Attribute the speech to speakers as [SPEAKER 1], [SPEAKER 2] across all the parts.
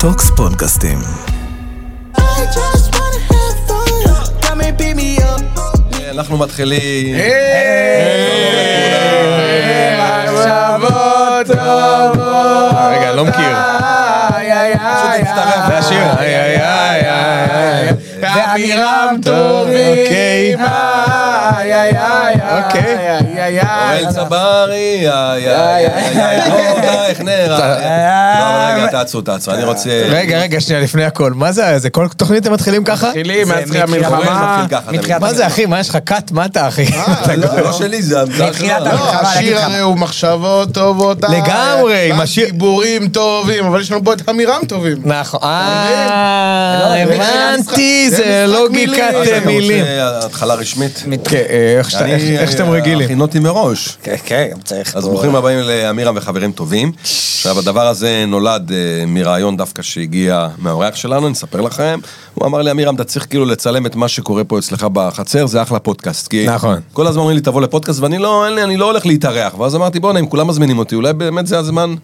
[SPEAKER 1] טוקס פודקאסטים.
[SPEAKER 2] אנחנו מתחילים.
[SPEAKER 3] רגע, לא מכיר. זה השיר. איי איי איי איי. ואמירם טובים. אוקיי. איי איי איי. אוקיי.
[SPEAKER 2] אוראל צברי, איי איי איי, לא, אורנייך נערה. לא, אבל רגע, תעצרו, תעצרו, אני רוצה...
[SPEAKER 3] רגע, רגע, שנייה, לפני הכל. מה זה, זה כל תוכנית אתם מתחילים ככה? מתחילים,
[SPEAKER 4] מאז תחילה
[SPEAKER 2] אוראל
[SPEAKER 4] המלחמה.
[SPEAKER 2] מתחיל ככה.
[SPEAKER 4] מתחילת
[SPEAKER 3] מה זה, אחי? מה יש לך? כת מטה, אחי? אתה
[SPEAKER 2] זה לא שלי, זה המצאה
[SPEAKER 4] מתחילת
[SPEAKER 2] שלך.
[SPEAKER 5] לא,
[SPEAKER 4] המלחמה. חבל להגיד
[SPEAKER 5] השיר
[SPEAKER 4] לך.
[SPEAKER 5] הרי הוא מחשבות טובות.
[SPEAKER 3] לגמרי,
[SPEAKER 5] אה,
[SPEAKER 3] עם
[SPEAKER 5] גם
[SPEAKER 3] השיר-
[SPEAKER 5] דיבורים טובים, אבל יש לנו פה את אמירם טובים.
[SPEAKER 3] נכון. אה,
[SPEAKER 5] מבין?
[SPEAKER 3] הבנתי,
[SPEAKER 5] זה
[SPEAKER 3] זה
[SPEAKER 5] משחק
[SPEAKER 3] לוגיקת
[SPEAKER 5] מילים.
[SPEAKER 2] אתה לא, רוצה
[SPEAKER 3] מילים.
[SPEAKER 2] התחלה רשמית?
[SPEAKER 3] כן, אה, איך שאתה- איך- איך שאתם רגילים.
[SPEAKER 2] הכינותי מראש.
[SPEAKER 4] כן, כן, גם צריך.
[SPEAKER 2] אז
[SPEAKER 4] פה-
[SPEAKER 2] ברוכים הבאים לאמירם וחברים טובים. עכשיו, הדבר הזה נולד אה, מרעיון דווקא שהגיע מהאורח שלנו, אני אספר לכם. הוא אמר לי, אמירם, אתה צריך כאילו לצלם את מה שקורה פה אצלך בחצר, זה אחלה פודקאסט. כי
[SPEAKER 3] נכון.
[SPEAKER 2] כל הזמן אומרים לי, תבוא לפודקאסט, ואני לא, אין לי, אני לא הולך להתארח. ואז אמרתי, בואנה, אם כולם מזמינים אותי, אולי באמת זה הזמן...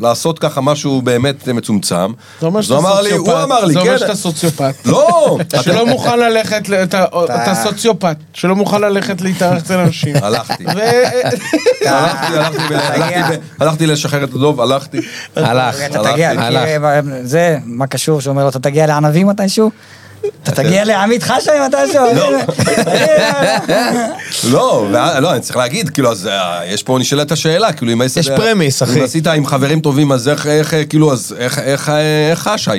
[SPEAKER 2] לעשות ככה משהו באמת מצומצם.
[SPEAKER 5] זה אומר
[SPEAKER 2] אז
[SPEAKER 5] שאתה
[SPEAKER 2] הוא אמר לי,
[SPEAKER 5] סוציופט.
[SPEAKER 2] הוא אמר לי,
[SPEAKER 5] זה
[SPEAKER 2] כן.
[SPEAKER 5] אומר שאתה סוציופט.
[SPEAKER 2] לא!
[SPEAKER 5] שלא
[SPEAKER 2] אתם-
[SPEAKER 5] מוכן ללכת, ל- אתה- אתה סוציופט, שלא מוכן ללכת להתארח אצל אנשים.
[SPEAKER 2] הלכתי.
[SPEAKER 5] ו-
[SPEAKER 2] הלכתי, הלכתי ב- הלכתי ב- הלכתי לשחרר את הדוב, הלכתי.
[SPEAKER 3] הלך,
[SPEAKER 2] רגע,
[SPEAKER 3] הלך.
[SPEAKER 2] אתה
[SPEAKER 4] כן, אתה תגיע,
[SPEAKER 3] הלך.
[SPEAKER 4] מכיר, זה, מה קשור שאומר לו, אתה תגיע לענבים מתישהו? אתה תגיע לעמית חשבי מתישהו?
[SPEAKER 2] לא. לא, ואז- לא, אני צריך להגיד, כאילו, אז אה, יש פה נשאלת השאלה, כאילו, אם היית...
[SPEAKER 3] יש
[SPEAKER 2] יודע-
[SPEAKER 3] פרמיס, אחי.
[SPEAKER 2] אם עשית עם חברים טובים, אז איך, איך, אה, כאילו, אז איך, איך, אה, איך אשי?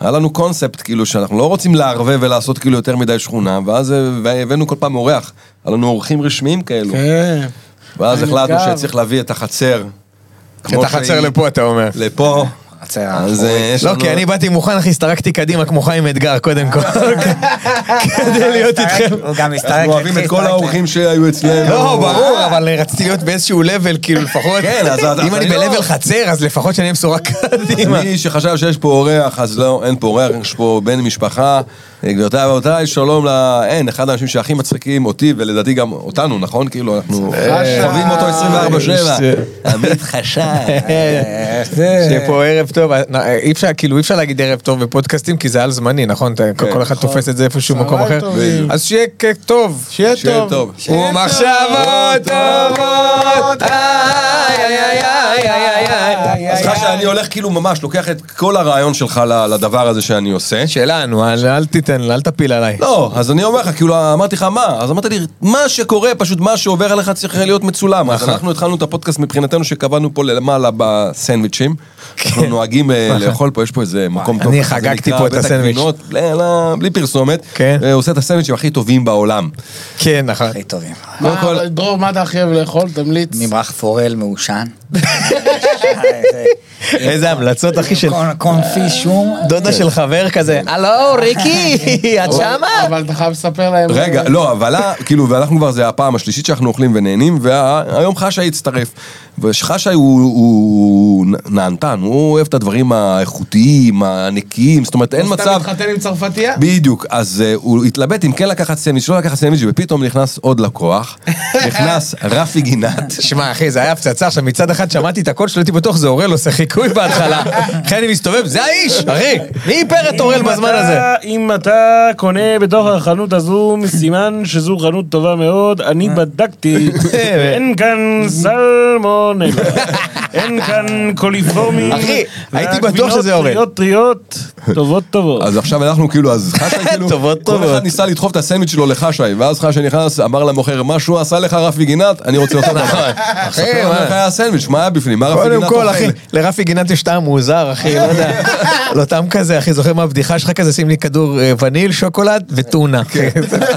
[SPEAKER 2] היה לנו קונספט, כאילו, שאנחנו לא רוצים לערבב ולעשות כאילו יותר מדי שכונה, ואז אה, והבאנו כל פעם אורח. היה לנו אורחים רשמיים כאלו.
[SPEAKER 5] כן.
[SPEAKER 2] ואז החלטנו
[SPEAKER 5] גם.
[SPEAKER 2] שצריך להביא את החצר. כמו
[SPEAKER 3] את החצר
[SPEAKER 2] שהיא-
[SPEAKER 3] לפה, אתה אומר.
[SPEAKER 2] לפה.
[SPEAKER 4] חצר
[SPEAKER 2] אז אה, יש
[SPEAKER 3] לא,
[SPEAKER 2] לנו...
[SPEAKER 3] כי אני באתי מוכן, אחי, הסתרקתי קדימה כמו חיים אתגר, קודם כל. כדי להיות איתכם.
[SPEAKER 4] הוא גם הסתרק.
[SPEAKER 2] אוקיי. אה, אנחנו אוהבים
[SPEAKER 4] התחיל
[SPEAKER 2] את כל
[SPEAKER 4] להסתרק.
[SPEAKER 2] האורחים שהיו אצלנו.
[SPEAKER 3] לא, ברור, אבל רציתי להיות באיזשהו לבל, כאילו לפחות,
[SPEAKER 2] כן, אז- אז
[SPEAKER 3] אם אני
[SPEAKER 2] אני לא-
[SPEAKER 3] ב-level חצר, אז לפחות שאני אהיה בשורה קדימה.
[SPEAKER 2] מי שחשב שיש פה אורח, אז לא, אין פה אורח, יש פה בן משפחה. אה, גבירותיי ורבותיי, שלום ל... אין, אחד האנשים שהכי מצחיקים אותי, ולדעתי גם אותנו, נכון? כאילו, אנחנו
[SPEAKER 3] אה,
[SPEAKER 2] חווים אותו 24-7. עמית חשב.
[SPEAKER 4] אה, זה-
[SPEAKER 3] שיהיה פה ערב טוב, אה, אה, אי אפשר, כאילו אי אפשר להגיד ערב טוב בפודקאסטים כי זה על זמני, נכון? אתה-
[SPEAKER 2] כן.
[SPEAKER 3] כל אחד תופס את זה איפשהו במקום אחר.
[SPEAKER 5] טובים.
[SPEAKER 3] אז שיהיה כ- טוב.
[SPEAKER 5] שיהיה
[SPEAKER 2] שיהיה
[SPEAKER 5] טוב.
[SPEAKER 2] טוב.
[SPEAKER 3] ומחשבות טובות, איי איי איי איי איי איי איי.
[SPEAKER 2] אז לך
[SPEAKER 3] אה.
[SPEAKER 2] שאני הולך כאילו ממש, לוקח את כל הרעיון שלך ל- לדבר הזה שאני עושה.
[SPEAKER 3] שלנו, אל אל תיתן, אל תפיל עליי.
[SPEAKER 2] לא, אז אני אומר לך, כאילו, אמרתי לך מה? אז אמרת לי, מה שקורה, פשוט מה שעובר עליך צריך להיות מצולם.
[SPEAKER 3] נכון.
[SPEAKER 2] אז אנחנו התחלנו את הפודקאסט מבחינתנו שקבענו פה למעלה בסנדוויצ'ים. אנחנו נוהגים אה, לאכול פה, יש פה איזה מקום טוב.
[SPEAKER 3] כן. נכון. אני
[SPEAKER 2] כזה
[SPEAKER 3] חגגתי
[SPEAKER 2] נקרא
[SPEAKER 3] פה את
[SPEAKER 2] בית
[SPEAKER 3] הסנדוויץ'.
[SPEAKER 2] הגבינות, לא, לא, בלי פרסומת.
[SPEAKER 3] כן.
[SPEAKER 2] אה, הוא עושה את הסנדוויצ'ים הכי טובים בעולם.
[SPEAKER 3] כן, נכון.
[SPEAKER 4] הכי טובים.
[SPEAKER 2] קודם
[SPEAKER 5] מה,
[SPEAKER 2] כל,
[SPEAKER 5] אה, אבל דרור, מה אתה הכי אוהב לאכול? תמליץ.
[SPEAKER 4] ממרח פורל מעושן.
[SPEAKER 3] איזה המלצות, אחי, של
[SPEAKER 4] קון- קונפי שום.
[SPEAKER 3] דודה של חבר כזה. הלו, ריקי, את שמה?
[SPEAKER 5] אבל אתה חייב לספר להם.
[SPEAKER 2] רגע, לא, אבל ה- כאילו, ואנחנו כבר, זה הפעם השלישית שאנחנו אוכלים ונהנים, והיום חשאי הצטרף. וחשאי הוא- הוא נענתן, הוא אוהב את הדברים האיכותיים, הנקיים, זאת אומרת, אין
[SPEAKER 5] אתה
[SPEAKER 2] מצב...
[SPEAKER 5] מתחתן עם צרפתייה?
[SPEAKER 2] בדיוק, אז uh, הוא התלבט אם כן לקחת סנדוויץ', לא לקחת סנדוויץ', ופתאום נכנס עוד לקוח, נכנס רפי גינת.
[SPEAKER 3] שמע אחי, זה היה הפצצה, עכשיו מצד אחד שמעתי את הקול שלו, הייתי בטוח זה אורל עושה חיקוי בהתחלה. אחי אני מסתובב, זה האיש, אחי, מי איפר את אורל בזמן הזה?
[SPEAKER 6] אם אתה קונה בתוך החנות הזו, סימן שזו חנות טובה מאוד, אני
[SPEAKER 3] אה.
[SPEAKER 6] בדקתי. אין כאן סלמונלה, אין כאן קוליפורמים.
[SPEAKER 3] אחי, הייתי
[SPEAKER 6] והגבינות
[SPEAKER 3] בטוח שזה אורן.
[SPEAKER 6] טריות טריות, טובות טובות.
[SPEAKER 2] אז עכשיו אנחנו כאילו, אז חשי כאילו,
[SPEAKER 3] טובות,
[SPEAKER 2] כל
[SPEAKER 3] טובות.
[SPEAKER 2] אחד ניסה לדחוף את הסנדוויץ' שלו לחשי, ואז חשי נכנס, אמר למוכר, מה שהוא עשה לך רפי גינת, אני רוצה אותו דבר. אחי,
[SPEAKER 3] נכון. מה?
[SPEAKER 2] מה היה הסנדוויץ', מה היה בפנים, מה רפי גינת
[SPEAKER 3] קודם
[SPEAKER 5] לא
[SPEAKER 3] כל, אחי,
[SPEAKER 2] אוכל?
[SPEAKER 3] לרפי גינת יש טעם מוזר, אחי, לא יודע. לא טעם כזה, אחי, זוכר מה הבדיחה שלך כזה, שים לי כדור אה, וניל, שוקולד וטונה.
[SPEAKER 5] כן.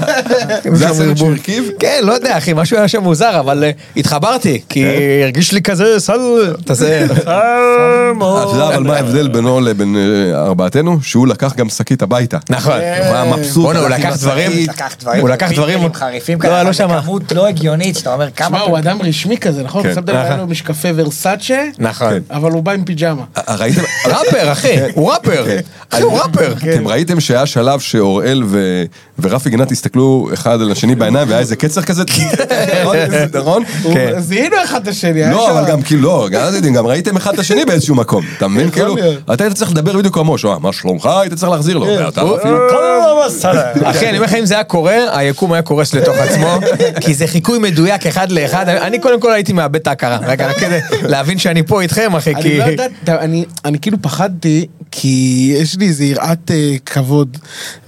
[SPEAKER 2] זה הסנדוויץ' שהוא הרכיב?
[SPEAKER 3] כן, לא יודע, אחי, משהו היה שם מוזר, אבל אה, התחברתי, כי
[SPEAKER 5] כן.
[SPEAKER 3] הרגיש לי כזה, סל... אתה זה...
[SPEAKER 6] סלמונלה.
[SPEAKER 2] אתה יודע אבל מה ההבדל בינו לבין אה, ארבעת לשמחתנו, שהוא לקח גם שקית הביתה.
[SPEAKER 3] נכון.
[SPEAKER 2] הוא היה מבסוט.
[SPEAKER 3] בואנה, הוא
[SPEAKER 2] הלך עם
[SPEAKER 3] לקח דברים-
[SPEAKER 2] השקית.
[SPEAKER 4] לקח דברים.
[SPEAKER 3] הוא לקח דברים-
[SPEAKER 4] פלפלים חריפים
[SPEAKER 3] לא,
[SPEAKER 4] כאלה,
[SPEAKER 3] לא
[SPEAKER 4] אבל
[SPEAKER 3] שמע.
[SPEAKER 4] בכמות לא הגיונית, שאתה אומר כמה...
[SPEAKER 5] שמע, הוא אדם רשמי כזה, נכון?
[SPEAKER 2] כן.
[SPEAKER 5] שמת לב, היה לו משקפי ורסאצ'ה,
[SPEAKER 3] נכון.
[SPEAKER 5] אבל הוא בא עם פיג'מה.
[SPEAKER 2] אה, ראיתם?
[SPEAKER 3] ראפר, אחי, הוא ראפר. אחי, הוא ראפר.
[SPEAKER 2] כן. אתם ראיתם שהיה שלב שאוראל ו- ורפי גינת הסתכלו אחד על השני בעיניים והיה איזה קצר כזה, נכון? נכון?
[SPEAKER 5] הוא-
[SPEAKER 3] כן.
[SPEAKER 5] זיהינו אחד את השני. היה
[SPEAKER 2] לא,
[SPEAKER 5] שם-
[SPEAKER 2] אבל גם כאילו, לא, גם אז יודעים, גם ראיתם אחד את השני באיזשהו מקום, אתה מבין? כאילו,
[SPEAKER 5] להיות.
[SPEAKER 2] אתה היית צריך לדבר בדיוק כמוהו, שהוא, "אה, מה שלומך? היית צריך להחזיר לו, ואתה אפילו...
[SPEAKER 3] אחי, אני אומר לך, אם זה היה קורה, היקום היה קורס לתוך עצמו, כי זה חיקוי מדויק אחד לאחד. אני- אני קודם כל הייתי מאבד את ההכרה. רגע, רק כדי להבין שאני פה איתכם, אחי,
[SPEAKER 5] אני
[SPEAKER 3] כי...
[SPEAKER 5] לא יודעת, אתה- אני- אני כאילו פחדתי, כי יש לי איזה יראת אה, כבוד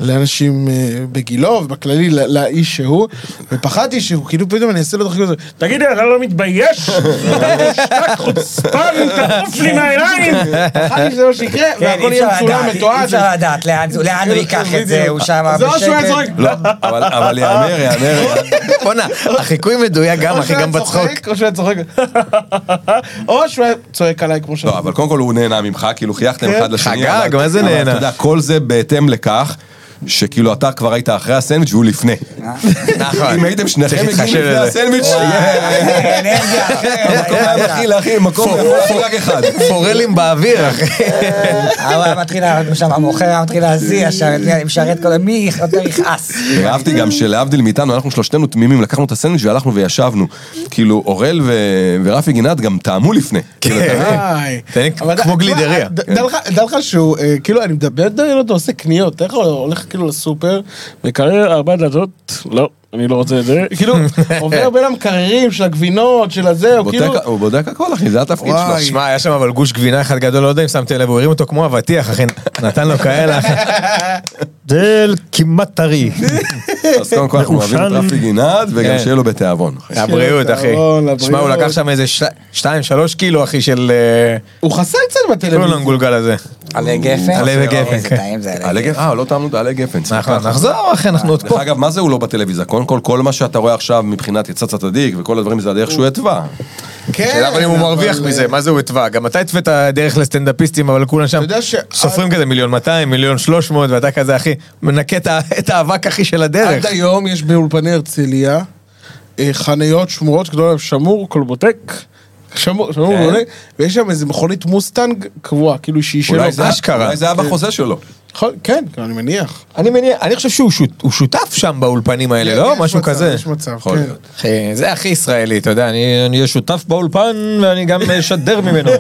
[SPEAKER 5] לאנשים אה, בגילו, ובכללי לא- לאיש שהוא, ופחדתי שהוא כאילו פתאום אני אעשה לו דחק כזה.
[SPEAKER 6] תגיד לי, אתה לא מתבייש? אתה מושתק חוצפן, תעוף לי מהעיניים!
[SPEAKER 5] פחדתי שזה מה שיקרה,
[SPEAKER 4] כן,
[SPEAKER 5] והכל
[SPEAKER 4] אי
[SPEAKER 5] יהיה
[SPEAKER 4] אפשר
[SPEAKER 5] מצולם,
[SPEAKER 4] לדעת, אי
[SPEAKER 5] מתועד.
[SPEAKER 4] אפשר לדעת לאן זה- לאן הוא ייקח את זה, הוא שם
[SPEAKER 5] זה או שהוא היה
[SPEAKER 4] בשקט.
[SPEAKER 5] צועק,
[SPEAKER 2] לא, אבל- אבל יאמר, יאמר,
[SPEAKER 3] בואנה, החיקוי מדויק גם,
[SPEAKER 5] או
[SPEAKER 3] אחי,
[SPEAKER 5] שהוא היה
[SPEAKER 3] גם בצחוק.
[SPEAKER 5] צוחק, או שהוא היה צוחק, או שהוא היה צועק עליי כמו
[SPEAKER 2] לא,
[SPEAKER 5] שאמרתי.
[SPEAKER 2] אבל קודם כל הוא נהנה ממך, כאילו חייכתם אחד לשני.
[SPEAKER 3] כן. חגג,
[SPEAKER 2] אבל-
[SPEAKER 3] מה זה
[SPEAKER 2] אבל
[SPEAKER 3] נהנה?
[SPEAKER 2] אתה יודע, כל זה בהתאם לכך. שכאילו אתה כבר היית אחרי הסנדוויץ' והוא לפני.
[SPEAKER 3] נכון.
[SPEAKER 2] אם הייתם שניכם
[SPEAKER 3] צריך
[SPEAKER 2] מגיעים
[SPEAKER 3] להתחשב
[SPEAKER 2] לפני
[SPEAKER 3] בזה.
[SPEAKER 2] הסנדוויץ', יהיה-
[SPEAKER 4] איזה אנרגיה
[SPEAKER 2] המקום היה
[SPEAKER 4] אחרת.
[SPEAKER 2] מכיל, אחי, מקום יכול להכיל רק אחד.
[SPEAKER 3] פורלים באוויר, אחי.
[SPEAKER 4] אבל היה מתחיל, לה- שם המוכר היה מתחיל להזיע, שה- משרת כל... מי יותר יכעס?
[SPEAKER 2] אהבתי גם שלהבדיל מאיתנו, אנחנו שלושתנו תמימים, לקחנו את הסנדוויץ' והלכנו וישבנו. כאילו, אורל ו- ורפי גינת גם טעמו לפני.
[SPEAKER 3] כן.
[SPEAKER 2] כאילו, אתה מבין?
[SPEAKER 5] איי.
[SPEAKER 3] תן
[SPEAKER 5] אבל
[SPEAKER 3] כמו
[SPEAKER 5] ד-
[SPEAKER 3] גלידריה.
[SPEAKER 5] ד- דע לך- דע לך שהוא, אה, כאילו, אני מדבר, דמיין אותו עושה קניות, איך הוא הולך כאילו לסופר,
[SPEAKER 6] מקרר ארבע דלתות? לא, אני לא רוצה את זה.
[SPEAKER 5] כאילו, עובר בין המקררים של הגבינות, של הזה, הוא כאילו...
[SPEAKER 2] בודק- הוא בודק הכל, אחי, זה התפקיד שלו.
[SPEAKER 5] וואי.
[SPEAKER 3] שמע, היה שם אבל גוש גבינה אחד גדול, לא יודע אם שמתם לב, הוא הרים אותו כמו אבטיח, אחי, נתן לו כאלה, אחי. דל כמעט טרי.
[SPEAKER 2] אז קודם כל אנחנו אוהבים את
[SPEAKER 6] מחושל.
[SPEAKER 2] רפי גינת, וגם
[SPEAKER 3] כן.
[SPEAKER 2] שיהיה לו בתיאבון. אחי.
[SPEAKER 3] הבריאות, אחי.
[SPEAKER 5] יאללה, לבריאות.
[SPEAKER 3] שמע, הוא לקח שם איזה ש- שתיים, שלוש קילו, אחי, של... אה,
[SPEAKER 5] הוא חסר קצת
[SPEAKER 3] קוראים לו
[SPEAKER 5] בטלוויזיה.
[SPEAKER 3] המגולגל הזה.
[SPEAKER 4] עלי גפן? לא,
[SPEAKER 3] עלי וגפן,
[SPEAKER 4] איזה
[SPEAKER 3] כן.
[SPEAKER 4] טעים זה עלי
[SPEAKER 2] עלי גפן, אה, לא טעמנו את העלי גפן. סליחה.
[SPEAKER 3] נכון, נחזור, אחי, אנחנו עוד
[SPEAKER 2] דרך
[SPEAKER 3] פה.
[SPEAKER 2] אגב, מה זה הוא לא בטלוויזיה? קודם כל, כל מה שאתה רואה עכשיו מבחינת יצא צדדיק וכל הדברים זה הדרך שהוא התווה.
[SPEAKER 5] כן,
[SPEAKER 3] שאלה אבל אם הוא מרוויח
[SPEAKER 5] אבל,
[SPEAKER 3] מזה,
[SPEAKER 5] אה,
[SPEAKER 3] מה זה הוא התווה? גם אתה התווית דרך לסטנדאפיסטים, אבל כולם שם
[SPEAKER 5] יודע ש-
[SPEAKER 3] סופרים כזה מיליון 200, מיליון 300, ואתה כזה, אחי, מנקה את ה- את האבק, אחי, של הדרך.
[SPEAKER 5] עד היום יש באולפני הרצליה אה, חניות שמורות, קוראים להם שמור, קולבוטק. שמור, שמור, מעולה. ויש שם איזה מכונית מוסטנג קבועה, כאילו שהיא שלו.
[SPEAKER 2] אולי זה-
[SPEAKER 3] אשכרה.
[SPEAKER 2] אולי זה היה בחוזה שלו.
[SPEAKER 5] נכון, כן, אני מניח.
[SPEAKER 3] אני מניח, אני חושב שהוא שות- הוא שותף שם באולפנים האלה, לא?
[SPEAKER 5] יש
[SPEAKER 3] משהו
[SPEAKER 5] מצב,
[SPEAKER 3] כזה.
[SPEAKER 5] יש מצב,
[SPEAKER 2] יכול
[SPEAKER 5] כן.
[SPEAKER 2] להיות.
[SPEAKER 3] אחי, אה, זה הכי ישראלי, אתה יודע, אני אני אהיה שותף באולפן ואני גם אשדר ממנו.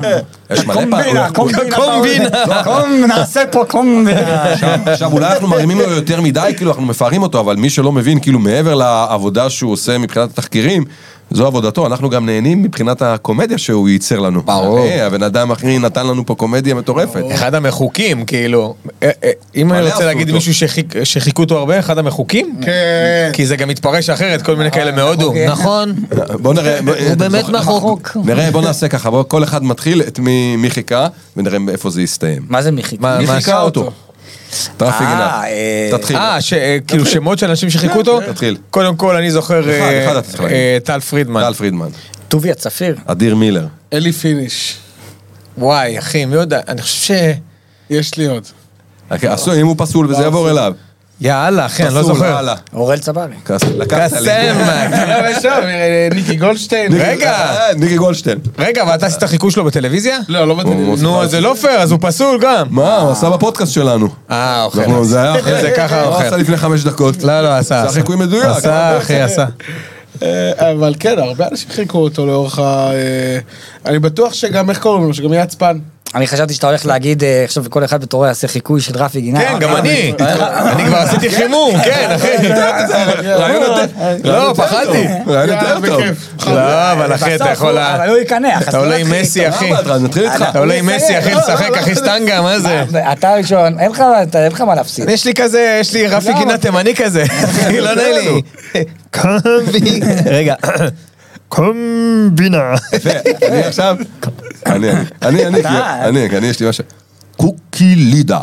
[SPEAKER 2] יש מלא
[SPEAKER 4] קומבינה,
[SPEAKER 2] פעמים.
[SPEAKER 4] קומבינה. אה,
[SPEAKER 3] קומבינה.
[SPEAKER 4] קומבינה. נעשה פה קומבינה.
[SPEAKER 2] עכשיו- עכשיו אולי אנחנו מרימים לו יותר מדי, כאילו אנחנו מפארים אותו, אבל מי שלא מבין, כאילו מעבר לעבודה שהוא עושה מבחינת התחקירים, זו עבודתו, אנחנו גם נהנים מבחינת הקומדיה שהוא ייצר לנו. ברור. הבן אדם הכי נתן לנו פה קומדיה מטורפת.
[SPEAKER 3] אחד המחוקים, כאילו, אה, אה, אם אני
[SPEAKER 2] מלא
[SPEAKER 3] רוצה
[SPEAKER 2] עשו
[SPEAKER 3] להגיד
[SPEAKER 2] אותו.
[SPEAKER 3] מישהו שחיק- שחיכו אותו הרבה, אחד המחוקים?
[SPEAKER 5] כן.
[SPEAKER 3] כי זה גם מתפרש אחרת, כל מיני כאלה מהודו.
[SPEAKER 4] אוקיי.
[SPEAKER 3] נכון.
[SPEAKER 2] בוא נראה, בוא-
[SPEAKER 3] הוא באמת מחוק.
[SPEAKER 2] נראה, בוא נעשה ככה, בוא כל אחד מתחיל את מי מי חיכה, ונראה איפה זה יסתיים.
[SPEAKER 4] מה זה מחיק?
[SPEAKER 3] מה-
[SPEAKER 2] מי
[SPEAKER 3] מה
[SPEAKER 2] חיכה
[SPEAKER 3] עשה
[SPEAKER 2] אותו? רפי
[SPEAKER 4] אה,
[SPEAKER 2] גינת.
[SPEAKER 4] אה,
[SPEAKER 2] תתחיל. כן,
[SPEAKER 3] אה, ש- אה, כאילו שמות של אנשים שחיכו אותו?
[SPEAKER 2] תתחיל.
[SPEAKER 3] קודם כל, אני זוכר...
[SPEAKER 2] אחד,
[SPEAKER 3] אה,
[SPEAKER 2] אחד אתה צריך להגיד.
[SPEAKER 3] אה, טל פרידמן.
[SPEAKER 2] טל פרידמן.
[SPEAKER 4] טוביה צפיר.
[SPEAKER 2] אדיר מילר.
[SPEAKER 5] אלי פיניש.
[SPEAKER 3] וואי, אחי, מי יודע? אני אה, חושב ש...
[SPEAKER 5] יש לי עוד.
[SPEAKER 2] אוקיי, עשו, אם הוא פסול וזה יעבור אליו.
[SPEAKER 3] יאללה, אחי, אני לא
[SPEAKER 2] פסול,
[SPEAKER 3] זוכר.
[SPEAKER 2] הלאה.
[SPEAKER 4] אורל צברי.
[SPEAKER 2] כס- לקחת לי.
[SPEAKER 3] קסם! לא
[SPEAKER 5] אבל יש שם, אה, ניקי גולדשטיין.
[SPEAKER 2] ניקי-
[SPEAKER 3] רגע.
[SPEAKER 2] אה, ניקי גולדשטיין.
[SPEAKER 3] רגע, ואתה עשית חיקוי שלו בטלוויזיה?
[SPEAKER 5] לא, לא בטלוויזיה.
[SPEAKER 3] נו, אז זה לא פייר, אז הוא פסול גם.
[SPEAKER 2] מה, הוא עשה בפודקאסט שלנו.
[SPEAKER 3] אה, אוכל.
[SPEAKER 2] אנחנו- אה. כן, זה היה
[SPEAKER 3] אם זה ככה,
[SPEAKER 2] הוא
[SPEAKER 3] אוכל.
[SPEAKER 2] עשה לפני חמש דקות.
[SPEAKER 3] לא, לא, עשה.
[SPEAKER 2] זה
[SPEAKER 3] עשה.
[SPEAKER 2] חיקוי מדויק.
[SPEAKER 3] עשה, אחי, עשה.
[SPEAKER 5] אה, אבל כן, הרבה אנשים חיכו אותו לאורך ה... אה, אני בטוח שגם, איך קוראים לו? שגם יהיה עצפן.
[SPEAKER 4] אני חשבתי שאתה הולך להגיד, אה, עכשיו כל אחד בתורו יעשה חיקוי של רפי גינת.
[SPEAKER 3] כן, גם אני. אני כבר עשיתי חימום, כן, אחי.
[SPEAKER 2] רעיון יותר-
[SPEAKER 3] לא, פחדתי.
[SPEAKER 2] רעיון יותר
[SPEAKER 5] יאללה,
[SPEAKER 2] טוב. אה,
[SPEAKER 5] בכיף.
[SPEAKER 3] לא, אבל לא אחי,
[SPEAKER 4] בסוף
[SPEAKER 3] אתה יכול...
[SPEAKER 4] הוא-
[SPEAKER 3] לה-
[SPEAKER 4] אבל הוא לא יקנח. אז
[SPEAKER 3] אתה עולה עם
[SPEAKER 4] תתחיל.
[SPEAKER 3] מסי, אחי.
[SPEAKER 2] למה, אתה- נתחיל איתך.
[SPEAKER 3] אתה עולה עם
[SPEAKER 4] אני
[SPEAKER 3] מסי,
[SPEAKER 4] אסיים.
[SPEAKER 3] אחי,
[SPEAKER 4] לא,
[SPEAKER 3] לשחק, אחי, סטנגה, מה זה?
[SPEAKER 4] אתה ראשון, אין לך- אתה- אין לך מה להפסיד.
[SPEAKER 3] אה, יש לי כזה, יש לי רפי
[SPEAKER 4] למה?
[SPEAKER 3] גינה תימני כזה, אחי, לא אה, נעים לי. קומבי... רגע. קומבינה.
[SPEAKER 2] יפה. אני עכשיו... אני, אני, אני, אני, כי-
[SPEAKER 4] אתה-
[SPEAKER 2] אני, כי אני, יש לי משהו. קוק קוקילידה.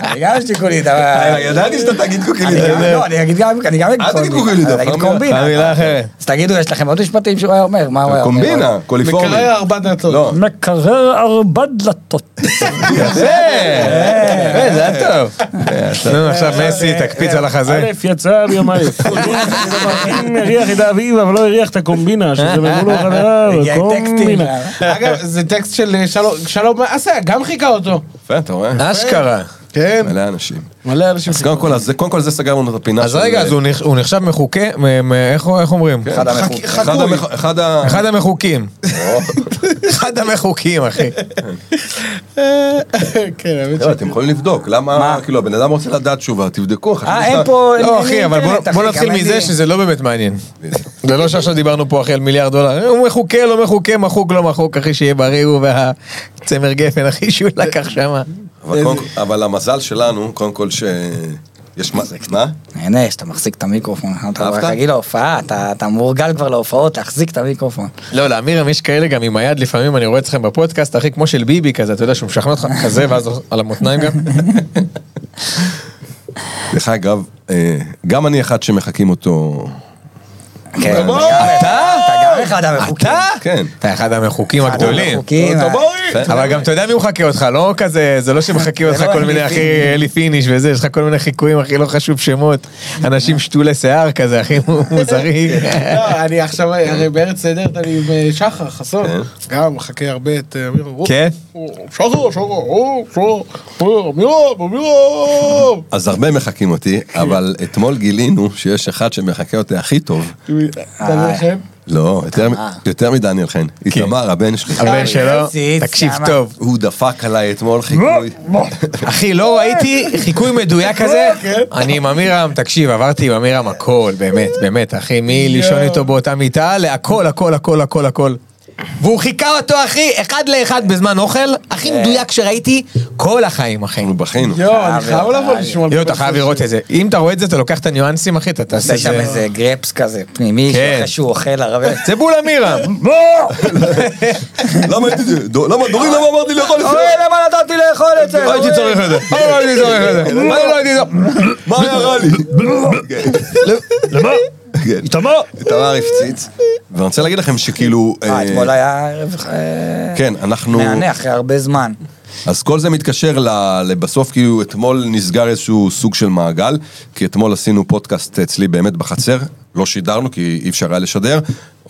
[SPEAKER 4] אני גם שיקולית, אבל...
[SPEAKER 2] ידעתי שאתה תגיד
[SPEAKER 4] אני גם- לא, אני אגיד גם, אני גם אגיד
[SPEAKER 2] אל תגיד קוקילית,
[SPEAKER 4] אני אגיד
[SPEAKER 2] פעם
[SPEAKER 4] קומבינה.
[SPEAKER 3] מילה אחרת.
[SPEAKER 4] אז תגידו, יש לכם עוד משפטים שהוא היה אומר? מה הוא היה אומר?
[SPEAKER 2] קומבינה, קוליפורני.
[SPEAKER 5] מקרר ארבע דלתות.
[SPEAKER 2] לא,
[SPEAKER 4] מקרר ארבע דלתות.
[SPEAKER 3] יפה, אה, יפה, זה היה טוב. נו, עכשיו מסי, תקפיץ על החזה.
[SPEAKER 6] א' יצא ביום א'. אם הריח את האביב, אבל לא הריח את הקומבינה, שזה מבולו חברה,
[SPEAKER 4] הגיע טקסטים.
[SPEAKER 6] קומבינה.
[SPEAKER 5] אגב, זה טקסט של אה, שלום- שלום אסיה, גם חיכה אותו.
[SPEAKER 2] יפה, אתה רואה?
[SPEAKER 3] אה, אשכרה.
[SPEAKER 5] כן.
[SPEAKER 2] מלא אנשים.
[SPEAKER 5] מלא אנשים.
[SPEAKER 2] אז קודם כל, אז זה- קודם כל זה סגרנו את הפינה
[SPEAKER 3] אז
[SPEAKER 2] של- כן,
[SPEAKER 3] רגע, אז הוא נח- הוא נחשב מחוקה, מ- מ- איך איך אומרים?
[SPEAKER 2] אחד המחוק- אחד המח- אחד ה... לא,
[SPEAKER 3] אחד המחוקים. אחד המחוקים, אחי.
[SPEAKER 5] כן, האמת
[SPEAKER 2] לא, אתם יכולים לבדוק, למה, כאילו, הבן אדם רוצה לדעת תשובה, תבדקו. חשבתי
[SPEAKER 4] אה,
[SPEAKER 2] שאתה-
[SPEAKER 4] אין פה...
[SPEAKER 3] לא,
[SPEAKER 4] אין
[SPEAKER 3] אחי, אבל בוא-
[SPEAKER 4] אינטרנט,
[SPEAKER 3] בוא
[SPEAKER 4] אחי,
[SPEAKER 3] נתחיל
[SPEAKER 4] גם אין
[SPEAKER 3] מזה
[SPEAKER 4] לי-
[SPEAKER 3] שזה לא באמת מעניין. זה לא שעכשיו דיברנו פה, אחי, על מיליארד דולר. הוא מחוקה, לא מחוקה, מחוק, לא מחוק, אחי, שיהיה בריא הוא והצמר גפן, אחי, שהוא לקח שמה.
[SPEAKER 2] אבל קודם כל- אבל המזל שלנו, קודם כל ש... יש מה זה, מה?
[SPEAKER 4] הנה, שאתה מחזיק את המיקרופון, אתה
[SPEAKER 2] אהבת?
[SPEAKER 4] רק רגיל להופעה, אתה- אתה מורגל כבר להופעות, להחזיק את המיקרופון. כן,
[SPEAKER 3] לא, לאמירם יש כאלה גם עם היד, לפעמים אני רואה אתכם בפודקאסט, אחי, כמו של ביבי כזה, אתה יודע שהוא משכנע אותך כזה, ואז על המותניים גם.
[SPEAKER 2] דרך אגב, אה, גם אני אחד שמחקים אותו...
[SPEAKER 4] כן, אתה גם- אתה גם אחד המחוקים.
[SPEAKER 2] כן.
[SPEAKER 3] אתה אחד המחוקים
[SPEAKER 4] אחד
[SPEAKER 3] הגדולים.
[SPEAKER 4] המחוקים, אה, ה-
[SPEAKER 3] אבל גם אתה יודע מי מחכה אותך, לא כזה, זה לא שמחכים אותך
[SPEAKER 4] לא
[SPEAKER 3] כל
[SPEAKER 4] אלי
[SPEAKER 3] מיני
[SPEAKER 4] פיניש.
[SPEAKER 3] אחי אלי פיניש וזה, יש לך כל מיני חיקויים אחי לא חשוב שמות, אנשים שתולי שיער כזה אחי מוזרים.
[SPEAKER 5] לא, אני עכשיו, הרי בארץ נהדרת אני עם אה, שחר חסון. גם מחכה הרבה את אה, אמירם. הוא-
[SPEAKER 3] כן?
[SPEAKER 5] הוא- שחר, שחר, הוא, שחר, הוא, אמירם, אמירם.
[SPEAKER 2] אז הרבה מחקים אותי, אבל אתמול גילינו שיש אחד שמחקה אותי הכי טוב.
[SPEAKER 5] אתה לא חושב?
[SPEAKER 2] לא, יותר מ- יותר מדניאל חן. איתמר, הבן שלי.
[SPEAKER 3] הבן שלו,
[SPEAKER 4] ציץ,
[SPEAKER 3] תקשיב
[SPEAKER 4] למה?
[SPEAKER 3] טוב.
[SPEAKER 2] הוא דפק עליי אתמול
[SPEAKER 3] לא!
[SPEAKER 2] חיקוי.
[SPEAKER 3] אחי לא ראיתי חיקוי מדויק כזה,
[SPEAKER 4] כן.
[SPEAKER 3] אני עם אמירם, תקשיב עברתי עם אמירם הכל, באמת, באמת אחי, מלישון איתו באותה מיטה להכל הכל הכל הכל הכל. והוא חיכה אותו אחי, אחד לאחד בזמן אוכל, הכי
[SPEAKER 4] כן.
[SPEAKER 3] מדויק שראיתי כל החיים אחי.
[SPEAKER 2] אנחנו בכינו.
[SPEAKER 5] יואו, אני חייב
[SPEAKER 4] חייב,
[SPEAKER 5] לבוא לשמוע.
[SPEAKER 3] יואו, אתה חייב לראות את זה. אם אתה רואה את זה, אתה לוקח את הניואנסים, אחי, אתה תעשה
[SPEAKER 4] עושה
[SPEAKER 3] את
[SPEAKER 4] שם
[SPEAKER 3] זה.
[SPEAKER 4] איזה גרפס כזה, פנימי,
[SPEAKER 3] כן.
[SPEAKER 4] שאחרי שהוא אוכל הרבה.
[SPEAKER 3] זה בול אמירם.
[SPEAKER 2] למה הייתי... דו- למה דורין למה אמרתי לאכול את זה?
[SPEAKER 4] למה נתתי לאכול את אה, לא, זה?
[SPEAKER 3] לא הייתי צריך את זה. מה לא הייתי צריך את זה? מה לא הייתי צריך?
[SPEAKER 2] מה היה רע לי? כן. למה? איתמר? איתמר הפציץ. ואני רוצה להגיד לכם שכאילו...
[SPEAKER 4] אה,
[SPEAKER 2] אה,
[SPEAKER 4] אתמול היה ערב אה,
[SPEAKER 2] כן, אנחנו...
[SPEAKER 4] מהנה אחרי הרבה זמן.
[SPEAKER 2] אז כל זה מתקשר ל- לבסוף, כאילו אתמול נסגר איזשהו סוג של מעגל, כי אתמול עשינו פודקאסט אצלי באמת בחצר, לא שידרנו כי אי אפשר היה לשדר.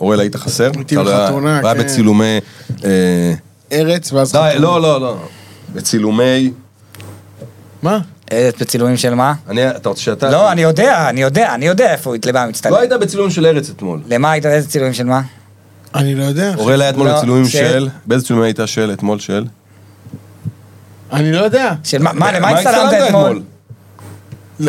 [SPEAKER 2] אוראל, היית חסר?
[SPEAKER 5] הייתי
[SPEAKER 2] אתה לא-
[SPEAKER 5] בחתונה,
[SPEAKER 2] היה
[SPEAKER 5] כן.
[SPEAKER 2] בצילומי... אה,
[SPEAKER 5] ארץ ואז
[SPEAKER 2] די,
[SPEAKER 5] חתום.
[SPEAKER 2] לא, לא, לא. בצילומי...
[SPEAKER 5] מה?
[SPEAKER 4] אה, בצילומים של מה?
[SPEAKER 2] אני, אתה רוצה שאתה...
[SPEAKER 4] לא, אני יודע, אני יודע, אני יודע איפה הוא למה הוא
[SPEAKER 2] לא
[SPEAKER 4] מצטלם.
[SPEAKER 2] היית בצילום של ארץ אתמול.
[SPEAKER 4] למה היית, איזה צילומים של מה?
[SPEAKER 5] אני לא יודע.
[SPEAKER 2] אוראל היה אתמול
[SPEAKER 4] לא,
[SPEAKER 2] בצילומים
[SPEAKER 4] של-
[SPEAKER 2] של... באיזה צילומים הייתה של? אתמול של?
[SPEAKER 5] אני לא יודע.
[SPEAKER 4] של מה,
[SPEAKER 2] אה,
[SPEAKER 4] מה, למה הצטלמת אתמול?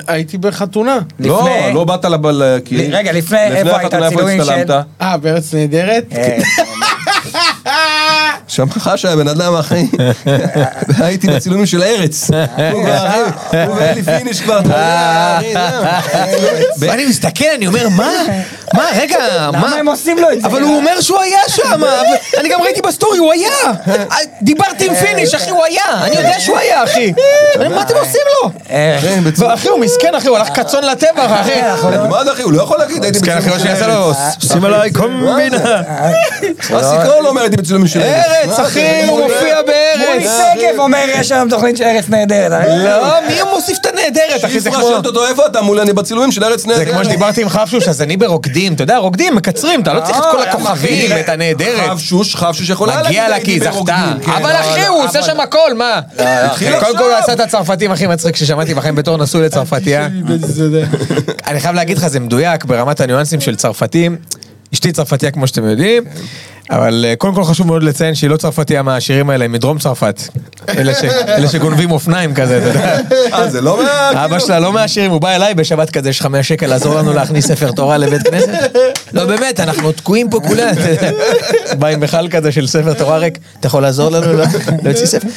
[SPEAKER 5] הייתי בחתונה.
[SPEAKER 2] לא,
[SPEAKER 4] לפני-
[SPEAKER 2] לא באת לבל... כי-
[SPEAKER 4] רגע, לפני, איפה היית?
[SPEAKER 2] החתונה, איפה
[SPEAKER 4] צילומים של-
[SPEAKER 2] הצטלמת?
[SPEAKER 5] אה, בארץ נהדרת?
[SPEAKER 3] כן.
[SPEAKER 4] אה,
[SPEAKER 2] שכחה שהבן אדם אחי, הייתי בצילומים של ארץ. הוא כבר- הוא ואלי פיניש כבר, אתה יודע, אחי, זהו.
[SPEAKER 3] ואני מסתכל, אני אומר, מה? מה, רגע, מה?
[SPEAKER 4] למה הם עושים לו את זה?
[SPEAKER 3] אבל הוא אומר שהוא היה שם, אבל- אני גם ראיתי בסטורי, הוא היה! דיברתי עם פיניש, אחי, הוא היה! אני יודע שהוא היה, אחי! אני, מה אתם עושים לו?
[SPEAKER 4] אה,
[SPEAKER 2] כן, בצילום.
[SPEAKER 3] ואחי, הוא מסכן, אחי, הוא הלך כצאן לטבח, אחי!
[SPEAKER 2] מה זה אחי, הוא לא יכול להגיד, הייתי
[SPEAKER 3] מסכן, אחי,
[SPEAKER 2] בצילומים
[SPEAKER 3] מה
[SPEAKER 2] של
[SPEAKER 3] שיעשה
[SPEAKER 2] ארץ.
[SPEAKER 3] לו, שים עליי קומבינה!
[SPEAKER 2] אסי קרול אומר הייתי בצילומים של ארץ.
[SPEAKER 3] ארץ, אחי, הוא מופיע
[SPEAKER 4] מולי
[SPEAKER 3] בארץ!
[SPEAKER 4] שגב אומר, יש היום תוכנית של ארץ נהדרת. אה?
[SPEAKER 3] לא, מי מוסיף את הנהדרת, אחי? זה
[SPEAKER 2] איפרה
[SPEAKER 3] כמו...
[SPEAKER 2] שואלת אותו איפה אתה מולי, אני בצילומים של ארץ
[SPEAKER 3] זה כמו
[SPEAKER 2] נהדרת.
[SPEAKER 3] שדיברתי עם חפשוש, אז אני ברוקדים, אתה יודע, רוקדים, מקצרים, אתה לא צריך את כל
[SPEAKER 4] אה,
[SPEAKER 3] הכוכבים, את הנהדרת.
[SPEAKER 2] חבשוש, חבשוש יכול היה
[SPEAKER 3] מגיע לה
[SPEAKER 2] להגיד,
[SPEAKER 3] כי היא
[SPEAKER 2] הייתי
[SPEAKER 3] זכתה.
[SPEAKER 2] ברוקדים. כן.
[SPEAKER 3] אבל אחי, הוא עושה שם הכל, מה?
[SPEAKER 2] התחיל
[SPEAKER 3] קודם כל
[SPEAKER 2] עכשיו.
[SPEAKER 3] הוא עשה את הצרפתים הכי מצחיק ששמעתי בחיים בתור נשוי לצרפתייה.
[SPEAKER 5] כן,
[SPEAKER 3] אני חייב להגיד לך, זה מדויק ברמת הניואנסים של צרפתים. אשתי צרפתייה כמו שאתם יודעים, אבל אה, קודם כל חשוב מאוד לציין שהיא לא צרפתייה מהעשירים האלה, היא מדרום צרפת. אלה ש- אלה שגונבים אופניים כזה, אתה יודע.
[SPEAKER 2] אה, זה לא מה...
[SPEAKER 3] אבא שלה לא מהעשירים, הוא בא אליי בשבת כזה, יש לך 100 שקל לעזור לנו להכניס ספר תורה לבית כנסת? לא, באמת, אנחנו תקועים פה כולם. אתה יודע. בא עם מכל כזה של ספר תורה ריק, אתה יכול לעזור לנו לא- להוציא ספר?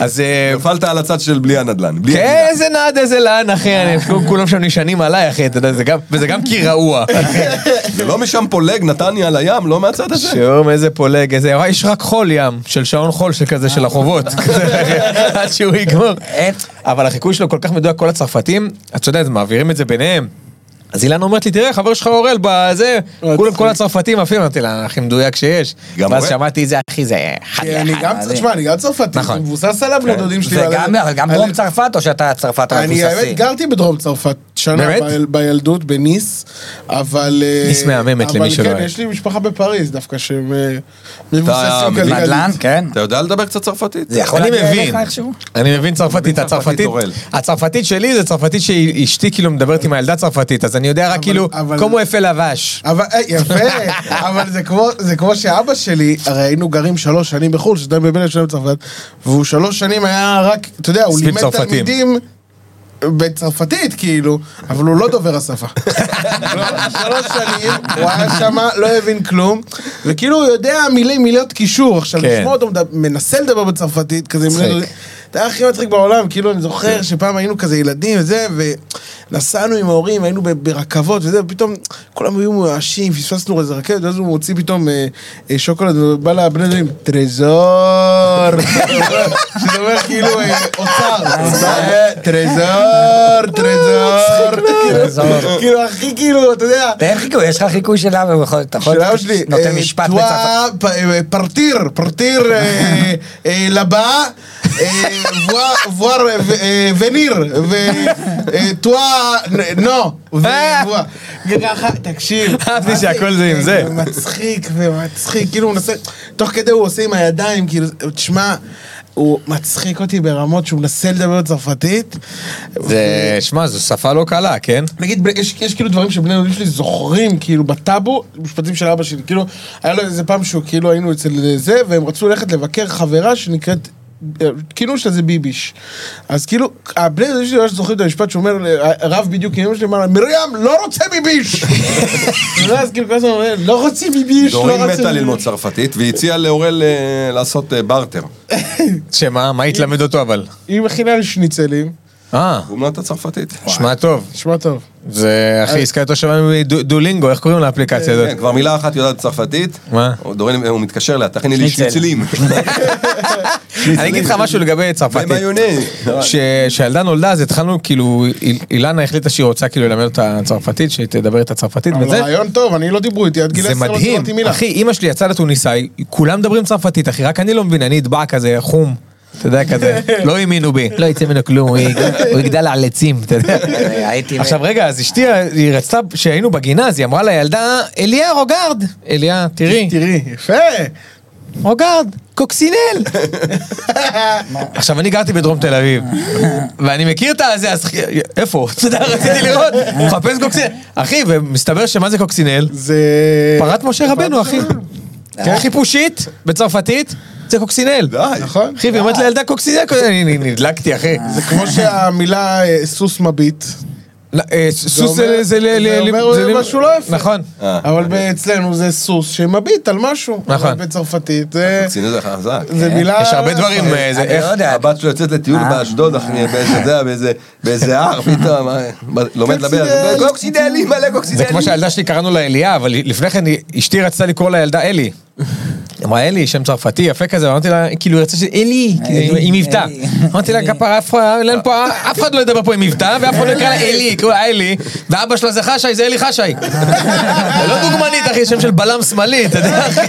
[SPEAKER 3] אז... אה,
[SPEAKER 2] נפלת על הצד של בלי הנדלן. בלי
[SPEAKER 3] כן, איזה נעד, איזה לאן, אחי, אני- כולם שם נשענים עליי, אחי, אתה יודע, זה גם- וזה גם כי רעוע.
[SPEAKER 2] זה לא משם פולג, נתניה על הים, לא מהצד הזה.
[SPEAKER 3] שיום, איזה פולג, איזה... וואי, יש רק חול ים, של שעון חול שכזה, של החובות. כזה. עד שהוא יגמור.
[SPEAKER 4] אין.
[SPEAKER 3] אבל החיקוי שלו כל כך מדויק, כל הצרפתים, את יודעת, מעבירים את זה ביניהם. אז אילנה אומרת לי, תראה, חבר שלך אורל בזה, כולם כל הצרפתים עפים, אמרתי לה, הכי מדויק שיש.
[SPEAKER 2] גם
[SPEAKER 3] ואז
[SPEAKER 2] אורל.
[SPEAKER 3] שמעתי את זה, אחי, זה אחד
[SPEAKER 5] אני
[SPEAKER 3] לאחד.
[SPEAKER 5] גם, תשמע, אני גם צרפתי,
[SPEAKER 3] נכון.
[SPEAKER 5] זה מבוסס על הבני דודים שלי. ועל-
[SPEAKER 4] וגם אבל גם
[SPEAKER 5] על-
[SPEAKER 4] דרום צרפת, או שאתה צרפת רק
[SPEAKER 5] אני
[SPEAKER 4] מבוססי?
[SPEAKER 5] האמת גרתי בדרום צרפת שנה
[SPEAKER 3] באמת?
[SPEAKER 5] ביל- בילדות, בניס, אבל... אה,
[SPEAKER 3] ניס מהממת, למי שלא
[SPEAKER 5] אבל
[SPEAKER 3] היה.
[SPEAKER 5] כן, יש לי משפחה בפריז דווקא, שהם אה, מבוססים
[SPEAKER 2] מבין?
[SPEAKER 5] כלכלית.
[SPEAKER 4] נדל"ן, כן.
[SPEAKER 2] אתה יודע לדבר קצת צרפתית?
[SPEAKER 4] זה יכול
[SPEAKER 3] אני
[SPEAKER 4] להגיע
[SPEAKER 3] מבין.
[SPEAKER 4] אליך איכשהו?
[SPEAKER 3] אני מבין צרפתית, הצרפתית,
[SPEAKER 2] צרפתית, אורל.
[SPEAKER 3] הצרפתית שלי זה צרפתית שאשתי כאילו מדברת עם הילדה צרפתית, אז אני יודע רק כאילו,
[SPEAKER 5] אבל-
[SPEAKER 3] כמו אפה לבש.
[SPEAKER 5] אבל, אה, יפה, אבל זה כמו, זה כמו שאבא שלי, הרי היינו גרים שלוש שנים בחו"ל, שתיים בבן שלנו בצרפת, והוא שלוש שנים היה רק, אתה יודע, הוא
[SPEAKER 3] סביב
[SPEAKER 5] לימד
[SPEAKER 3] צרפתים.
[SPEAKER 5] תלמידים בצרפתית, כאילו, אבל הוא לא דובר השפה. לא, שלוש שנים, הוא היה שמה, לא הבין כלום, וכאילו הוא יודע מילים, מילות קישור, עכשיו
[SPEAKER 3] כן.
[SPEAKER 5] לשמוע אותו מדבר- מנסה לדבר בצרפתית, כזה
[SPEAKER 3] מצחיק. כן.
[SPEAKER 5] מילים... זה היה הכי מצחיק בעולם, כאילו אני זוכר שפעם היינו כזה ילדים וזה, ונסענו עם ההורים, היינו ב- ברכבות וזה, ופתאום כולם היו מיואשים, פספסנו איזה רכבת, ואז הוא מוציא פתאום אה, אה, שוקולד, ובא לבני דודים, טרזור, שזה אומר כאילו אה, אוצר, אה, טרזור, טרזור,
[SPEAKER 4] טרזור.
[SPEAKER 5] כאילו הכי כאילו, אתה יודע,
[SPEAKER 4] תן חיקוי, יש לך חיקוי שלה, והוא יכול- אתה יכול...
[SPEAKER 5] של אבא שלי,
[SPEAKER 4] נותן
[SPEAKER 5] אה,
[SPEAKER 4] משפט
[SPEAKER 5] טועה,
[SPEAKER 4] בצרפת.
[SPEAKER 5] פ- אה, פרטיר, פרטיר אה, אה, לבא, אה, וואר- וואר ו- אה, וניר, וטועה, נו, וואה. ככה, תקשיב. אה,
[SPEAKER 3] אהבתי שהכל זה עם זה.
[SPEAKER 5] מצחיק ומצחיק, כאילו הוא מנסה, תוך כדי הוא עושה עם הידיים, כאילו, תשמע, הוא מצחיק אותי ברמות שהוא מנסה לדבר בצרפתית.
[SPEAKER 3] זה, שמע, זו שפה לא קלה, כן?
[SPEAKER 5] נגיד, בני- יש, יש כאילו דברים שבני הדודים שלי זוכרים, כאילו, בטאבו, משפטים של אבא שלי. כאילו, היה לו איזה פעם שהוא, כאילו, היינו אצל זה, והם רצו ללכת לבקר חברה שנקראת... אה, כאילו שזה ביביש. אז כאילו, הבני הדודים שלי ממש זוכרים את המשפט שאומר, אה, רב בדיוק עם אמא שלי, אמר לה, מרים, לא רוצה ביביש! ואז כאילו, כל הזמן אומר, לא רוצה ביביש, לא רוצה
[SPEAKER 2] דורין מתה
[SPEAKER 5] ביביש."
[SPEAKER 2] ללמוד צרפתית, והיא הציעה לאורל אה, לעשות אה, בארטר.
[SPEAKER 3] שמה, מה ילמד אותו אבל?
[SPEAKER 5] היא מכינה לי שניצלים,
[SPEAKER 3] אה,
[SPEAKER 2] הוא מלמד את הצרפתית.
[SPEAKER 3] שמע טוב.
[SPEAKER 5] נשמע טוב.
[SPEAKER 3] זה, אחי, עסקה יותר שווה מדולינגו, איך קוראים לאפליקציה הזאת?
[SPEAKER 2] כן, כבר מילה אחת יודעת בצרפתית.
[SPEAKER 3] מה?
[SPEAKER 2] דורין, אה, הוא מתקשר אליה, תכיני לי
[SPEAKER 4] שניצל.
[SPEAKER 2] שניצלים.
[SPEAKER 3] אני אגיד לך משהו לגבי צרפתית.
[SPEAKER 2] ומיונז.
[SPEAKER 3] כשהילדה נולדה אז התחלנו כאילו, איל- אילנה החליטה שהיא רוצה כאילו ללמד אותה צרפתית, שהיא תדבר את הצרפתית
[SPEAKER 5] אבל
[SPEAKER 3] וזה.
[SPEAKER 5] רעיון טוב, אני לא דיברו איתי, עד גיל
[SPEAKER 3] זה
[SPEAKER 5] עשר לא
[SPEAKER 3] מדהים.
[SPEAKER 5] דיברתי מילה.
[SPEAKER 3] אחי, אימא שלי יצאה לתוניסאי, כולם מדברים צרפתית, אחי, רק אני לא מבין, אני אטבע כזה חום. אתה יודע, כזה, לא האמינו בי. לא יצא ממנו כלום, הוא יג- הוא יגדל על עצים, אתה יודע.
[SPEAKER 4] הייתי...
[SPEAKER 3] עכשיו רגע, אז אשתי, היא רצתה, כשהיינו בגינה, אז היא אמרה לילדה, אליה רוגרד. אליה, תראי.
[SPEAKER 5] תראי, יפה.
[SPEAKER 3] רוגרד, קוקסינל. עכשיו, אני גרתי בדרום תל אביב, ואני מכיר את הזה, אז איפה? אתה יודע, רציתי לראות, מחפש קוקסינל. אחי, ומסתבר שמה זה קוקסינל?
[SPEAKER 5] זה...
[SPEAKER 3] פרת
[SPEAKER 5] אה,
[SPEAKER 3] משה רבנו, אחי. כן, חיפושית, בצרפתית, זה קוקסינל.
[SPEAKER 2] די.
[SPEAKER 5] נכון? אה.
[SPEAKER 3] אחי, והיא אומרת לילדה קוקסינל, אני אני נדלקתי, אחי.
[SPEAKER 5] זה כמו שהמילה אה, סוס מביט,
[SPEAKER 3] לא, אה, סוס
[SPEAKER 5] אומר-
[SPEAKER 3] זה... זה ל-
[SPEAKER 5] זה
[SPEAKER 3] ל-
[SPEAKER 5] אומר
[SPEAKER 3] ל-
[SPEAKER 5] משהו לא יפה.
[SPEAKER 3] נכון.
[SPEAKER 2] אה,
[SPEAKER 5] אבל אצלנו זה סוס שמביט על משהו.
[SPEAKER 3] נכון.
[SPEAKER 5] אבל בצרפתית זה-
[SPEAKER 2] קציני זה חזק.
[SPEAKER 5] זה מילה...
[SPEAKER 3] יש הרבה דברים, אה, זה
[SPEAKER 4] אני
[SPEAKER 3] איך...
[SPEAKER 4] לא יודע. אה.
[SPEAKER 2] הבת שלו יוצאת לטיול באשדוד, אחי, באיזה, אתה יודע, באיזה- באיזה הר, פתאום, אה, ב- לומד לדבר,
[SPEAKER 5] קוקסידל.
[SPEAKER 2] קוקסידלי, מלא
[SPEAKER 3] זה
[SPEAKER 2] קוקסידלי.
[SPEAKER 3] כמו שהילדה שלי קראנו לה אליה, אבל לפני כן היא- אשתי רצתה לקרוא לילדה אלי. היא אמרה אלי, שם צרפתי, יפה כזה, אמרתי לה, כאילו, היא רצתה ש... אלי, כאילו, עם- עם מבטא.
[SPEAKER 4] אלי.
[SPEAKER 3] אמרתי לה, כפרה, אף אחד- אין פה- אף אחד לא ידבר פה עם מבטא, ואף אחד לא יקרא לה אלי, יקראו לה אלי, ואבא שלה זה חשאי, זה אלי חשאי. זה לא דוגמנית, אחי, שם של בלם שמאלי, אתה יודע, אחי.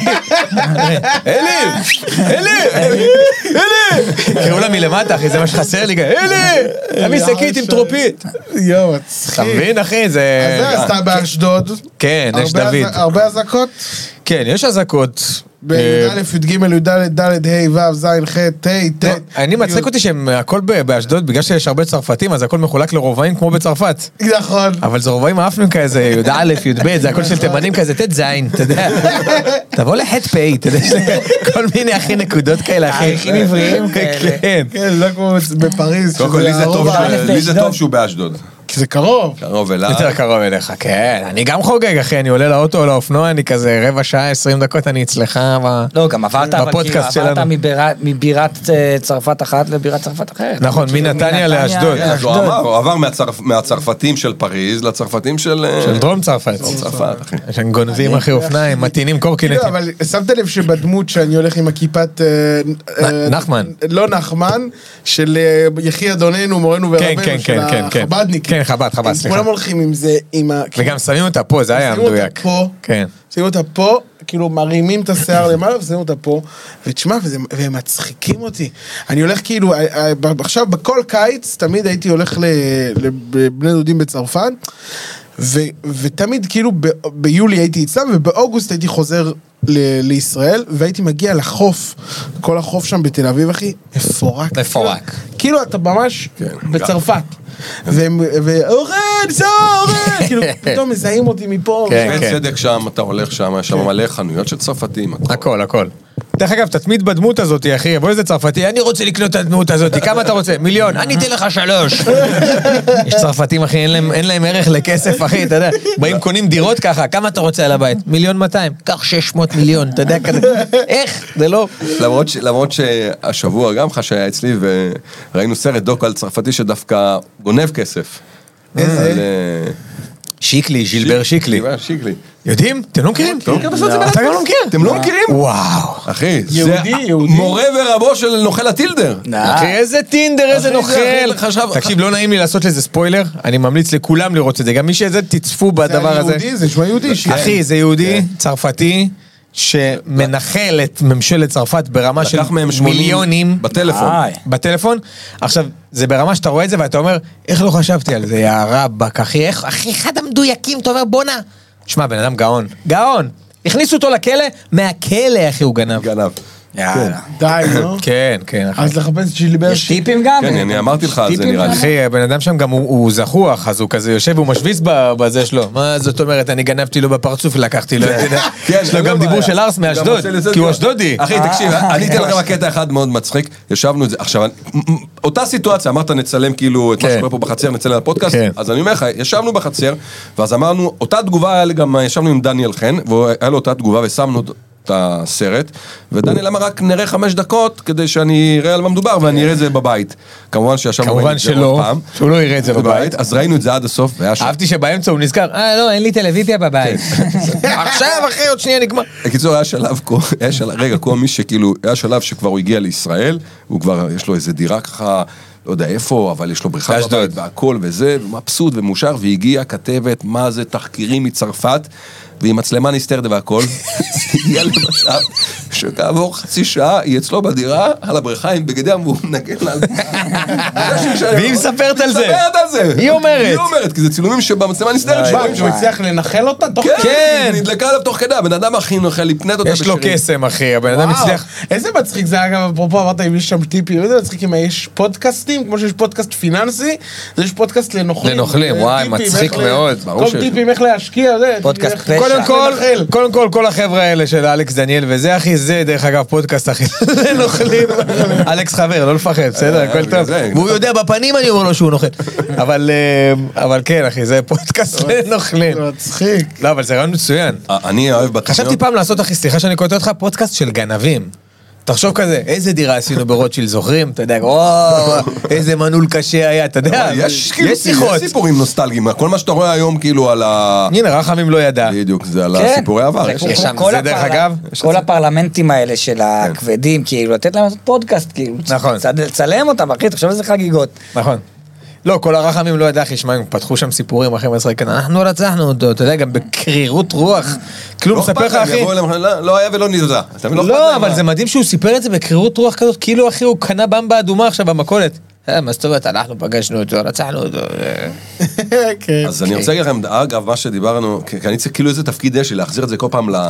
[SPEAKER 3] אלי, אלי, אלי. קראו לה מלמטה, אחי, זה מה שחסר לי, אלי, אני שקית עם טרופית.
[SPEAKER 5] יואו,
[SPEAKER 3] אתה
[SPEAKER 5] מצחיק.
[SPEAKER 3] מבין, אחי,
[SPEAKER 5] אז
[SPEAKER 3] זה...
[SPEAKER 5] זה עשתה באשדוד.
[SPEAKER 3] כן, יש
[SPEAKER 5] הרבה
[SPEAKER 3] דוד.
[SPEAKER 5] הז- הרבה אזעקות.
[SPEAKER 3] כן, יש אזעקות. אה,
[SPEAKER 5] בי"א, י"ג, י"ד, ד', ה', ו', ז', ח', ה', ט'.
[SPEAKER 3] לא, אני מצחיק אותי שהם הכל ב- באשדוד, בגלל שיש הרבה צרפתים, אז הכל מחולק לרובעים כמו בצרפת.
[SPEAKER 5] נכון.
[SPEAKER 3] אבל זה רובעים עפנים כזה, י"א, י"ב, זה הכל של תימנים כזה, ט"ז, אתה יודע. תבוא לח"פ, אתה יודע, יש להם כל מיני אחי נקודות כאלה, אחי.
[SPEAKER 4] תאריכים עבריים כאלה.
[SPEAKER 3] כן.
[SPEAKER 5] כן, לא כמו בפריז.
[SPEAKER 2] קודם כל,
[SPEAKER 5] שזה
[SPEAKER 2] לי זה
[SPEAKER 5] הרוב
[SPEAKER 2] טוב
[SPEAKER 5] ה-
[SPEAKER 4] לא.
[SPEAKER 2] שהוא- לי זה טוב שהוא באשדוד.
[SPEAKER 5] כי זה קרוב.
[SPEAKER 2] קרוב אליו.
[SPEAKER 3] יותר קרוב אליך, כן. אני גם חוגג, אחי, אני עולה לאוטו או לאופנוע, אני כזה רבע שעה, 20 דקות, אני אצלך ב...
[SPEAKER 4] לא, גם עברת, אבל כאילו,
[SPEAKER 3] בפודקאסט
[SPEAKER 4] עברת
[SPEAKER 3] שלנו.
[SPEAKER 4] מבירה- מבירת אה, צרפת אחת לבירת צרפת אחרת.
[SPEAKER 3] נכון,
[SPEAKER 4] כאילו,
[SPEAKER 3] מנתניה לאשדוד.
[SPEAKER 2] כן, אז הוא אמר, הוא עבר מהצרפ- מהצרפתים של פריז לצרפתים של... אה,
[SPEAKER 3] של דרום כן. צרפת.
[SPEAKER 2] דרום צרפת, אחי.
[SPEAKER 3] שהם גונבים אחי אופניים, מטעינים
[SPEAKER 5] כאילו,
[SPEAKER 3] קורקינטים.
[SPEAKER 5] אבל שמת לב שבדמות שאני הולך עם הכיפת... אה, אה,
[SPEAKER 3] נחמן.
[SPEAKER 5] לא נחמן, של אה, יחי אדוננו, מורנו
[SPEAKER 3] כן,
[SPEAKER 5] ורבנו,
[SPEAKER 3] כן,
[SPEAKER 5] של
[SPEAKER 3] כן, כן, כן.
[SPEAKER 5] החבדניקים.
[SPEAKER 3] כן, חב"ד, חב"ד,
[SPEAKER 5] הם
[SPEAKER 3] סליחה.
[SPEAKER 5] כולם הולכים עם זה, עם ה...
[SPEAKER 3] כן. וגם שמים אותה פה, זה היה
[SPEAKER 5] שמים אותה
[SPEAKER 3] מדויק.
[SPEAKER 5] פה.
[SPEAKER 3] כן.
[SPEAKER 5] שמים אותה פה, כאילו מרימים את השיער למעלה ושמים אותה פה, ותשמע, וזה- והם מצחיקים אותי. אני הולך כאילו, אה, אה, ב- עכשיו בכל קיץ, תמיד הייתי הולך ל- לבני דודים בצרפת, ו, ותמיד כאילו ב, ביולי הייתי אצלם, ובאוגוסט הייתי חוזר ל, לישראל, והייתי מגיע לחוף, כל החוף שם בתל אביב, אחי, מפורק.
[SPEAKER 3] מפורק.
[SPEAKER 5] כאילו אתה ממש
[SPEAKER 2] כן,
[SPEAKER 5] בצרפת. והם- ואורן, זה אורן! כאילו, פתאום מזהים אותי מפה.
[SPEAKER 3] כן,
[SPEAKER 2] אין
[SPEAKER 3] כן.
[SPEAKER 2] צדק שם, אתה הולך שם, יש שם מלא חנויות של צרפתים.
[SPEAKER 3] הכל, הכל. דרך אגב, תתמיד בדמות הזאת, אחי, יבוא איזה צרפתי, אני רוצה לקנות את הדמות הזאת, כמה אתה רוצה? מיליון, אני אתן לך שלוש. יש צרפתים, אחי, אין להם- אין להם ערך לכסף, אחי, אתה יודע, באים, קונים דירות ככה, כמה אתה רוצה על הבית? מיליון 200, קח 600 מיליון, אתה יודע, כזה, איך? זה לא...
[SPEAKER 2] למרות, ש, למרות שהשבוע גם חש היה אצלי וראינו סרט דוקו על צרפתי שדווקא גונב כסף. על, אה,
[SPEAKER 3] שיקלי, ז'ילבר שיקלי.
[SPEAKER 2] שיקלי.
[SPEAKER 3] יודעים? אתם לא מכירים? אתה גם לא מכיר?
[SPEAKER 2] אתם לא מכירים?
[SPEAKER 3] וואו.
[SPEAKER 2] אחי,
[SPEAKER 6] יהודי,
[SPEAKER 2] זה
[SPEAKER 6] יהודי.
[SPEAKER 2] מורה ורבו של נוכל הטילדר.
[SPEAKER 4] אה,
[SPEAKER 3] אחי, איזה טינדר, איזה
[SPEAKER 2] אה. אחי, זה
[SPEAKER 3] נוכל.
[SPEAKER 2] הכי חשב-
[SPEAKER 3] תקשיב, לא נעים לי לעשות לזה ספוילר, אני ממליץ לכולם לראות את זה. גם מי שזה, תצפו בדבר
[SPEAKER 5] זה
[SPEAKER 3] הזה.
[SPEAKER 5] על יהודי, זה נשמע יהודי. ש-
[SPEAKER 3] אחי, זה יהודי
[SPEAKER 2] כן.
[SPEAKER 3] צרפתי שמנחל את ממשלת צרפת ברמה של
[SPEAKER 2] לקח מהם 80
[SPEAKER 3] מיליונים אה.
[SPEAKER 2] בטלפון.
[SPEAKER 4] איי.
[SPEAKER 3] בטלפון. עכשיו, זה ברמה שאתה רואה את זה ואתה אומר, איך לא חשבתי על זה, יא רבאק, אחי, איך, אחי, אחד המדויקים, אתה אומר, בואנה. שמע, בן אדם גאון. גאון. הכניסו אותו לכלא, מהכלא, אחי, הוא גנב.
[SPEAKER 2] גנב.
[SPEAKER 4] יאללה.
[SPEAKER 5] די, נו.
[SPEAKER 3] כן, כן, אחי.
[SPEAKER 5] אז לחפש ג'ילבר
[SPEAKER 4] יש טיפים גם?
[SPEAKER 2] כן, אני אמרתי לך על זה
[SPEAKER 4] טיפים
[SPEAKER 2] נראה לי.
[SPEAKER 3] אחי, הבן אדם שם גם הוא הוא זחוח, אז הוא כזה יושב והוא משוויץ ב- בזה שלו. מה זאת אומרת, אני גנבתי לו בפרצוף ולקחתי לו את זה.
[SPEAKER 2] כן,
[SPEAKER 3] יש לו
[SPEAKER 2] אין
[SPEAKER 3] גם דיבור
[SPEAKER 2] בעיה.
[SPEAKER 3] של ארס
[SPEAKER 2] גם
[SPEAKER 3] מאשדוד,
[SPEAKER 2] עושה לי זה
[SPEAKER 3] כי
[SPEAKER 2] דיבור.
[SPEAKER 3] הוא אשדודי. אה,
[SPEAKER 2] אחי, תקשיב, אני אתן לכם קטע אחד מאוד מצחיק, ישבנו את זה, עכשיו, אני- אותה סיטואציה, אמרת נצלם כאילו את מה
[SPEAKER 3] כן.
[SPEAKER 2] שקורה פה בחצר, נצלם על הפודקאסט,
[SPEAKER 3] כן.
[SPEAKER 2] אז אני אומר לך, ישבנו בחצר, ואז אמרנו, אותה תגובה, היה לי גם, ישבנו עם דניאל חן, והיה לו אותה תגובה ושמנו את הסרט, ודניאל אמר רק נראה חמש דקות כדי שאני אראה על מה מדובר ואני אראה את זה בבית. כמובן שישבנו,
[SPEAKER 3] כמובן
[SPEAKER 2] ראינו את זה
[SPEAKER 3] שלא,
[SPEAKER 2] עוד פעם.
[SPEAKER 3] שהוא לא יראה את זה בבית. אה,
[SPEAKER 2] אז ראינו את זה עד הסוף, והיה שם.
[SPEAKER 3] אהבתי שבאמצע הוא נזכר, אה, לא, אין לי טלוויזיה בבית.
[SPEAKER 2] כן.
[SPEAKER 3] עכשיו, אחי, עוד שנייה נגמר.
[SPEAKER 2] בקיצור, היה שלב, קו- היה שלב, רגע, קומי שכאילו, היה שלב שכבר הוא הגיע לישראל, הוא כבר, יש לו איזה דירה ככה, לא יודע איפה, אבל יש לו בריכה בבית,
[SPEAKER 3] באשדוד.
[SPEAKER 2] והכל וזה, ומבסוט ומאושר, והגיעה כתבת, מה זה, תחקירים מצרפת, והיא מצלמה נסתרת והכל, היא הגיעה למצב שכעבור חצי שעה, היא אצלו בדירה, על הבריכה עם בגדי ים, והוא מנגן לה.
[SPEAKER 3] והיא מספרת על זה.
[SPEAKER 2] היא מספרת על זה.
[SPEAKER 3] היא אומרת. אה,
[SPEAKER 2] היא אומרת, כי זה צילומים שבמצלמה נסתרת.
[SPEAKER 3] כן.
[SPEAKER 2] שרואים
[SPEAKER 5] שהוא הצליח לנחל אותה תוך...
[SPEAKER 2] כן, היא נדלקה עליו תוך כדי, הבן אדם הכי נוכל, לפנט אותה
[SPEAKER 3] יש לו
[SPEAKER 2] בשירים.
[SPEAKER 3] קסם, אחי, הבן אדם
[SPEAKER 5] וואו,
[SPEAKER 3] הצליח.
[SPEAKER 5] איזה מצחיק זה היה גם, אפרופו אמרת אם יש שם טיפים, איזה מצחיק אם יש פודקאסטים, כמו שיש פודקאסט פיננסי, אז יש פודקאסט לנוכלים.
[SPEAKER 3] לנוכלים,
[SPEAKER 5] אה,
[SPEAKER 3] וואי,
[SPEAKER 5] טיפים,
[SPEAKER 3] מצחיק
[SPEAKER 5] איך ל-
[SPEAKER 3] מאוד, ברור
[SPEAKER 5] כל
[SPEAKER 3] שיש.
[SPEAKER 5] טיפים איך להשקיע, זה.
[SPEAKER 4] פודקאסט
[SPEAKER 5] טיפים איך-
[SPEAKER 4] פשע.
[SPEAKER 3] קודם כל,
[SPEAKER 5] לנחל.
[SPEAKER 3] קודם כל, כל החבר'ה האלה של אלכס דניאל וזה, אחי, זה דרך אגב פודקאסט, אחי, לנוכלים. אלכס חבר, לא לפחד, בסדר, הכל
[SPEAKER 2] אה, בגלל
[SPEAKER 3] טוב.
[SPEAKER 2] זה. נכון.
[SPEAKER 3] והוא יודע בפנים, אני אומר לו שהוא נוכל. אבל אה, אבל כן, אחי, זה פודקאסט לנוכלים.
[SPEAKER 5] זה מצחיק.
[SPEAKER 3] לא, אבל זה רעיון מצוין.
[SPEAKER 2] אה, אני אוהב בתוכניות...
[SPEAKER 3] חשבתי פעם לעשות, אחי, סליחה שאני קוטע אותך, פודקאסט של גנבים. תחשוב כזה, איזה דירה עשינו ברוטשילד, זוכרים? אתה יודע, וואו, איזה מנעול קשה היה, אתה יודע,
[SPEAKER 2] יש כאילו
[SPEAKER 3] יש שיחות.
[SPEAKER 2] יש סיפורים נוסטלגיים, כל מה שאתה רואה היום כאילו על ה...
[SPEAKER 3] הנה, רחמים לא ידע.
[SPEAKER 2] בדיוק, זה על
[SPEAKER 4] כן.
[SPEAKER 2] הסיפורי עבר.
[SPEAKER 4] זה
[SPEAKER 2] יש
[SPEAKER 4] כמו
[SPEAKER 3] יש שם,
[SPEAKER 4] כל
[SPEAKER 3] זה דרך
[SPEAKER 4] הפרל-
[SPEAKER 3] אגב,
[SPEAKER 4] כל הפרלמנטים האלה של
[SPEAKER 2] כן.
[SPEAKER 4] הכבדים, כאילו, לתת להם לעשות פודקאסט, כאילו.
[SPEAKER 3] נכון.
[SPEAKER 4] צד- לצלם אותם, אחי, תחשוב איזה חגיגות.
[SPEAKER 3] נכון. לא, כל הרחמים לא ידע, אחי, שמע, הם פתחו שם סיפורים, אחי, מצחיקים, אנחנו רצחנו אותו, אתה יודע, גם בקרירות רוח. כלום,
[SPEAKER 2] לא
[SPEAKER 3] מספר
[SPEAKER 2] אכפת
[SPEAKER 3] לך,
[SPEAKER 2] להם,
[SPEAKER 3] אחי.
[SPEAKER 2] יבואו אליהם, לא לא היה ולא נראה. אתה מבין, אכפת
[SPEAKER 3] לא,
[SPEAKER 2] להם
[SPEAKER 3] אבל
[SPEAKER 2] מה-
[SPEAKER 3] זה מדהים שהוא סיפר את זה בקרירות רוח כזאת, כאילו, אחי, הוא קנה במבה אדומה עכשיו במכולת. אה, מה זאת אומרת, אנחנו פגשנו אותו, רצחנו אותו. אה.
[SPEAKER 5] כן.
[SPEAKER 2] אז אני רוצה להגיד לכם, אגב, מה שדיברנו, כי כי אני צריך, כאילו איזה תפקיד יש לי, להחזיר את זה כל פעם ל...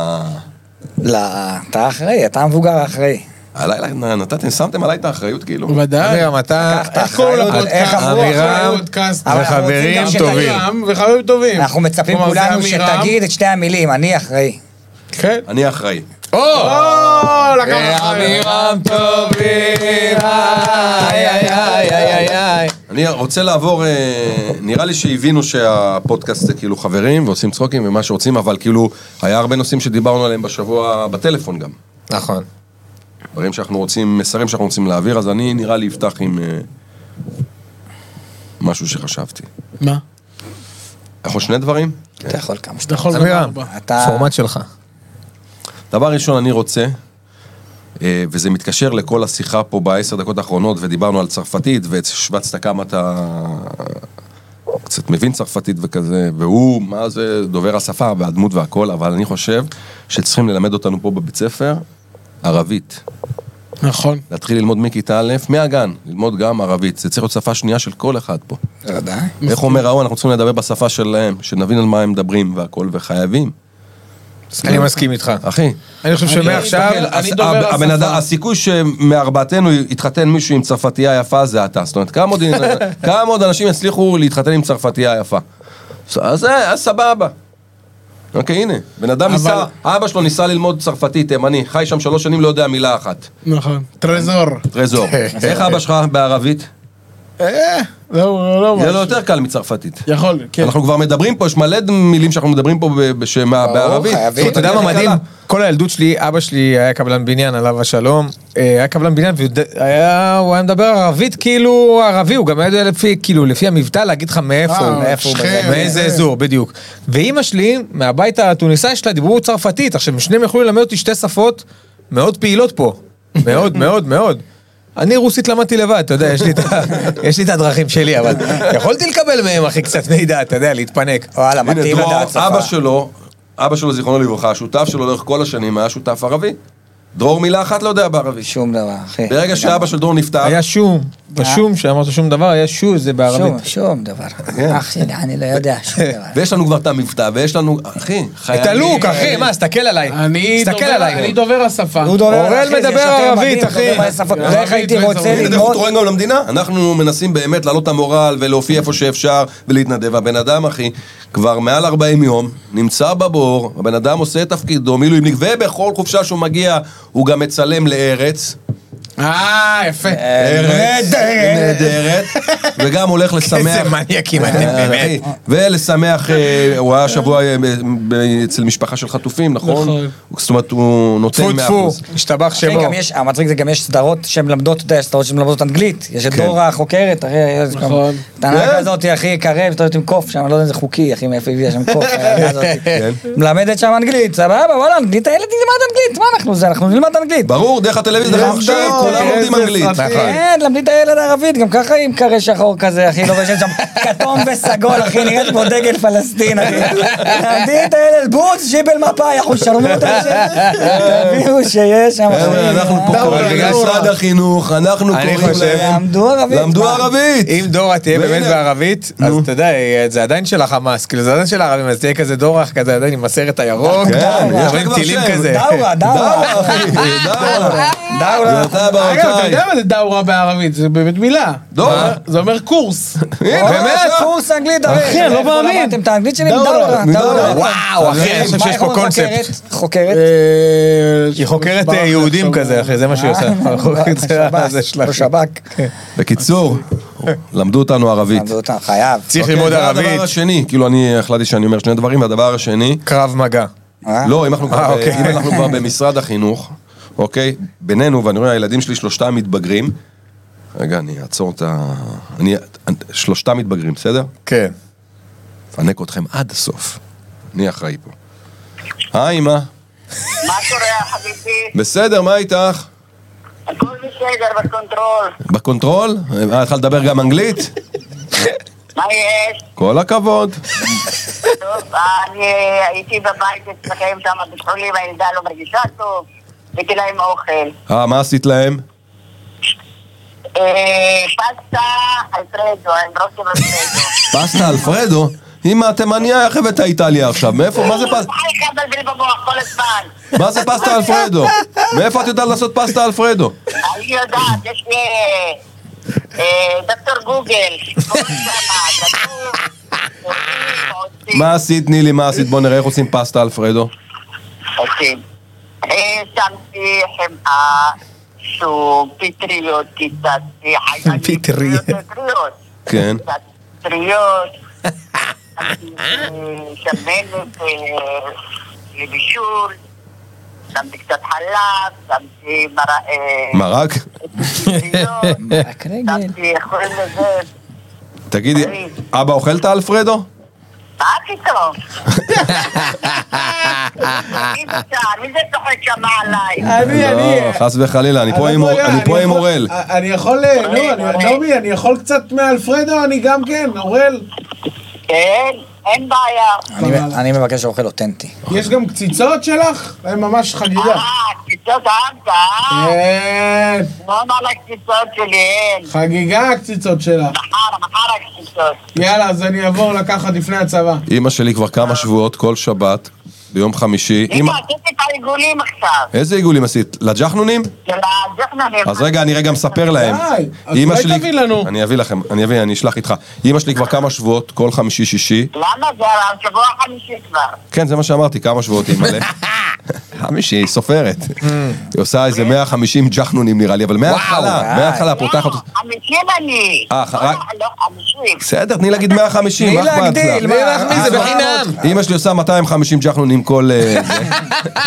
[SPEAKER 4] לא, אתה אחראי, אתה המבוגר האחראי.
[SPEAKER 2] הלילה נתתם, שמתם עליי את האחריות כאילו.
[SPEAKER 5] ודאי.
[SPEAKER 3] אחי, גם אתה...
[SPEAKER 4] לקחת.
[SPEAKER 5] איך קוראים
[SPEAKER 4] אחריות,
[SPEAKER 5] לפודקאסט?
[SPEAKER 4] איך אמרו,
[SPEAKER 5] אמירם
[SPEAKER 3] אחריות, אבל אנחנו רוצים גם
[SPEAKER 5] וחברים טובים.
[SPEAKER 3] שתגיד.
[SPEAKER 5] וחברים טובים.
[SPEAKER 4] אנחנו מצפים
[SPEAKER 5] כלומר, זה
[SPEAKER 4] כולנו
[SPEAKER 5] אמירם.
[SPEAKER 4] שתגיד את שתי המילים, אני אחראי.
[SPEAKER 5] כן.
[SPEAKER 2] אני אחראי.
[SPEAKER 3] או!
[SPEAKER 5] או, לקח
[SPEAKER 3] אה,
[SPEAKER 5] אחריות.
[SPEAKER 3] אמירם טובים, איי, איי, איי, איי, איי.
[SPEAKER 2] אני אני רוצה לעבור, אה, נראה לי שהבינו שהפודקאסט זה כאילו חברים ועושים צחוקים ומה שרוצים, אבל כאילו, היה הרבה נושאים שדיברנו עליהם בשבוע בטלפון גם.
[SPEAKER 3] נכון.
[SPEAKER 2] דברים שאנחנו רוצים, מסרים שאנחנו רוצים להעביר, אז אני נראה לי אפתח עם אה, משהו שחשבתי.
[SPEAKER 5] מה?
[SPEAKER 2] אנחנו שני דברים?
[SPEAKER 4] אתה יכול כמה
[SPEAKER 5] אתה
[SPEAKER 4] שאתה
[SPEAKER 5] יכול גם
[SPEAKER 3] אמירם,
[SPEAKER 5] ארבע.
[SPEAKER 4] אתה-
[SPEAKER 3] פורמט שלך.
[SPEAKER 2] דבר ראשון, אני רוצה, אה, וזה מתקשר לכל השיחה פה בעשר דקות האחרונות, ודיברנו על צרפתית, והשווצת כמה אתה קצת מבין צרפתית וכזה, והוא, מה זה, דובר השפה והדמות והכל, אבל אני חושב שצריכים ללמד אותנו פה בבית ספר ערבית.
[SPEAKER 5] נכון.
[SPEAKER 2] להתחיל ללמוד מכיתה א', מהגן, ללמוד גם ערבית. זה צריך להיות שפה שנייה של כל אחד פה.
[SPEAKER 4] בוודאי.
[SPEAKER 2] איך אומר ההוא, אנחנו צריכים לדבר בשפה שלהם, שנבין על מה הם מדברים והכל, וחייבים.
[SPEAKER 3] אני מסכים איתך.
[SPEAKER 2] אחי,
[SPEAKER 3] אני חושב שמעכשיו...
[SPEAKER 5] מסתכל, אני
[SPEAKER 2] הס-
[SPEAKER 5] דובר
[SPEAKER 2] הב- הבן
[SPEAKER 5] השפה.
[SPEAKER 2] אדם- הסיכוי שמארבעתנו יתחתן מישהו עם צרפתייה יפה זה אתה. זאת אומרת, כמה עוד- כמה עוד אנשים יצליחו להתחתן עם צרפתייה יפה? אז זה, אז סבבה. אוקיי, הנה, בן אדם ניסה, אבא שלו ניסה ללמוד צרפתית, תימני, חי שם שלוש שנים, לא יודע מילה אחת.
[SPEAKER 5] נכון. טרזור.
[SPEAKER 2] טרזור. איך אבא שלך בערבית?
[SPEAKER 5] אה, לא, לא
[SPEAKER 2] זה
[SPEAKER 5] משהו.
[SPEAKER 2] לא יותר קל מצרפתית.
[SPEAKER 5] יכול, כן.
[SPEAKER 2] אנחנו כבר מדברים פה, יש מלא מילים שאנחנו מדברים פה ב- בשמה- בערבית.
[SPEAKER 4] חייבים.
[SPEAKER 3] אתה יודע מה מדהים? כל הילדות שלי, אבא שלי היה קבלן בניין, עליו השלום. אה, היה קבלן בניין, והוא ד- היה- הוא היה מדבר ערבית כאילו ערבי, הוא גם היה יודע לפי, כאילו, לפי המבטא להגיד לך מאיפה
[SPEAKER 5] אה,
[SPEAKER 3] הוא, מאיפה הוא,
[SPEAKER 4] כן,
[SPEAKER 5] שכם,
[SPEAKER 3] מאיזה
[SPEAKER 5] אה.
[SPEAKER 3] אזור, בדיוק. ואימא שלי, מהבית התוניסאי שלה, דיברו צרפתית. עכשיו, שניהם יכלו ללמד אותי שתי שפות מאוד פעילות פה. מאוד, מאוד, מאוד. אני רוסית למדתי לבד, אתה יודע, יש לי את ה- יש לי את הדרכים שלי, אבל יכולתי לקבל מהם, אחי, קצת מידע, אתה יודע, להתפנק.
[SPEAKER 4] וואלה,
[SPEAKER 2] הנה,
[SPEAKER 4] מתאים
[SPEAKER 2] דרור,
[SPEAKER 4] לדעת
[SPEAKER 2] אבא
[SPEAKER 4] שפה.
[SPEAKER 2] שלו, אבא שלו זיכרונו לברכה, השותף שלו לאורך כל השנים היה שותף ערבי. דרור מילה אחת לא יודע בערבית.
[SPEAKER 4] שום דבר, אחי.
[SPEAKER 2] ברגע שאבא של דרור נפטר,
[SPEAKER 3] היה שום, בשום, שאמרת שום דבר, היה שו, זה
[SPEAKER 4] שום,
[SPEAKER 3] בערבית.
[SPEAKER 4] שום דבר.
[SPEAKER 2] כן.
[SPEAKER 4] אח שלי, אני לא יודע שום דבר.
[SPEAKER 2] ויש לנו כבר את המבטא, ויש לנו, אחי, חיילים.
[SPEAKER 3] את הלוק, אחי, מה, תסתכל עליי.
[SPEAKER 5] אני
[SPEAKER 3] תסתכל
[SPEAKER 5] דובר-
[SPEAKER 3] עליי.
[SPEAKER 5] אני דובר השפה.
[SPEAKER 3] אורל
[SPEAKER 4] אחי, זה
[SPEAKER 3] מדבר
[SPEAKER 4] יותר
[SPEAKER 3] ערבית,
[SPEAKER 4] מדהים,
[SPEAKER 3] אחי.
[SPEAKER 4] דובר השפות. אתה יודע איך הייתי
[SPEAKER 5] ערבית
[SPEAKER 4] רוצה
[SPEAKER 5] ואזרבית.
[SPEAKER 2] הנה, אנחנו
[SPEAKER 4] ללמוד?
[SPEAKER 2] תורם גם למדינה, אנחנו מנסים באמת להעלות את המורל ולהופיע איפה שאפשר ולהתנדב. הבן אדם, אחי, כבר מעל 40 יום, נמצא בבור, הבן אדם עושה את תפקידו, מילואימניק, ובכל חופשה שהוא מגיע, הוא גם מצלם לארץ.
[SPEAKER 5] אה, יפה.
[SPEAKER 2] ארץ נהדרת, וגם הולך לשמח.
[SPEAKER 3] איזה מניאקים אתם, באמת.
[SPEAKER 2] אחי, אה, ולשמח, אה, הוא היה שבוע אה, ב- ב- אצל משפחה של חטופים, נכון? זאת אומרת, הוא נותן
[SPEAKER 3] טפו
[SPEAKER 2] 100%.
[SPEAKER 3] טפו, השתבח
[SPEAKER 4] אחי,
[SPEAKER 3] שמו.
[SPEAKER 4] כן, גם יש, המצחיק זה גם יש סדרות שהן מלמדות, אתה יודע, יש סדרות שהן מלמדות אנגלית. יש את דורה החוקרת, אחי, יש גם-
[SPEAKER 5] נכון.
[SPEAKER 4] טענה
[SPEAKER 2] כן.
[SPEAKER 4] כזאת, אחי, קרב, אתה יודע, עם קוף שם, אני לא יודע אם זה חוקי, אחי, מאיפה הביאה שם קוף, הילדה הזאת.
[SPEAKER 2] כן.
[SPEAKER 4] מלמדת שם אנגלית, סבבה, וואלה, אנגלית, הילד ילמד אנגלית, מה אנחנו זה, אנחנו נלמד אנגלית.
[SPEAKER 2] ברור, דרך הטלוויזיה, דרך עכשיו,
[SPEAKER 5] נכון,
[SPEAKER 2] כולם לומדים
[SPEAKER 5] איזה
[SPEAKER 2] אנגלית.
[SPEAKER 5] סרטים.
[SPEAKER 3] נכון.
[SPEAKER 4] כן, למדי את הילד הערבית, גם ככה היא עם קרא שחור כזה, אחי, לובשת שם כתום וסגול, אחי, נראית כמו דגל פלסטין, אחי. למדי את הילד בוץ, ג'יבל מפאי, אנחנו שלומים אותו לשם. תביאו שיש שם,
[SPEAKER 2] חבר'ה,
[SPEAKER 4] אחי.
[SPEAKER 2] כן, אנחנו פה קוראים
[SPEAKER 3] דורה.
[SPEAKER 2] למשרד החינוך, אנחנו
[SPEAKER 3] אני
[SPEAKER 2] קוראים
[SPEAKER 3] חושב-
[SPEAKER 2] להם...
[SPEAKER 4] למדו ערבית.
[SPEAKER 2] למדו
[SPEAKER 4] מה?
[SPEAKER 2] ערבית!
[SPEAKER 3] אם דורה תהיה
[SPEAKER 2] והנה-
[SPEAKER 3] באמת בערבית, אז אתה יודע, זה עדיין של החמאס, כאילו זה עדיין של הערבים, אז תהיה כזה דורח כזה עדיין עם הסרט הירוק,
[SPEAKER 2] כן, יש לה
[SPEAKER 3] עם
[SPEAKER 2] כבר
[SPEAKER 3] טילים
[SPEAKER 2] שם.
[SPEAKER 3] כזה.
[SPEAKER 4] דאורה,
[SPEAKER 2] דאורה,
[SPEAKER 4] דאורה.
[SPEAKER 2] אחי, דאורה. אתה
[SPEAKER 4] דאורה.
[SPEAKER 5] אגב, אתה
[SPEAKER 2] בארצי.
[SPEAKER 5] יודע מה זה דאורה בערבית? זה באמת מילה.
[SPEAKER 2] דאורה.
[SPEAKER 5] זה אומר קורס.
[SPEAKER 3] אה,
[SPEAKER 2] הנה,
[SPEAKER 4] באמת?
[SPEAKER 2] בבקשה.
[SPEAKER 4] אוקיי, קורס אנגלית, אחי.
[SPEAKER 5] אני לא
[SPEAKER 4] איפה
[SPEAKER 5] מאמין.
[SPEAKER 4] למדתם את האנגלית שלי?
[SPEAKER 5] דאורה,
[SPEAKER 4] דאורה. דאורה.
[SPEAKER 3] וואו, אחי, אני חושב
[SPEAKER 4] מה,
[SPEAKER 3] שיש
[SPEAKER 4] איך
[SPEAKER 3] פה
[SPEAKER 4] אומרים
[SPEAKER 3] קונספט.
[SPEAKER 4] חוקרת? חוקרת.
[SPEAKER 5] אה,
[SPEAKER 3] היא חוקרת אה,
[SPEAKER 5] שב"ח,
[SPEAKER 3] יהודים
[SPEAKER 5] שב"ח.
[SPEAKER 3] כזה, אחי, זה מה שהיא עושה.
[SPEAKER 4] אה,
[SPEAKER 3] חוקרת אה, זה הזה שלה.
[SPEAKER 4] בשב"כ.
[SPEAKER 3] אה.
[SPEAKER 2] בקיצור, למדו אותנו ערבית.
[SPEAKER 4] למדו אותם, חייב.
[SPEAKER 3] צריך
[SPEAKER 2] אוקיי,
[SPEAKER 3] ללמוד
[SPEAKER 2] זה
[SPEAKER 3] ערבית,
[SPEAKER 2] הדבר השני, כאילו אני החלטתי שאני אומר שני דברים, והדבר השני,
[SPEAKER 3] קרב מגע.
[SPEAKER 4] אה?
[SPEAKER 2] לא, אם אנחנו, כבר,
[SPEAKER 3] אוקיי.
[SPEAKER 2] אם אנחנו כבר במשרד החינוך, אוקיי, בינינו, ואני רואה, הילדים שלי שלושתם מתבגרים. רגע, אני אעצור את ה... אני... שלושתם מתבגרים, בסדר?
[SPEAKER 3] כן.
[SPEAKER 2] אפנק אתכם עד הסוף. אני אחראי פה. היי, אמא.
[SPEAKER 1] מה קורה, חביבי?
[SPEAKER 2] בסדר, מה איתך?
[SPEAKER 1] הכל בסדר בקונטרול.
[SPEAKER 2] בקונטרול? אה, התחלת לדבר גם אנגלית?
[SPEAKER 1] מה יש?
[SPEAKER 2] כל הכבוד.
[SPEAKER 1] טוב, אני הייתי בבית אצלכם כמה בישולים, הילדה לא מרגישה טוב, הבאתי להם אוכל.
[SPEAKER 2] אה, מה עשית להם?
[SPEAKER 1] אה, פסטה אלפרדו, עם רוסי אלפרדו.
[SPEAKER 2] פסטה אלפרדו? אמא, תימניה, איך הבאת איטליה עכשיו? מאיפה? מה זה פסטה?
[SPEAKER 1] חלקה מבלבל במוח כל הזמן.
[SPEAKER 2] מה זה פסטה אלפרדו? מאיפה את יודעת לעשות פסטה אלפרדו?
[SPEAKER 1] אני יודעת, יש לי... אה, דוקטור גוגל, כל שמה, כתוב, עושים, עושים.
[SPEAKER 2] מה עשית, נילי? מה עשית? בוא נראה איך עושים פסטה אלפרדו.
[SPEAKER 1] עושים. אה, שמתי ah, חמאה, שום, פטריות, קיצצתי, חיילים,
[SPEAKER 3] פטריות.
[SPEAKER 1] פטריות.
[SPEAKER 2] כן.
[SPEAKER 1] קצת טריות, eh, שמנת אה, eh, לבישול, שמתי קצת חלב, שמתי מרק,
[SPEAKER 2] מרק?
[SPEAKER 1] טריות,
[SPEAKER 4] רק
[SPEAKER 5] אה,
[SPEAKER 4] רגל.
[SPEAKER 1] שמתי, איך קוראים לזה?
[SPEAKER 2] תגידי, אבא אוכל את האלפרדו?
[SPEAKER 1] מה פתאום? מי זה שם? מי זה צוחק שם עליי?
[SPEAKER 5] אני, אני...
[SPEAKER 2] לא, חס וחלילה, אני פה
[SPEAKER 5] אבל
[SPEAKER 2] עם
[SPEAKER 5] לא
[SPEAKER 2] אור-
[SPEAKER 5] יודע,
[SPEAKER 2] אני פה עם
[SPEAKER 5] יכול-
[SPEAKER 2] אוראל.
[SPEAKER 5] אני יכול... אה, לא, אני- נעמי, אני יכול קצת מאלפרדו? אני גם כן, אוראל.
[SPEAKER 1] כן, אין בעיה.
[SPEAKER 4] אני-
[SPEAKER 5] אה,
[SPEAKER 4] אני מבקש אוכל אותנטי.
[SPEAKER 5] יש גם קציצות שלך? הם ממש חגיגה.
[SPEAKER 1] אה, קציצות אהבת, אה?
[SPEAKER 5] כן,
[SPEAKER 1] מאוד על הקציצות שלי, אין.
[SPEAKER 5] חגיגה הקציצות שלך.
[SPEAKER 1] מחר, מחר הקציצות.
[SPEAKER 5] יאללה, אז אני אעבור לקחת לפני הצבא.
[SPEAKER 2] אימא שלי כבר כמה שבועות, כל שבת, ביום חמישי.
[SPEAKER 1] הנה,
[SPEAKER 2] אימא...
[SPEAKER 1] עשיתי את העיגולים עכשיו.
[SPEAKER 2] איזה עיגולים עשית? לג'חנונים?
[SPEAKER 1] של הג'חנונים.
[SPEAKER 2] אז רגע, אני רגע מספר להם.
[SPEAKER 5] די, אז
[SPEAKER 2] אמא
[SPEAKER 5] אולי
[SPEAKER 2] שלי-
[SPEAKER 5] תביא לנו.
[SPEAKER 2] אני אביא לכם, אני אביא, אני אשלח איתך. אמא שלי כבר כמה שבועות, כל חמישי-שישי.
[SPEAKER 1] למה זה על השבוע החמישי כבר?
[SPEAKER 2] כן, זה מה שאמרתי, כמה שבועות אימא'לה. חמישי, היא סופרת.
[SPEAKER 4] Hmm.
[SPEAKER 2] היא עושה איזה 150 ג'חנונים נראה לי, אבל מההתחלה,
[SPEAKER 4] אוקיי. וואי.
[SPEAKER 2] מההתחלה פותחת...
[SPEAKER 1] לא, חמישים אני.
[SPEAKER 2] אה, ח- רק-
[SPEAKER 1] לא, חמישים.
[SPEAKER 2] בסדר, תני להגיד 150, מה
[SPEAKER 4] תני
[SPEAKER 2] אכפת
[SPEAKER 4] להגדיל,
[SPEAKER 2] לך?
[SPEAKER 4] מה?
[SPEAKER 3] להחמיא, זה בחינם.
[SPEAKER 2] אה, אמא שלי עושה 250 ג'חנונים כל... אה, זה.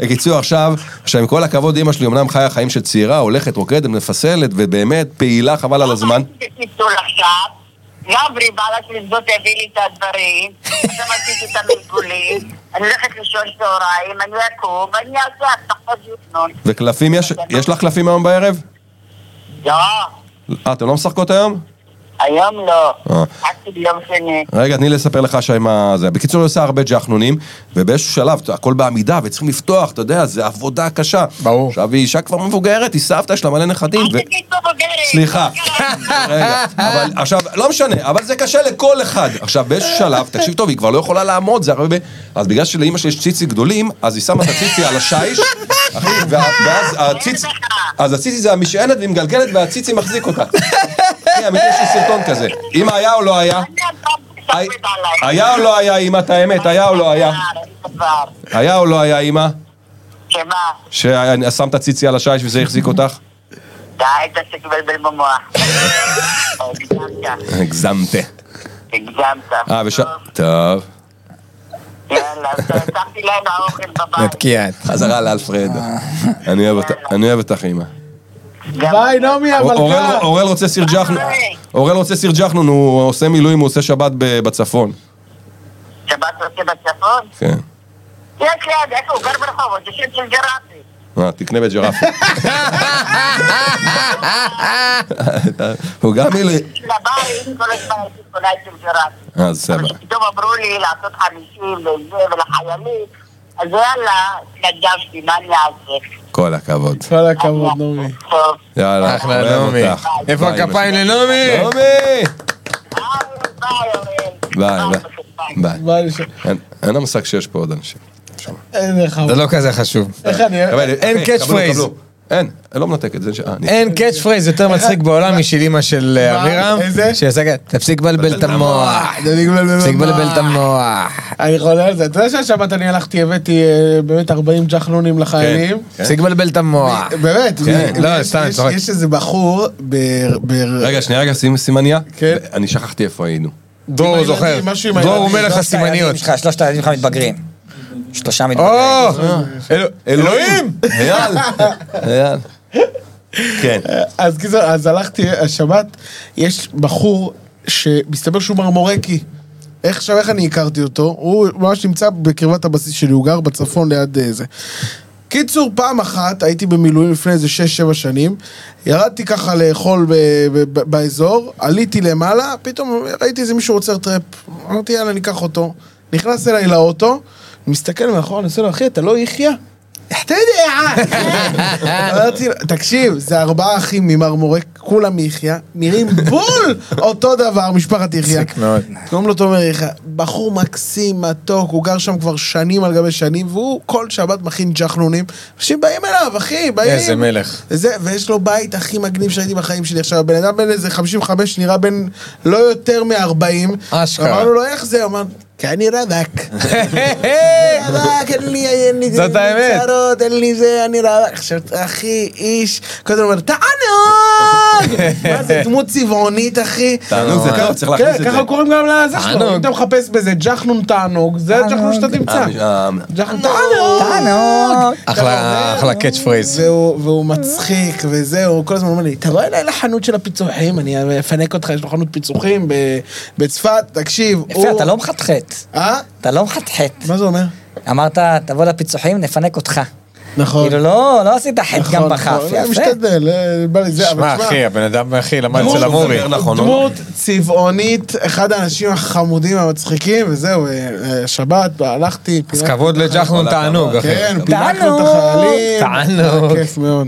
[SPEAKER 2] בקיצור, עכשיו, עכשיו עם כל הכבוד, אמא שלי אמנם חיה חיים של צעירה, הולכת, רוקדת, מפסלת, ובאמת פעילה חבל על הזמן.
[SPEAKER 1] בקיצור עכשיו, גברי בעלת לזדות הביא לי את הדברים, עכשיו עשיתי את המרגולים, אני הולכת לישון צהריים, אני אקום, אני אעשה הבטחות יותנון.
[SPEAKER 2] וקלפים יש? יש לך קלפים היום בערב?
[SPEAKER 1] לא,
[SPEAKER 2] אה, אתם לא משחקות היום?
[SPEAKER 1] היום לא.
[SPEAKER 2] אה.
[SPEAKER 1] עשיתי ביום שני.
[SPEAKER 2] רגע, תני לי לספר לך שעם ה... זה. בקיצור, היא עושה הרבה ג'חנונים, ובאיזשהו שלב, אתה- הכל בעמידה, וצריכים לפתוח, אתה יודע, זה עבודה קשה.
[SPEAKER 3] ברור.
[SPEAKER 2] עכשיו, היא אישה כבר מבוגרת, היא סבתא, יש לה מלא נכדים, ו...
[SPEAKER 1] אל תגיד פה בוגרת.
[SPEAKER 2] סליחה. רגע, אבל עכשיו, לא משנה, אבל זה קשה לכל אחד. עכשיו, באיזשהו שלב, תקשיב טוב, היא כבר לא יכולה לעמוד, זה הרבה... אז בגלל שלאימא שלי יש ציצי גדולים, אז היא שמה את הציצי על השיש, אחי, וה- ואז הציצי... אז הציצי זה המשענת, והיא מגלגלת, והציצי מחזיק אותה. אחי, אמיתי, יש לי סרטון כזה. אם היה או לא היה?
[SPEAKER 1] אני אדם שתכבד עליי.
[SPEAKER 2] היה או לא היה, אימא, את האמת, היה או לא היה?
[SPEAKER 1] כבר.
[SPEAKER 2] היה או לא היה, אימא,
[SPEAKER 1] שמה?
[SPEAKER 2] ששמת ציצי על השיש וזה החזיק אותך?
[SPEAKER 1] די, תפסיק לבלבל במוח. הגזמת,
[SPEAKER 2] הגזמת.
[SPEAKER 1] הגזמת.
[SPEAKER 2] אה, וש...
[SPEAKER 1] טוב,
[SPEAKER 2] טוב.
[SPEAKER 1] יאללה, אז שמתי להם האוכל בבית.
[SPEAKER 3] נתקיעת.
[SPEAKER 2] חזרה לאלפרדו. אני אוהב אותך, אני אוהב אותך, אימא.
[SPEAKER 1] גם-
[SPEAKER 5] ביי, נעמי
[SPEAKER 2] אורל-
[SPEAKER 5] המלכה.
[SPEAKER 2] אורל רוצה סיר ג'חנון,
[SPEAKER 1] ביי.
[SPEAKER 2] אורל רוצה סיר ג'חנון, הוא עושה מילואים, הוא עושה שבת ב- בצפון.
[SPEAKER 1] שבת רוצה בצפון?
[SPEAKER 2] כן.
[SPEAKER 1] יש ליד, איפה הוא גר ברחובות, זה שם של גראפי.
[SPEAKER 2] אה, תקנה בג'רפה. הוא גם מילואים.
[SPEAKER 1] של הבית, כל הזמן הייתי קונה את של גראפי.
[SPEAKER 2] אה, סבבה.
[SPEAKER 1] אבל פתאום אמרו לי לעשות חמישים וזה ולחיילים, אז יאללה, התנדבתי, מה אני אעשה?
[SPEAKER 2] כל הכבוד.
[SPEAKER 5] כל הכבוד, נעמי.
[SPEAKER 1] טוב,
[SPEAKER 2] יאללה,
[SPEAKER 3] אחלה,
[SPEAKER 2] אה, אוהב
[SPEAKER 3] נעמי.
[SPEAKER 2] אותך. לא?
[SPEAKER 3] איפה
[SPEAKER 2] ביי, אמא
[SPEAKER 3] הכפיים
[SPEAKER 2] שלי.
[SPEAKER 3] לנעמי?
[SPEAKER 2] נעמי!
[SPEAKER 1] ביי, ביי, אוראל.
[SPEAKER 2] ביי,
[SPEAKER 1] ביי.
[SPEAKER 2] ביי.
[SPEAKER 5] ביי, לש-
[SPEAKER 2] אין- אין לה מושג שיש פה עוד אנשים.
[SPEAKER 5] אין אה, לך... אוקיי.
[SPEAKER 3] זה לא כזה חשוב.
[SPEAKER 5] איך אני...
[SPEAKER 2] קבל,
[SPEAKER 3] אין
[SPEAKER 2] אה,
[SPEAKER 3] catch
[SPEAKER 2] קבלו,
[SPEAKER 3] phrase.
[SPEAKER 2] קבלו. אין, לא מנתק את זה. ש- אה, אני-
[SPEAKER 3] אין קאץ' פרייז יותר מצחיק בעולם משל אימא של אה,
[SPEAKER 5] מה?
[SPEAKER 3] אבירם.
[SPEAKER 5] איזה?
[SPEAKER 3] שעשה כזה, תפסיק לבלבל את המוח. תפסיק לבלבל את המוח.
[SPEAKER 5] אני חולה על זה. אתה יודע שהשבת אני הלכתי, הבאתי אה, באמת 40 ג'חנונים לחיילים.
[SPEAKER 2] כן.
[SPEAKER 3] תפסיק לבלבל את המוח.
[SPEAKER 5] באמת.
[SPEAKER 2] כן.
[SPEAKER 5] מ-
[SPEAKER 3] לא,
[SPEAKER 5] יש-
[SPEAKER 3] סתם, אני
[SPEAKER 5] יש-
[SPEAKER 3] צוחק.
[SPEAKER 5] יש איזה בחור ב... ב-
[SPEAKER 2] רגע, שנייה, רגע, שים סימניה.
[SPEAKER 5] כן.
[SPEAKER 2] אני שכחתי איפה היינו.
[SPEAKER 3] דרור
[SPEAKER 5] עם
[SPEAKER 3] זוכר.
[SPEAKER 5] הילדים, משהו עם
[SPEAKER 3] דרור הוא
[SPEAKER 5] הילדים.
[SPEAKER 3] מלך
[SPEAKER 4] שלושת
[SPEAKER 3] הסימניות.
[SPEAKER 4] הילדים שלך, שלושת הילדים שלך מתבגרים. שלושה
[SPEAKER 3] או!
[SPEAKER 4] מתבגרים.
[SPEAKER 3] אלו- אלוהים!
[SPEAKER 2] אייל! אייל. כן.
[SPEAKER 5] אה, אז קיצור, אז הלכתי השבת, יש בחור שמסתבר שהוא מרמורקי. איך עכשיו, איך אני הכרתי אותו? הוא ממש נמצא בקרבת הבסיס שלי, הוא גר בצפון ליד אה, זה. קיצור, פעם אחת הייתי במילואים לפני איזה 6-7 שנים, ירדתי ככה לאכול ב- ב- ב- באזור, עליתי למעלה, פתאום ראיתי איזה מישהו עוצר טראפ. אמרתי, יאללה, ניקח אותו. נכנס אליי לאוטו, מסתכל מאחור, אני עושה לו, אחי, אתה לא יחיה? אתה יודע. אמרתי לו, תקשיב, זה ארבעה אחים ממרמורק, כולם מיחיא, נראים בול אותו דבר, משפחת יחיא.
[SPEAKER 3] מצחיק מאוד.
[SPEAKER 5] קוראים לו תומר יחיא, בחור מקסים, מתוק, הוא גר שם כבר שנים על גבי שנים, והוא כל שבת מכין ג'חנונים. אנשים באים אליו, אחי, באים.
[SPEAKER 3] איזה מלך.
[SPEAKER 5] זה, ויש לו בית הכי מגניב שראיתי בחיים שלי. עכשיו, הבן אדם בן איזה 55, נראה בן לא יותר מ-40.
[SPEAKER 3] אשכרה.
[SPEAKER 5] אמרנו לו, איך זה? הוא אמר, כנראה דק. רק אין לי, אין לי,
[SPEAKER 3] זאת
[SPEAKER 5] אין לי
[SPEAKER 3] האמת.
[SPEAKER 5] צרות, אין לי זה, אני רע. עכשיו, אחי, איש, כל הזמן אומר, תענוג! מה זה דמות צבעונית, אחי.
[SPEAKER 2] תענוג זה טוב, צריך להכניס
[SPEAKER 5] כן,
[SPEAKER 2] את זה.
[SPEAKER 5] ככה קוראים גם לזה
[SPEAKER 3] תענוג.
[SPEAKER 5] שלו. אם אתה מחפש בזה ג'חנון תענוג, זה הג'חנון שאתה תמצא.
[SPEAKER 2] אה,
[SPEAKER 5] ג'חנון תענוג.
[SPEAKER 4] תענוג.
[SPEAKER 3] אחלה אחלה קאץ' פרייז.
[SPEAKER 5] והוא, והוא מצחיק, וזהו, הוא כל הזמן אומר לי, תבוא אליי לחנות של הפיצוחים, אני אפנק אותך, יש לו חנות פיצוחים ב- בצפת, תקשיב.
[SPEAKER 4] יפה, אתה לא מחתחת.
[SPEAKER 5] אה?
[SPEAKER 4] אתה לא מחתחת.
[SPEAKER 5] מה זה אומר?
[SPEAKER 4] אמרת, תבוא לפיצוחים, נפנק אותך.
[SPEAKER 5] נכון.
[SPEAKER 4] כאילו, לא לא עשית חטא
[SPEAKER 5] נכון,
[SPEAKER 4] גם בכף,
[SPEAKER 5] נכון, אני
[SPEAKER 4] יפה.
[SPEAKER 5] משתדל, אה, בא לי זה,
[SPEAKER 3] שמע
[SPEAKER 5] אבל שמע,
[SPEAKER 3] אחי, הבן אדם אחי למד
[SPEAKER 2] דמות
[SPEAKER 3] אצל המורי.
[SPEAKER 2] מדבר נכון, לא?
[SPEAKER 5] דמות צבעונית, אחד האנשים החמודים המצחיקים, וזהו, אה, אה, שבת, הלכתי,
[SPEAKER 3] אז
[SPEAKER 5] פינקנו-
[SPEAKER 3] כבוד לג'חנון תענוג אחי.
[SPEAKER 5] כן,
[SPEAKER 4] תענוג.
[SPEAKER 5] פינקנו את החיילים,
[SPEAKER 3] תענוג.
[SPEAKER 5] היה כיף מאוד,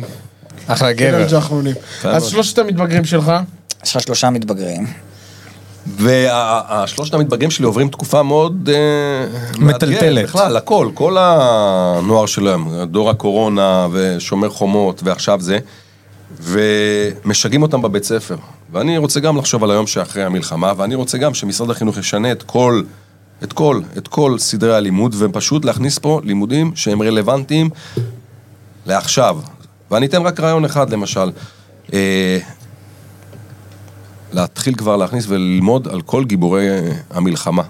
[SPEAKER 3] אחלה
[SPEAKER 5] כן,
[SPEAKER 3] גבר.
[SPEAKER 5] ג'חנונים. אז שלושת המתבגרים שלך,
[SPEAKER 4] יש לך שלושה מתבגרים.
[SPEAKER 2] והשלושת המתבגרים שלי עוברים תקופה מאוד... אה,
[SPEAKER 3] מטלטלת.
[SPEAKER 2] מאתגרת בכלל, הכל, כל הנוער שלהם, דור הקורונה ושומר חומות ועכשיו זה, ומשגעים אותם בבית ספר. ואני רוצה גם לחשוב על היום שאחרי המלחמה, ואני רוצה גם שמשרד החינוך ישנה את כל... את כל, את כל סדרי הלימוד, ופשוט להכניס פה לימודים שהם רלוונטיים לעכשיו. ואני אתן רק רעיון אחד, למשל. אה, להתחיל כבר להכניס וללמוד על כל גיבורי אה, המלחמה,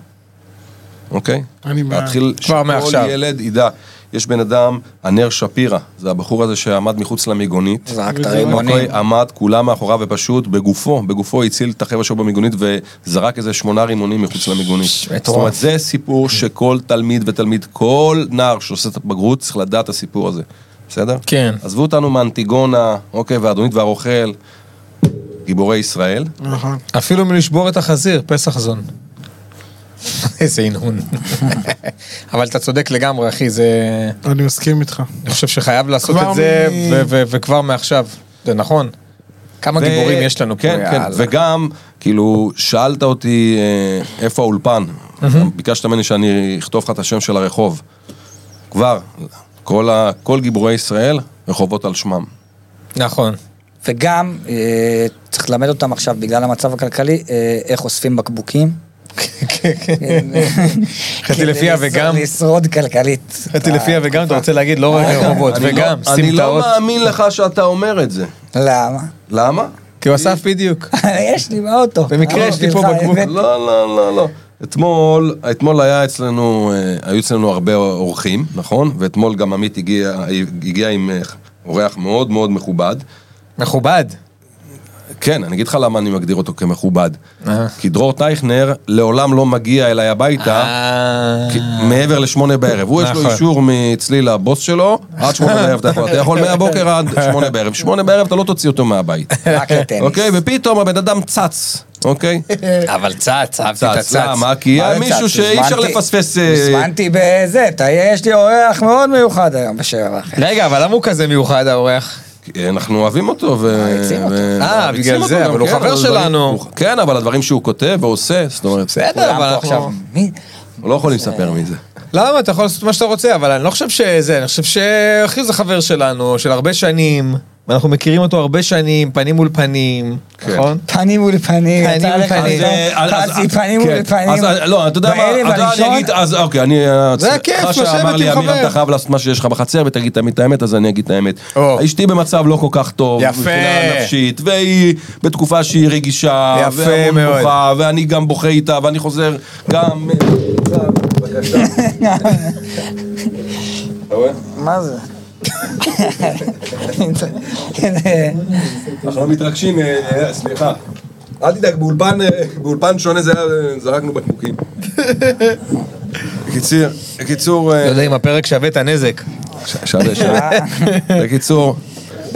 [SPEAKER 2] אוקיי?
[SPEAKER 5] אני בעד.
[SPEAKER 2] להתחיל
[SPEAKER 3] כבר מעכשיו.
[SPEAKER 2] שכל ילד ידע. יש בן אדם, הנר שפירא, זה הבחור הזה שעמד מחוץ למיגונית.
[SPEAKER 4] זרקת
[SPEAKER 5] וזה
[SPEAKER 4] רימונים.
[SPEAKER 2] אוקיי, עמד כולם מאחוריו ופשוט בגופו, בגופו הציל את החבר'ה שלו במיגונית וזרק איזה שמונה רימונים מחוץ למיגונית. זאת אומרת, זה סיפור שכל תלמיד ותלמיד, כל נער שעושה את הבגרות צריך לדעת את הסיפור הזה, בסדר?
[SPEAKER 3] כן.
[SPEAKER 2] עזבו אותנו מאנטיגונה, אוקיי, והאדונית והרוכל, גיבורי ישראל.
[SPEAKER 5] נכון.
[SPEAKER 3] אפילו מלשבור את החזיר, פסח זון. איזה הנהון. אבל אתה צודק לגמרי, אחי, זה...
[SPEAKER 5] אני מסכים איתך.
[SPEAKER 3] אני חושב שחייב לעשות
[SPEAKER 5] כבר
[SPEAKER 3] את זה,
[SPEAKER 5] מ-
[SPEAKER 3] ו- ו- וכבר מעכשיו. זה נכון. כמה
[SPEAKER 2] ו-
[SPEAKER 3] גיבורים יש לנו פה,
[SPEAKER 2] כן, כן,
[SPEAKER 3] יאללה.
[SPEAKER 2] וגם, כאילו, שאלת אותי אה, איפה האולפן. ביקשת ממני שאני אכתוב לך את השם של הרחוב. כבר, כל ה- כל גיבורי ישראל, רחובות על שמם.
[SPEAKER 3] נכון.
[SPEAKER 4] וגם, אה, צריך ללמד אותם עכשיו, בגלל המצב הכלכלי, אה, איך אוספים בקבוקים.
[SPEAKER 3] כן, כן. חטאתי
[SPEAKER 2] כן,
[SPEAKER 4] כדי
[SPEAKER 3] לפיה
[SPEAKER 4] לשרוד-
[SPEAKER 3] וגם,
[SPEAKER 4] לשרוד כלכלית. אה,
[SPEAKER 3] חטאתי לפיה וגם, אתה רוצה להגיד לא רק רחובות,
[SPEAKER 2] אה, אני
[SPEAKER 3] וגם,
[SPEAKER 2] לא- אני לא
[SPEAKER 3] סמטאות.
[SPEAKER 2] מאמין לך שאתה אומר את זה.
[SPEAKER 4] למה?
[SPEAKER 2] למה?
[SPEAKER 3] כי הוא אסף בדיוק.
[SPEAKER 4] יש לי באוטו. אה,
[SPEAKER 3] במקרה יש לי פה
[SPEAKER 4] בשבילך,
[SPEAKER 3] בקבוק.
[SPEAKER 4] הבאתי.
[SPEAKER 2] לא, לא, לא, לא. אתמול, אתמול היה אצלנו, אה, היו אצלנו הרבה אורחים, נכון? ואתמול גם עמית הגיע, הגיע עם אה, אורח מאוד מאוד מכובד.
[SPEAKER 3] מכובד.
[SPEAKER 2] כן, אני אגיד לך למה אני מגדיר אותו כמכובד.
[SPEAKER 3] אה.
[SPEAKER 2] כי דרור טייכנר לעולם לא מגיע אליי הביתה
[SPEAKER 3] אה,
[SPEAKER 2] כי- מעבר לשמונה בערב. הוא יש
[SPEAKER 3] נכון.
[SPEAKER 2] לו אישור מאצלי לבוס שלו, עד שמונה בערב אתה יכול. אתה יכול מהבוקר עד שמונה בערב. שמונה בערב אתה לא תוציא אותו מהבית.
[SPEAKER 4] רק לטניס.
[SPEAKER 2] אוקיי? ופתאום הבן אדם צץ, אוקיי?
[SPEAKER 3] אה, אבל צץ, אהבתי את
[SPEAKER 2] צץ,
[SPEAKER 3] הצץ.
[SPEAKER 2] למה? כי
[SPEAKER 4] מה
[SPEAKER 2] היה
[SPEAKER 4] זה
[SPEAKER 2] מישהו
[SPEAKER 4] צץ?
[SPEAKER 2] שאי אפשר
[SPEAKER 4] הזמנתי-
[SPEAKER 2] לפספס... אה,
[SPEAKER 4] הזמנתי בזה, אתה- יש לי אורח מאוד מיוחד היום בשבע וחצי.
[SPEAKER 3] רגע, אבל למה הוא כזה מיוחד, האורח?
[SPEAKER 2] כי אנחנו אוהבים אותו. ו-
[SPEAKER 4] מעריצים אותו.
[SPEAKER 2] ו-
[SPEAKER 3] אה,
[SPEAKER 2] מעריצים
[SPEAKER 3] בגלל
[SPEAKER 2] אותו
[SPEAKER 3] זה,
[SPEAKER 2] גם,
[SPEAKER 3] אבל הוא
[SPEAKER 2] כן,
[SPEAKER 3] חבר
[SPEAKER 2] הדברים-
[SPEAKER 3] שלנו.
[SPEAKER 2] הוא- כן, אבל הדברים שהוא כותב ועושה, זאת אומרת,
[SPEAKER 3] בסדר, אבל
[SPEAKER 4] כולם פה
[SPEAKER 3] עכשיו...
[SPEAKER 4] עכשיו. מי?
[SPEAKER 2] אנחנו לא יכולים לספר מי זה.
[SPEAKER 3] למה? אתה יכול לעשות מה שאתה רוצה, אבל אני לא חושב שזה, אני חושב שאחי זה חבר שלנו, של הרבה שנים, ואנחנו מכירים אותו הרבה שנים, פנים מול פנים,
[SPEAKER 2] כן.
[SPEAKER 3] נכון?
[SPEAKER 4] פנים מול פנים,
[SPEAKER 3] פנים
[SPEAKER 4] יצא
[SPEAKER 3] מול
[SPEAKER 4] לך
[SPEAKER 3] פנים.
[SPEAKER 4] פתאום
[SPEAKER 2] אז- אז-
[SPEAKER 4] חצי פנים
[SPEAKER 2] כן.
[SPEAKER 4] מול פנים.
[SPEAKER 2] אז אה, לא, אתה יודע מה,
[SPEAKER 4] בערב
[SPEAKER 2] אתה יודע,
[SPEAKER 4] הראשון-
[SPEAKER 2] אני אגיד, אז אוקיי, אני...
[SPEAKER 3] זה הכיף,
[SPEAKER 2] אחרי
[SPEAKER 3] לשבת
[SPEAKER 2] שאמר
[SPEAKER 3] עם
[SPEAKER 2] לי,
[SPEAKER 3] חבר.
[SPEAKER 2] אמירם, אתה חייב לעשות מה שיש לך בחצר ותגיד תמיד את האמת, אז אני אגיד את האמת.
[SPEAKER 3] או.
[SPEAKER 2] אשתי במצב לא כל כך טוב,
[SPEAKER 3] יפה.
[SPEAKER 2] מבחינה נפשית, והיא בתקופה שהיא רגישה,
[SPEAKER 3] יפה
[SPEAKER 2] והמון
[SPEAKER 3] מאוד.
[SPEAKER 2] בוכה, ואני גם בוכה איתה, ואני חוזר גם... אה, בבקשה. אתה רואה?
[SPEAKER 4] מה זה?
[SPEAKER 2] אנחנו מתרגשים, אה, אה, סליחה. אל תדאג, באולפן, אה, באולפן שונה זה היה, אה, זרקנו בקבוקים. בקיצור, בקיצור,
[SPEAKER 3] לא
[SPEAKER 2] אה,
[SPEAKER 3] יודע אם הפרק שווה את הנזק.
[SPEAKER 2] ש- שווה, שווה. בקיצור,
[SPEAKER 4] אה, בקיצור,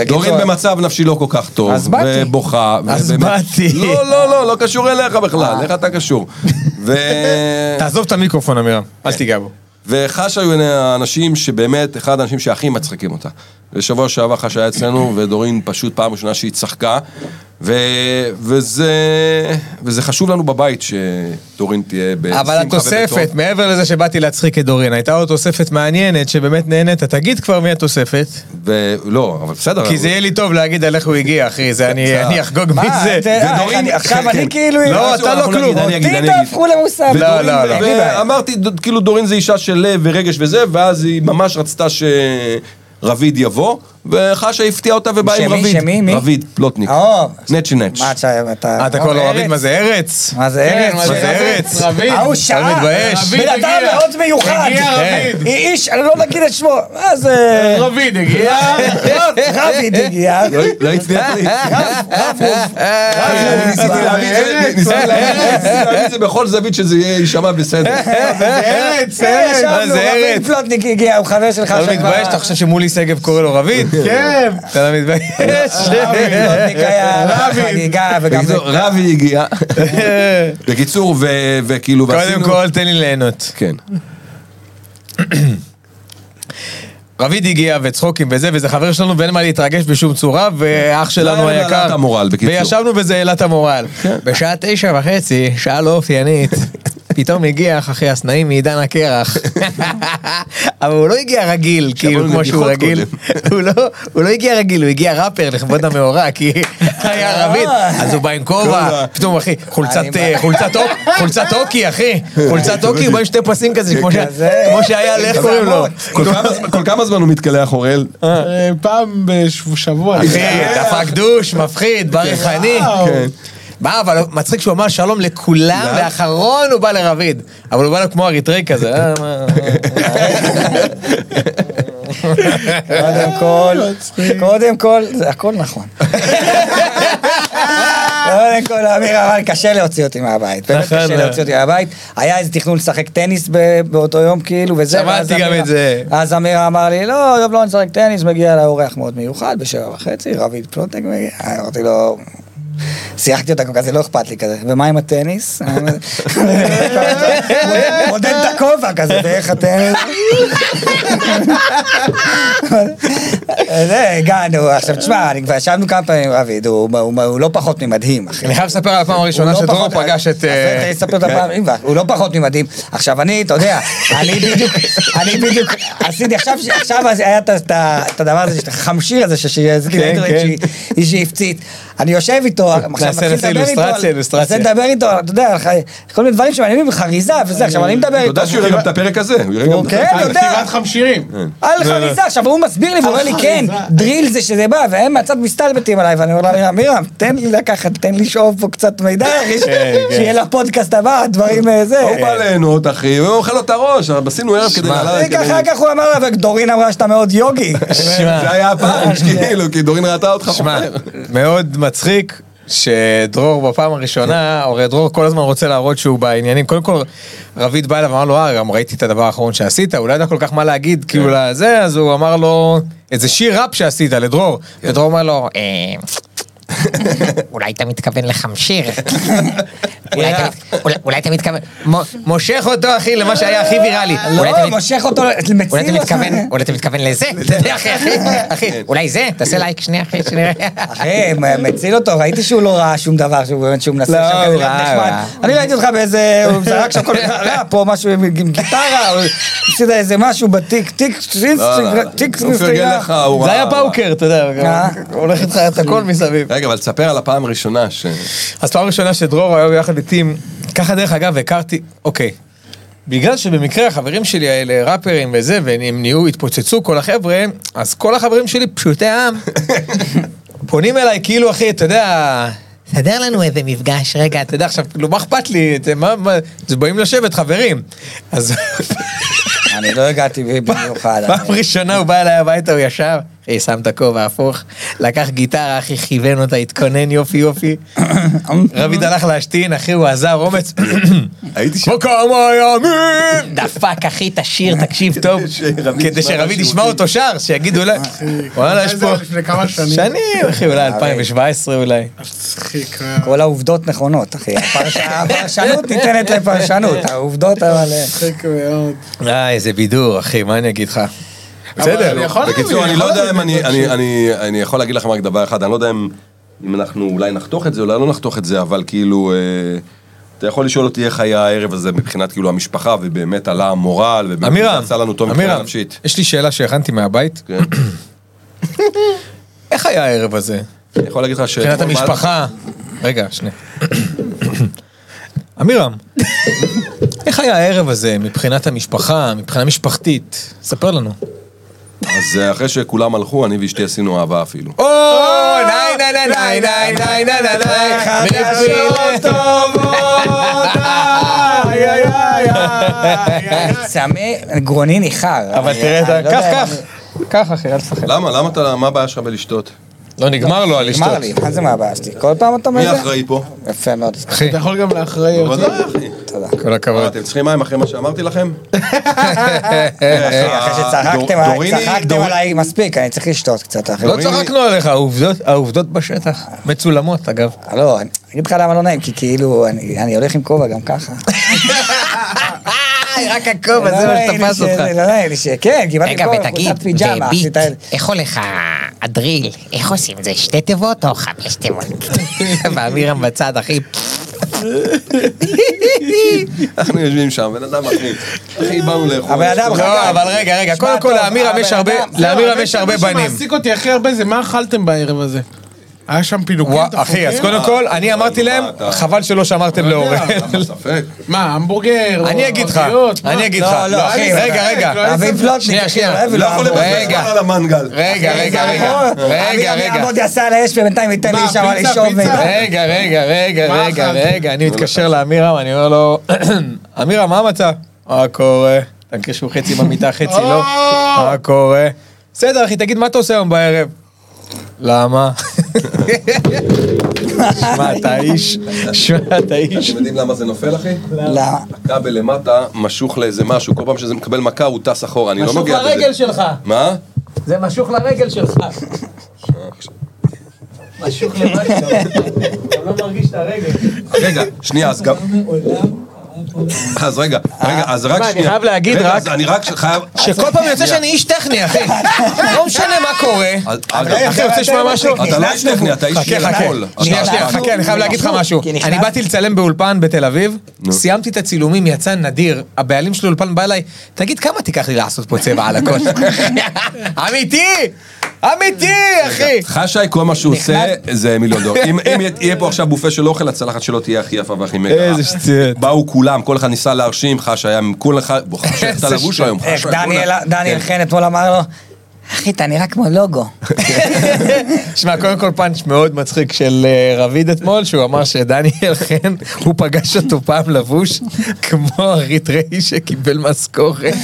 [SPEAKER 2] דורין במצב נפשי לא כל כך טוב,
[SPEAKER 4] אז באתי.
[SPEAKER 2] ובוכה,
[SPEAKER 3] אז
[SPEAKER 2] ובאמת-
[SPEAKER 3] באתי.
[SPEAKER 2] לא, לא, לא, לא קשור אליך
[SPEAKER 4] אה.
[SPEAKER 2] בכלל, איך אתה קשור? ו...
[SPEAKER 3] תעזוב את המיקרופון, אמירם, אל תיגע בו.
[SPEAKER 2] וחש היו האנשים שבאמת, אחד האנשים שהכי מצחיקים אותה. בשבוע שעבר חש היה אצלנו, ודורין פשוט פעם ראשונה שהיא צחקה, ו... וזה... וזה חשוב לנו בבית שדורין תהיה בשמחה
[SPEAKER 3] אבל התוספת,
[SPEAKER 2] ובטוב.
[SPEAKER 3] מעבר לזה שבאתי להצחיק את דורין, הייתה עוד תוספת מעניינת שבאמת נהנית, תגיד כבר מי התוספת,
[SPEAKER 2] ולא, לא, אבל בסדר.
[SPEAKER 3] כי זה יהיה לי טוב להגיד על איך הוא הגיע, אחי, זה אני אני אחגוג מי
[SPEAKER 4] מה,
[SPEAKER 3] זה.
[SPEAKER 4] אתה- אה,
[SPEAKER 2] ודורין-
[SPEAKER 4] אני- עכשיו
[SPEAKER 2] כן,
[SPEAKER 4] אני
[SPEAKER 2] כן.
[SPEAKER 4] כאילו...
[SPEAKER 3] לא,
[SPEAKER 2] אז
[SPEAKER 3] אתה לא
[SPEAKER 2] אנחנו
[SPEAKER 3] כלום.
[SPEAKER 2] נגיד, אני אגיד,
[SPEAKER 4] אותי
[SPEAKER 2] אני אגיד.
[SPEAKER 4] תהפכו למוסר.
[SPEAKER 3] לא,
[SPEAKER 2] ודורין-
[SPEAKER 3] לא, לא.
[SPEAKER 4] אין לי בעיה.
[SPEAKER 2] ואמרתי, ד- כאילו דורין זה אישה של לב ורגש וזה, ואז היא ממש רצתה שרביד יבוא, וחשה הפתיעה אותה ובאה עם
[SPEAKER 4] שמי,
[SPEAKER 2] רביד.
[SPEAKER 4] שמי, מי?
[SPEAKER 2] רביד, פלוטניק.
[SPEAKER 4] או.
[SPEAKER 2] נצ'י נצ'.
[SPEAKER 4] אה, מה אתה...
[SPEAKER 3] אה, אתה כבר לא רביד, מה זה ארץ?
[SPEAKER 4] מה זה
[SPEAKER 7] כן, מה
[SPEAKER 4] ארץ?
[SPEAKER 7] זה ארץ? רביד.
[SPEAKER 4] ההוא שעה.
[SPEAKER 3] אני מתבייש.
[SPEAKER 7] רביד
[SPEAKER 4] בן אדם
[SPEAKER 7] הגיע.
[SPEAKER 4] מאוד מיוחד.
[SPEAKER 7] הגיע
[SPEAKER 3] כן.
[SPEAKER 7] רביד.
[SPEAKER 4] איש, אני לא נגיד את שמו. מה זה...
[SPEAKER 7] רביד הגיע.
[SPEAKER 4] רביד הגיע. אה,
[SPEAKER 2] לא- לא הצליח לי.
[SPEAKER 3] אה,
[SPEAKER 4] רביד
[SPEAKER 2] ניסיתי
[SPEAKER 4] הגיע.
[SPEAKER 2] להביא את זה- ניסיתי להביא את זה בכל זווית שזה יהיה- יישמע בסדר.
[SPEAKER 7] ארץ,
[SPEAKER 4] אה,
[SPEAKER 7] ארץ.
[SPEAKER 4] ישבנו,
[SPEAKER 3] מה זה
[SPEAKER 4] רביד
[SPEAKER 3] ארץ?
[SPEAKER 4] פלוטניק הגיע, הוא חבר שלך.
[SPEAKER 3] אתה לא
[SPEAKER 4] שכבר-
[SPEAKER 3] מתבייש? אתה חושב שמולי שגב קורא לו רביד?
[SPEAKER 7] כן.
[SPEAKER 3] אתה לא מתבייש?
[SPEAKER 4] פלוטניק היה חגיגה וגם...
[SPEAKER 2] בקיצור, רבי הגיע. בקיצור, ו- וכאילו,
[SPEAKER 3] קודם
[SPEAKER 2] ועשינו-
[SPEAKER 3] כל, תן לי ליהנות.
[SPEAKER 2] כן.
[SPEAKER 3] רביד הגיע וצחוקים וזה, וזה חבר שלנו ואין מה להתרגש בשום צורה, ואח שלנו
[SPEAKER 2] זה העלה
[SPEAKER 3] היקר.
[SPEAKER 2] את המורל, בקיצור.
[SPEAKER 3] וישבנו וזה העלה את המורל. בשעה תשע וחצי, שעה לא אופיינית, פתאום הגיע אחי הסנאי מעידן הקרח. אבל הוא לא הגיע רגיל, כאילו,
[SPEAKER 2] לו
[SPEAKER 3] כמו שהוא
[SPEAKER 2] נגיחות
[SPEAKER 3] רגיל. הוא לא- הוא לא הגיע רגיל, הוא הגיע ראפר לכבוד המאורע, כי היה רביד. אז הוא בא עם כובע, פתאום אחי, חולצת
[SPEAKER 4] אני
[SPEAKER 3] אה,
[SPEAKER 4] בא-
[SPEAKER 3] חולצת אוק- חולצת אוקי, אחי. חולצת אוקי, הוא בא עם שתי פסים כזה, כמו שה-
[SPEAKER 4] כזה.
[SPEAKER 3] כמו שהיה, ל- איך קוראים לו?
[SPEAKER 2] כל כמה זמן- כל כמה זמן הוא מתקלח אורל?
[SPEAKER 5] אה, פעם בשבוע.
[SPEAKER 3] אחי, דפק דוש,
[SPEAKER 4] כן.
[SPEAKER 3] מפחיד, ברכני. מה, אבל מצחיק שהוא אמר שלום לכולם, ואחרון הוא בא לרביד. אבל הוא בא לו כמו אריתראי כזה. אה, מה,
[SPEAKER 4] קודם כל, קודם כל, זה הכל נכון. קודם כל, אמיר אמר, קשה להוציא אותי מהבית. באמת
[SPEAKER 3] נכון,
[SPEAKER 4] קשה
[SPEAKER 3] אה.
[SPEAKER 4] להוציא אותי מהבית. היה איזה תכנון לשחק טניס ב- באותו יום, כאילו, וזה.
[SPEAKER 3] שמעתי
[SPEAKER 4] ואז
[SPEAKER 3] גם
[SPEAKER 4] אמיר-
[SPEAKER 3] את זה.
[SPEAKER 4] אז אמיר אמר לי, לא, היום לא נשחק טניס, מגיע לאורח מאוד מיוחד, בשבע וחצי, רביד פלוטק מגיע. אה, אמרתי לו... שיחקתי אותה כזה, לא אכפת לי כזה. ומה עם הטניס? מודד את הכובע כזה, ואיך הטניס? זה, הגענו, עכשיו תשמע, אני כבר ישבנו כמה פעמים עם רביד, הוא- הוא הוא לא פחות ממדהים, אחי.
[SPEAKER 3] אני חייב לספר על הפעם הראשונה
[SPEAKER 4] הוא לא
[SPEAKER 3] שדרור
[SPEAKER 4] פחות-
[SPEAKER 3] פגש את...
[SPEAKER 4] אז
[SPEAKER 3] אה,
[SPEAKER 4] אני אספר את הפעם, אם כבר, הוא לא פחות ממדהים. עכשיו אני, אתה יודע, אני בדיוק, אני בדיוק, עשיתי עכשיו, ש- עכשיו אז היה את ה- את ה- את הדבר הזה, את החמשיר הזה, ש- שעשיתי
[SPEAKER 3] כן, כן.
[SPEAKER 4] באינטרנט, שהיא- היא שהפציץ. אני יושב איתו, עכשיו
[SPEAKER 3] נעשה-
[SPEAKER 4] מתחיל
[SPEAKER 3] נעשה
[SPEAKER 4] לדבר איתו, על-
[SPEAKER 3] אילוסטרציה, אילוסטרציה.
[SPEAKER 4] נעשה לדבר איתו, אתה יודע, על חיי- כל מיני דברים שמעניינים חריזה וזה, עכשיו אני מדבר
[SPEAKER 2] אתה
[SPEAKER 4] איתו.
[SPEAKER 2] יודע שהוא יראה גם את הפרק הזה. הוא יראה גם-
[SPEAKER 4] כן, אתה יודע.
[SPEAKER 7] חמשירים.
[SPEAKER 4] על חריזה, עכשיו הוא מסביר לי, והוא אומר לי, כן, דריל זה שזה בא, והם מהצד מסתלבטים עליי, ואני אומר לה, מירם, תן לי לקחת, תן לי שאוב פה קצת מידע, אחי, ש- שיהיה לפודקאסט הבא, דברים אה, זה.
[SPEAKER 2] הוא בא ליהנות, אחי, והוא אוכל לו את הראש, אבל עשינו ערב כדי... לעלות,
[SPEAKER 4] וככה,
[SPEAKER 2] כדי-
[SPEAKER 4] אחר כך הוא אמר לה, ודורין אמרה שאתה מאוד יוגי.
[SPEAKER 2] זה היה הפעם, כאילו, כי דורין ראתה אותך.
[SPEAKER 3] שמע, מאוד מצחיק שדרור בפעם הראשונה, הרי דרור כל הזמן רוצה להראות שהוא בעניינים. קודם כל, רביד בא אליו ואמר לו, אה, גם ראיתי את הדבר האחרון שעשית, הוא לא ידע כל כך מה להגיד, כאילו,
[SPEAKER 8] כן.
[SPEAKER 3] לזה, אז הוא אמר לו, איזה שיר ראפ שעשית לדרור. ודרור אומר לו, "אה,
[SPEAKER 8] כן. אולי אתה מתכוון לחמשיר. אולי אתה מת- אולי- אולי אתה מתכוון...
[SPEAKER 3] "מ- מושך אותו, אחי, למה שהיה הכי ויראלי.
[SPEAKER 8] אולי אתה מת-
[SPEAKER 4] לא, מושך אותו,
[SPEAKER 8] אולי אתה
[SPEAKER 4] מציל אותו.
[SPEAKER 8] מתכוון, אולי אתה מתכוון לזה, אחי, אחי, אחי, אולי זה, תעשה לייק שנייה אחי, שנראה.
[SPEAKER 4] אחי, מ- מציל אותו, ראיתי שהוא לא ראה שום דבר, שהוא באמת שהוא מנסה
[SPEAKER 3] לא,
[SPEAKER 4] שם כזה
[SPEAKER 3] הוא
[SPEAKER 4] להיות
[SPEAKER 3] ראה,
[SPEAKER 4] נחמד.
[SPEAKER 3] ראה.
[SPEAKER 4] אני ראיתי אותך באיזה, הוא זרק שם כל מיני, ראה פה משהו עם עם גיטרה, הוא עשית איזה משהו בתיק, תיק, תיק,
[SPEAKER 2] לא, לא, לא.
[SPEAKER 4] תיק,
[SPEAKER 2] הוא פרגן לך, הוא
[SPEAKER 3] זה
[SPEAKER 2] ראה-
[SPEAKER 3] היה פאוקר, אתה יודע,
[SPEAKER 4] אה.
[SPEAKER 3] הולך איתך את הכל מסביב.
[SPEAKER 2] רגע, אבל תספר על הפעם הראשונה ש...
[SPEAKER 3] אז פעם ראשונה שדרור היה ביחד איתי, עם- ככה דרך אגב הכרתי, אוקיי. בגלל שבמקרה החברים שלי האלה ראפרים וזה, והם נהיו, התפוצצו כל החבר'ה, אז כל החברים שלי פשוטי עם, פונים אליי כאילו אחי, אתה יודע,
[SPEAKER 8] סדר לנו איזה מפגש, רגע,
[SPEAKER 3] אתה יודע עכשיו, כאילו מה אכפת לי, אתה- מה, מה, אז באים לשבת חברים. אז
[SPEAKER 4] אני לא הגעתי במיוחד.
[SPEAKER 3] פעם ראשונה הוא בא אליי הביתה, הוא ישב, אחי, שם את הכובע הפוך, לקח גיטרה, אחי, כיוון אותה, התכונן יופי יופי. רביד הלך להשתין, אחי, הוא עזר אומץ.
[SPEAKER 2] הייתי שם.
[SPEAKER 3] כמו כמה ימים! דפק אחי את השיר, תקשיב טוב.
[SPEAKER 2] שרביד
[SPEAKER 3] כדי
[SPEAKER 2] ישמע
[SPEAKER 3] שרביד
[SPEAKER 2] משהו
[SPEAKER 3] ישמע אותו שר, שיגידו אולי... וואלה, יש
[SPEAKER 5] זה
[SPEAKER 3] פה...
[SPEAKER 5] היה לפני כמה שנים.
[SPEAKER 3] שנים, אחי, אולי 2017 אולי.
[SPEAKER 5] מצחיק.
[SPEAKER 4] כל העובדות נכונות, אחי. הפרש- הפרשנות ניתנת לפרשנות, העובדות אבל... אה,
[SPEAKER 5] מצחיק מאוד.
[SPEAKER 3] אה, איזה בידור, אחי, מה אני אגיד לך?
[SPEAKER 5] אבל אני
[SPEAKER 3] בסדר.
[SPEAKER 5] יכול להבין,
[SPEAKER 2] בקיצור, אני לא
[SPEAKER 5] יכול
[SPEAKER 2] יודע אם
[SPEAKER 5] להבין.
[SPEAKER 2] אני... אני- אני- אני יכול להגיד לכם רק דבר אחד, אני לא יודע אם- אם אנחנו אולי נחתוך את זה, אולי לא נחתוך את זה, אבל כאילו... אה, אתה יכול לשאול אותי איך היה הערב הזה מבחינת כאילו המשפחה, ובאמת עלה המורל, ובאמת
[SPEAKER 3] אמירם,
[SPEAKER 2] יצא לנו טוב מבחינה
[SPEAKER 3] אמירם,
[SPEAKER 2] נפשית.
[SPEAKER 3] יש לי שאלה שהכנתי מהבית.
[SPEAKER 2] כן.
[SPEAKER 3] איך היה הערב הזה?
[SPEAKER 2] אני יכול להגיד לך ש...
[SPEAKER 3] מבחינת המשפחה. רגע, שנייה. אמירם, איך היה הערב הזה מבחינת המשפחה, מבחינה משפחתית? ספר לנו.
[SPEAKER 2] אז אה, אחרי שכולם הלכו, אני ואשתי עשינו אהבה אפילו.
[SPEAKER 3] או, ניי, ניי, ניי, ניי, אה! ניי, ניי, ניי, ניי, ניי, מפילות טובות, איי, איי, איי, איי.
[SPEAKER 4] סמי, גרוני ניחר.
[SPEAKER 3] אבל תראה את
[SPEAKER 4] אני
[SPEAKER 3] ה...
[SPEAKER 4] לא
[SPEAKER 3] קח,
[SPEAKER 4] יודע
[SPEAKER 3] קח.
[SPEAKER 4] אם- קח אחי, אל תפחד.
[SPEAKER 2] למה? למה אתה... מה הבעיה שלך בלשתות?
[SPEAKER 3] לא, נגמר לו על
[SPEAKER 4] נגמר
[SPEAKER 3] לשתות.
[SPEAKER 4] לי, מה זה מה הבעיה שלי? כל פעם אתה
[SPEAKER 2] מי
[SPEAKER 4] מזה?
[SPEAKER 2] האחראי פה?
[SPEAKER 4] יפה מאוד.
[SPEAKER 3] אחי,
[SPEAKER 5] אתה יכול גם לאחראי אותי.
[SPEAKER 2] בוודאי, אחי.
[SPEAKER 3] כל
[SPEAKER 4] אה.
[SPEAKER 3] הכבוד.
[SPEAKER 2] אתם צריכים מים אחרי מה שאמרתי לכם?
[SPEAKER 4] אחרי שצחקתם
[SPEAKER 2] דור-
[SPEAKER 4] עליי,
[SPEAKER 2] דוריני-
[SPEAKER 4] צחקתם
[SPEAKER 2] דור-
[SPEAKER 4] עליי מספיק, אני צריך לשתות קצת אחי.
[SPEAKER 3] לא צחקנו עליך, העובדות- העובדות בשטח. מצולמות, אגב.
[SPEAKER 4] לא, אני אגיד לך למה לא נעים, כי כאילו, אני אני הולך עם כובע גם ככה.
[SPEAKER 3] רק הכובע,
[SPEAKER 4] לא נעים לי ש- לא נעים לי ש... כן, קיבלתי
[SPEAKER 8] רגע,
[SPEAKER 4] כובע,
[SPEAKER 8] ותגיד,
[SPEAKER 4] קבוצת פיג'מה, אחי,
[SPEAKER 8] וביט,
[SPEAKER 4] את האלה.
[SPEAKER 8] איך הולך הדריל? איך עושים זה? שתי תיבות או חמש תיבות? ואמירם בצד, אחי.
[SPEAKER 2] אנחנו יושבים שם, בן אדם אחי. אחי, באנו לאכול.
[SPEAKER 4] הבן אדם
[SPEAKER 2] שתו-
[SPEAKER 3] לא, אבל רגע, רגע, קודם כל לאמירם יש הרבה, לאמירם יש הרבה
[SPEAKER 5] מה
[SPEAKER 3] בנים.
[SPEAKER 5] שמעסיק אותי הכי הרבה זה מה אכלתם בערב הזה. היה שם
[SPEAKER 4] כן,
[SPEAKER 5] פינוקים,
[SPEAKER 3] וואו,
[SPEAKER 5] תפוחים?
[SPEAKER 3] אחי, אז קודם כל, אה, לא, אני אמרתי להם, חבל שלא שמרתם
[SPEAKER 4] לא
[SPEAKER 3] לאורל.
[SPEAKER 2] למה, לא, ספק.
[SPEAKER 5] מה, המבורגר? או
[SPEAKER 3] אני אגיד לך,
[SPEAKER 5] עוגיות? מה?
[SPEAKER 3] אני אגיד לך.
[SPEAKER 4] לא, לא, אחי.
[SPEAKER 3] רגע, רגע.
[SPEAKER 5] לא,
[SPEAKER 4] אביב פלוטניק,
[SPEAKER 3] שנייה,
[SPEAKER 4] אחי,
[SPEAKER 3] שנייה.
[SPEAKER 4] אוהב
[SPEAKER 3] לא
[SPEAKER 4] לעמוד.
[SPEAKER 3] יכול לבזבז
[SPEAKER 2] רגע.
[SPEAKER 3] זמן
[SPEAKER 2] על המנגל.
[SPEAKER 3] רגע, רגע,
[SPEAKER 4] אה,
[SPEAKER 3] רגע.
[SPEAKER 4] לא-
[SPEAKER 3] רגע,
[SPEAKER 4] אבירם
[SPEAKER 3] רגע.
[SPEAKER 4] יעמוד יעשה על האש ובינתיים ייתן לי
[SPEAKER 5] מה,
[SPEAKER 4] שם
[SPEAKER 5] פיצה,
[SPEAKER 4] לשאוב. אה,
[SPEAKER 5] פיצה?
[SPEAKER 4] מ-
[SPEAKER 3] רגע, רגע, רגע,
[SPEAKER 5] מה
[SPEAKER 3] רגע,
[SPEAKER 5] אכלתם?
[SPEAKER 3] רגע, אני מתקשר לאמירם, אני אומר לו, אמירם, מה המצב? מה קורה? אתה מכיר שהוא חצי במיטה, חצי לא? מה קורה? בסדר, אחי, תגיד, מה אתה עושה היום בערב? למה? שמע, אתה איש, שמע, אתה איש.
[SPEAKER 2] אתם יודעים למה זה נופל, אחי?
[SPEAKER 3] לא,
[SPEAKER 4] למה?
[SPEAKER 2] הכבל למטה משוך לאיזה משהו, כל פעם שזה מקבל מכה הוא טס אחורה, אני לא נוגע בזה. משוך לרגל שלך. מה?
[SPEAKER 9] זה משוך לרגל שלך. משוך למטה. אתה לא מרגיש את הרגל.
[SPEAKER 2] רגע, שנייה, אז גם... אז רגע, רגע, אז רק שנייה.
[SPEAKER 3] אני חייב להגיד
[SPEAKER 2] רגע,
[SPEAKER 3] רק-
[SPEAKER 2] אז אני רק חייב...
[SPEAKER 3] שכל פעם יוצא שאני איש טכני, אחי. לא משנה מה קורה.
[SPEAKER 2] אז- אגב,
[SPEAKER 3] אחי, רוצה לשמוע משהו?
[SPEAKER 2] אתה לא איש טכני, אתה איש
[SPEAKER 3] חכה,
[SPEAKER 2] של
[SPEAKER 3] חכה.
[SPEAKER 2] חול.
[SPEAKER 3] שנייה, שנייה, חכה, אני חייב להגיד לך משהו.
[SPEAKER 4] כי נכנס-
[SPEAKER 3] אני באתי לצלם באולפן בתל אביב, סיימתי את הצילומים, יצא נדיר, הבעלים של האולפן בא אליי, תגיד, כמה תיקח לי לעשות פה צבע על הכל? אמיתי! אמיתי, אחי!
[SPEAKER 2] חשי, כל מה שהוא עושה זה מיליון דולר. אם אם יהיה פה עכשיו בופה של אוכל, הצלחת שלו תהיה הכי יפה והכי מגרה.
[SPEAKER 3] איזה שטויות.
[SPEAKER 2] באו כולם, כל אחד ניסה להרשים, חשי היה עם כל אחד... בוא, חשי,
[SPEAKER 3] איזה אה,
[SPEAKER 2] אתה לבוש היום,
[SPEAKER 4] איך
[SPEAKER 3] לא,
[SPEAKER 2] חשי.
[SPEAKER 4] דניאל,
[SPEAKER 2] בוא'נה.
[SPEAKER 3] כן.
[SPEAKER 4] דניאל חן אתמול אמר לו, אחי, אתה נראה כמו לוגו.
[SPEAKER 3] שמע, קודם כל פאנץ' מאוד מצחיק של אה, רביד אתמול, שהוא אמר שדניאל חן, הוא פגש אותו פעם לבוש כמו אריתראי שקיבל משכורת.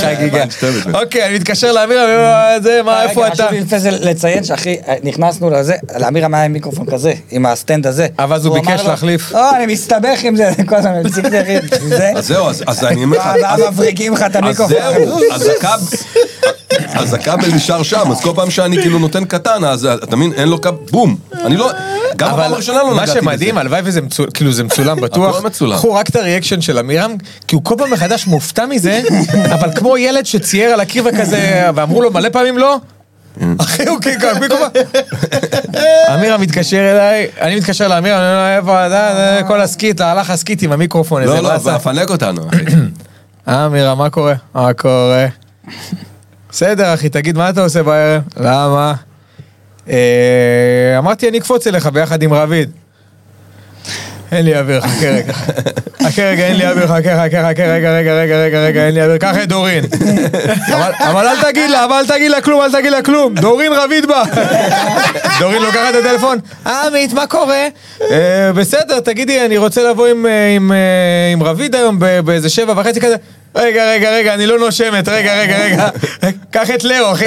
[SPEAKER 3] חגיגה. אוקיי, אני מתקשר לאמירם, אני אומר לו, זה, מה, איפה
[SPEAKER 4] רגע,
[SPEAKER 3] אתה?
[SPEAKER 4] אה, כן, חשוב לי לפני זה לציין שאחי, אה, נכנסנו לזה, לאמירם היה עם מיקרופון כזה, עם הסטנד הזה.
[SPEAKER 3] אבל אז הוא
[SPEAKER 4] אמר
[SPEAKER 3] ביקש
[SPEAKER 4] לו,
[SPEAKER 3] להחליף.
[SPEAKER 4] לא, אני מסתבך עם זה, כל הזמן מציג את זה, אחי. זה.
[SPEAKER 2] אז זהו, אז- אז אני אומר לך...
[SPEAKER 3] אה,
[SPEAKER 4] ואז
[SPEAKER 2] אז-
[SPEAKER 4] מבריקים לך את
[SPEAKER 2] אז
[SPEAKER 4] המיקרופון.
[SPEAKER 2] זהו, אז הכבל- אז הכבל נשאר שם, אז כל פעם שאני כאילו נותן קטן, אז אתה מבין, אין לו כבל, בום. אני לא, גם בפעם הראשונה לא
[SPEAKER 3] מה
[SPEAKER 2] נגעתי בזה.
[SPEAKER 3] שמדהים, הלוואי וזה מצול, כאילו זה מצולם בטוח.
[SPEAKER 2] הכל מצולם.
[SPEAKER 3] קחו רק את הריאקשן של עמירם, כי הוא כל פעם מחדש מופתע מזה, אבל כמו ילד שצייר על הקיר וכזה, ואמרו לו מלא פעמים לא. אחי הוא כאילו, כל פעם- עמירם מתקשר אליי, אני מתקשר לאמירם, אני אומר לו איפה אתה, זה כל הסקיט, הלך הסקיט עם המיקרופון, איזה
[SPEAKER 2] לא, לא,
[SPEAKER 3] באסה.
[SPEAKER 2] אבל פנק אותנו, אחי.
[SPEAKER 3] אה, מירה, מה קורה? מה קורה? בסדר, אחי, תגיד, מה אתה עושה בערב? למה? אה, אמרתי, אני אקפוץ אליך ביחד עם רביד. אין לי אוויר, חכה רגע. חכה רגע, אין לי אוויר, חכה, חכה, חכה, רגע, רגע, רגע, רגע, רגע, אין לי אוויר, קח את דורין. אבל- אבל אל תגיד לה, אבל אל תגיד לה כלום, אל תגיד לה כלום. דורין רביד בא. דורין לוקחת את הטלפון, "אה, עמית, מה קורה? "אה, בסדר, תגידי, אני רוצה לבוא עם, אה, עם, אה, עם רביד היום ב- באיזה שבע וחצי כזה. רגע, רגע, רגע, אני לא נושמת, רגע, רגע, רגע. קח את לאו, אחי.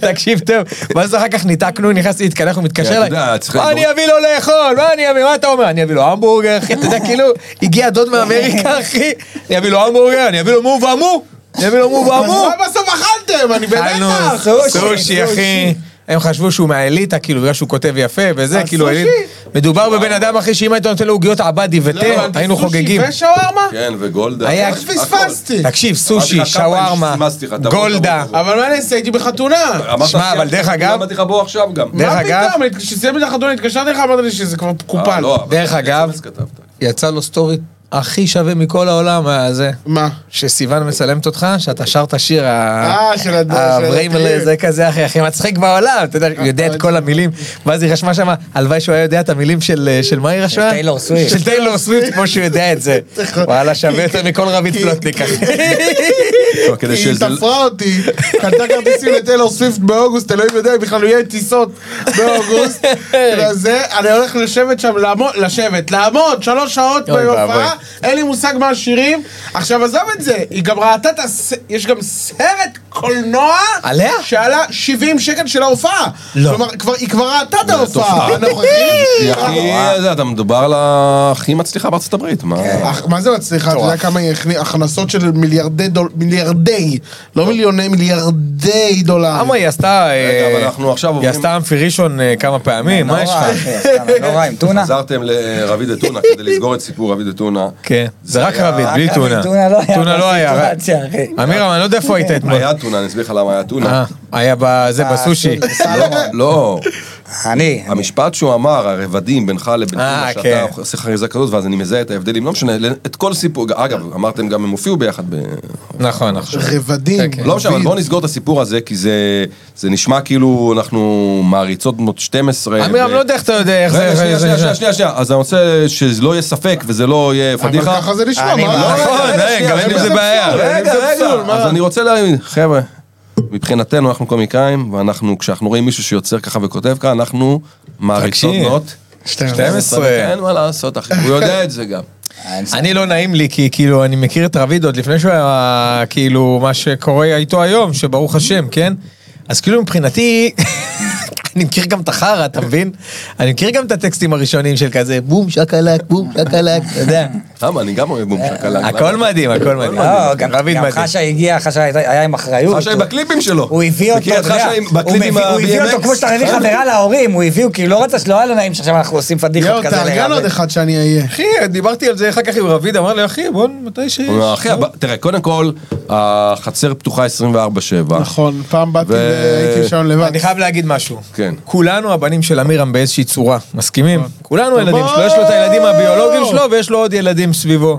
[SPEAKER 3] תקשיב טוב. ואז אחר כך ניתקנו, נכנסתי להתקלח, הוא מתקשר
[SPEAKER 2] אתה
[SPEAKER 3] אליי.
[SPEAKER 2] יודע, צריך
[SPEAKER 3] מה
[SPEAKER 2] לדור-
[SPEAKER 3] אני אביא לו לאכול? מה אני אביא? מה אתה אומר? אני אביא לו המבורגר, אחי. אתה יודע, כאילו, הגיע דוד מאמריקה, אחי. אני אביא לו המבורגר, אני אביא לו מו ועמו. אני אביא לו מו ועמו.
[SPEAKER 5] מה בסוף אכלתם? אני
[SPEAKER 3] אכלנו
[SPEAKER 5] במתח.
[SPEAKER 3] סושי, אחי. הם חשבו שהוא מהאליטה, כאילו, בגלל שהוא כותב יפה וזה, כאילו,
[SPEAKER 5] סושי?
[SPEAKER 3] אליט- מדובר בבן אדם, אחי, שאם היית נותן לו עוגיות עבדי ותה, לא, היינו חוגגים.
[SPEAKER 5] סושי ושווארמה?
[SPEAKER 2] כן, וגולדה.
[SPEAKER 3] היה-
[SPEAKER 2] הכל.
[SPEAKER 5] לא פספסתי.
[SPEAKER 3] תקשיב, סושי,
[SPEAKER 2] אמרתי לך, כמה פעמים
[SPEAKER 3] שווארמה,
[SPEAKER 2] סימסתי לך, תבוא,
[SPEAKER 3] גולדה.
[SPEAKER 2] תבוא,
[SPEAKER 5] אבל מה נעשה? הייתי בחתונה.
[SPEAKER 2] אמרת,
[SPEAKER 3] שמע, אבל דרך אגב-
[SPEAKER 2] אמרתי לך בוא עכשיו גם.
[SPEAKER 3] דרך
[SPEAKER 5] מה
[SPEAKER 3] אגב-
[SPEAKER 5] פתאום? כשסיימתי את החתונה התקשרתי לך, אמרת לי שזה כבר
[SPEAKER 2] אה,
[SPEAKER 5] קופל.
[SPEAKER 2] לא, אבל
[SPEAKER 3] דרך אגב-
[SPEAKER 2] SMS כתבת.
[SPEAKER 3] יצא לו סטורי הכי שווה מכל העולם, אה, הזה.
[SPEAKER 5] מה?
[SPEAKER 3] שסיוון מצלמת אותך, שאתה שר את השיר ה-
[SPEAKER 5] אה, של הד- של אה,
[SPEAKER 3] הבריימל
[SPEAKER 5] הד-
[SPEAKER 3] זה כזה אחי, הכי מצחיק בעולם, אתה יודע, יודע את כל המילים, ואז היא רשמה שם, הלוואי שהוא היה יודע את המילים של אה, של מה היא רשמה?
[SPEAKER 4] טיילור סוויפט.
[SPEAKER 5] נכון. כן.
[SPEAKER 3] של טיילור סוויפט, כמו שהוא יודע את זה. וואלה, שווה יותר מכל רבית פלוטניק אחי.
[SPEAKER 2] לא, כדי
[SPEAKER 5] היא
[SPEAKER 2] שזה-
[SPEAKER 5] תפרה אותי, קנתה כרטיסים לטיילור סוויפט באוגוסט, אלוהים יודע, אם בכלל הוא יהיה טיסות באוגוסט. וזה, אני הולך לשבת שם, לעמוד, לשבת, לעמוד, שלוש שעות
[SPEAKER 3] אוי
[SPEAKER 5] בהופעה,
[SPEAKER 3] ואבוי.
[SPEAKER 5] אין לי מושג מה השירים. עכשיו עזוב את זה, היא גם ראתה את הס... יש גם סרט קולנוע.
[SPEAKER 3] עליה?
[SPEAKER 5] שעלה 70 שקל של ההופעה.
[SPEAKER 3] לא.
[SPEAKER 5] כלומר, כבר- היא כבר ראתה את ההופעה.
[SPEAKER 2] תופעה. היא
[SPEAKER 5] הנוכחית. אה,
[SPEAKER 2] הכי, זה, אתה מדובר על הכי מצליחה בארצות הברית, מה?
[SPEAKER 3] כן.
[SPEAKER 5] אך, מה זה מצליחה? אתה יודע כמה היא הכני- הכנסות של מיליארדי דולר, מיליארדי, לא מיליוני, מיליארדי דולר.
[SPEAKER 3] למה היא עשתה... אה,
[SPEAKER 2] אבל אנחנו עכשיו
[SPEAKER 3] היא
[SPEAKER 2] עוברים-
[SPEAKER 3] עשתה אמפי ראשון אה, כמה פעמים, מה יש לך?
[SPEAKER 4] נורא עם טונה.
[SPEAKER 2] חזרתם לרבי דה טונה כדי לסגור את סיפור רבי דה טונה.
[SPEAKER 3] כן, זה רק
[SPEAKER 2] היה-
[SPEAKER 3] רביד, בלי טונה.
[SPEAKER 4] טונה לא היה
[SPEAKER 3] טונה לא היה.
[SPEAKER 4] בסיטואציה, אחי.
[SPEAKER 3] אמירם, אני לא יודע איפה היית אתמול.
[SPEAKER 2] היה טונה, אני אסביר לך למה היה
[SPEAKER 3] אה,
[SPEAKER 2] טונה.
[SPEAKER 3] היה בזה, בסושי.
[SPEAKER 2] לא, לא,
[SPEAKER 4] אה, אני,
[SPEAKER 2] המשפט שהוא אמר, הרבדים בינך לבין
[SPEAKER 3] אה,
[SPEAKER 2] טונה,
[SPEAKER 3] כן.
[SPEAKER 2] שאתה עושה חריזה כזאת, ואז אני מזהה את ההבדלים, לא משנה, את כל סיפור, אגב, אמרתם גם הם הופיעו ביחד ב...
[SPEAKER 3] נכון, נכון.
[SPEAKER 5] רבדים.
[SPEAKER 2] לא משנה, אבל בואו נסגור את הסיפור הזה, כי זה זה נשמע כאילו אנחנו מעריצות בנות 12.
[SPEAKER 3] אמירם,
[SPEAKER 2] ו-
[SPEAKER 3] לא יודע איך אתה יודע איך זה...
[SPEAKER 2] כן, רגע,
[SPEAKER 3] איך
[SPEAKER 2] שנייה,
[SPEAKER 3] זה-
[SPEAKER 2] שנייה, שנייה, שנייה, שנייה, אז אני רוצה שלא יהיה ספק וזה לא יהיה
[SPEAKER 5] אבל
[SPEAKER 2] פדיחה.
[SPEAKER 5] ככה זה נשמע,
[SPEAKER 4] אני-
[SPEAKER 5] מה?
[SPEAKER 4] לא,
[SPEAKER 5] לא,
[SPEAKER 3] נכון,
[SPEAKER 2] רגע,
[SPEAKER 3] אין,
[SPEAKER 2] שנייה,
[SPEAKER 3] גם אין עם זה
[SPEAKER 2] רגע,
[SPEAKER 3] בעיה.
[SPEAKER 2] רגע, רגע, אז אני רוצה להגיד, חבר'ה, מבחינתנו אנחנו קומיקאים, ואנחנו, כשאנחנו רואים מישהו שיוצר ככה וכותב ככה, אנחנו מעריצות
[SPEAKER 3] תקשיב.
[SPEAKER 2] בנות.
[SPEAKER 3] 12.
[SPEAKER 2] אין מה לעשות, אחי, הוא יודע את זה גם.
[SPEAKER 3] אני לא נעים לי, כי כאילו, אני מכיר את רביד עוד לפני שהוא היה, כאילו, מה שקורה איתו היום, שברוך השם, כן? אז כאילו מבחינתי, אני מכיר גם את החרא, אתה מבין? אני מכיר גם את הטקסטים הראשונים של כזה, בום שקלק, בום שקלק, אתה יודע.
[SPEAKER 2] למה, אני גם אוהב
[SPEAKER 4] אה,
[SPEAKER 2] בומשק עליי.
[SPEAKER 3] הכל מדהים, הכל מדהים.
[SPEAKER 4] לא, גם
[SPEAKER 3] רביד
[SPEAKER 4] גם
[SPEAKER 3] מדהים.
[SPEAKER 4] חשה הגיע, חשה הייתה- היה עם אחריות.
[SPEAKER 2] חשאי
[SPEAKER 4] הוא-
[SPEAKER 2] בקליפים שלו.
[SPEAKER 4] הוא הביא אותו,
[SPEAKER 2] מכיר את
[SPEAKER 4] אתה יודע,
[SPEAKER 2] חשאי עם-
[SPEAKER 4] הוא
[SPEAKER 2] בקליפ עם
[SPEAKER 4] מביא- הוא הביא
[SPEAKER 2] ה-BMX?
[SPEAKER 4] אותו כמו שאתה מביא חברה להורים, הוא הביא, הוא כאילו לא רצה, שלא היה לו נעים שעכשיו אנחנו עושים
[SPEAKER 5] יואו,
[SPEAKER 4] פדיחות כזה
[SPEAKER 5] תארגן עוד
[SPEAKER 4] לרב.
[SPEAKER 5] אחד שאני אהיה.
[SPEAKER 3] אחי, דיברתי על זה אחר כך עם רביד, אמר לי, אחי, בוא, מתי ש...
[SPEAKER 2] הוא אומר, אחי, הב- תראה, קודם כל, החצר פתוחה 24-7.
[SPEAKER 5] נכון, פעם באתי
[SPEAKER 2] ו-
[SPEAKER 5] והייתי שם לבד.
[SPEAKER 3] אני חייב להגיד משהו.
[SPEAKER 2] כן.
[SPEAKER 3] כולנו הבנים של אמירם באיזושהי צורה, מסכימים? כולנו הילדים שלו, יש לו את הילדים הביולוגיים שלו ויש לו עוד ילדים סביבו.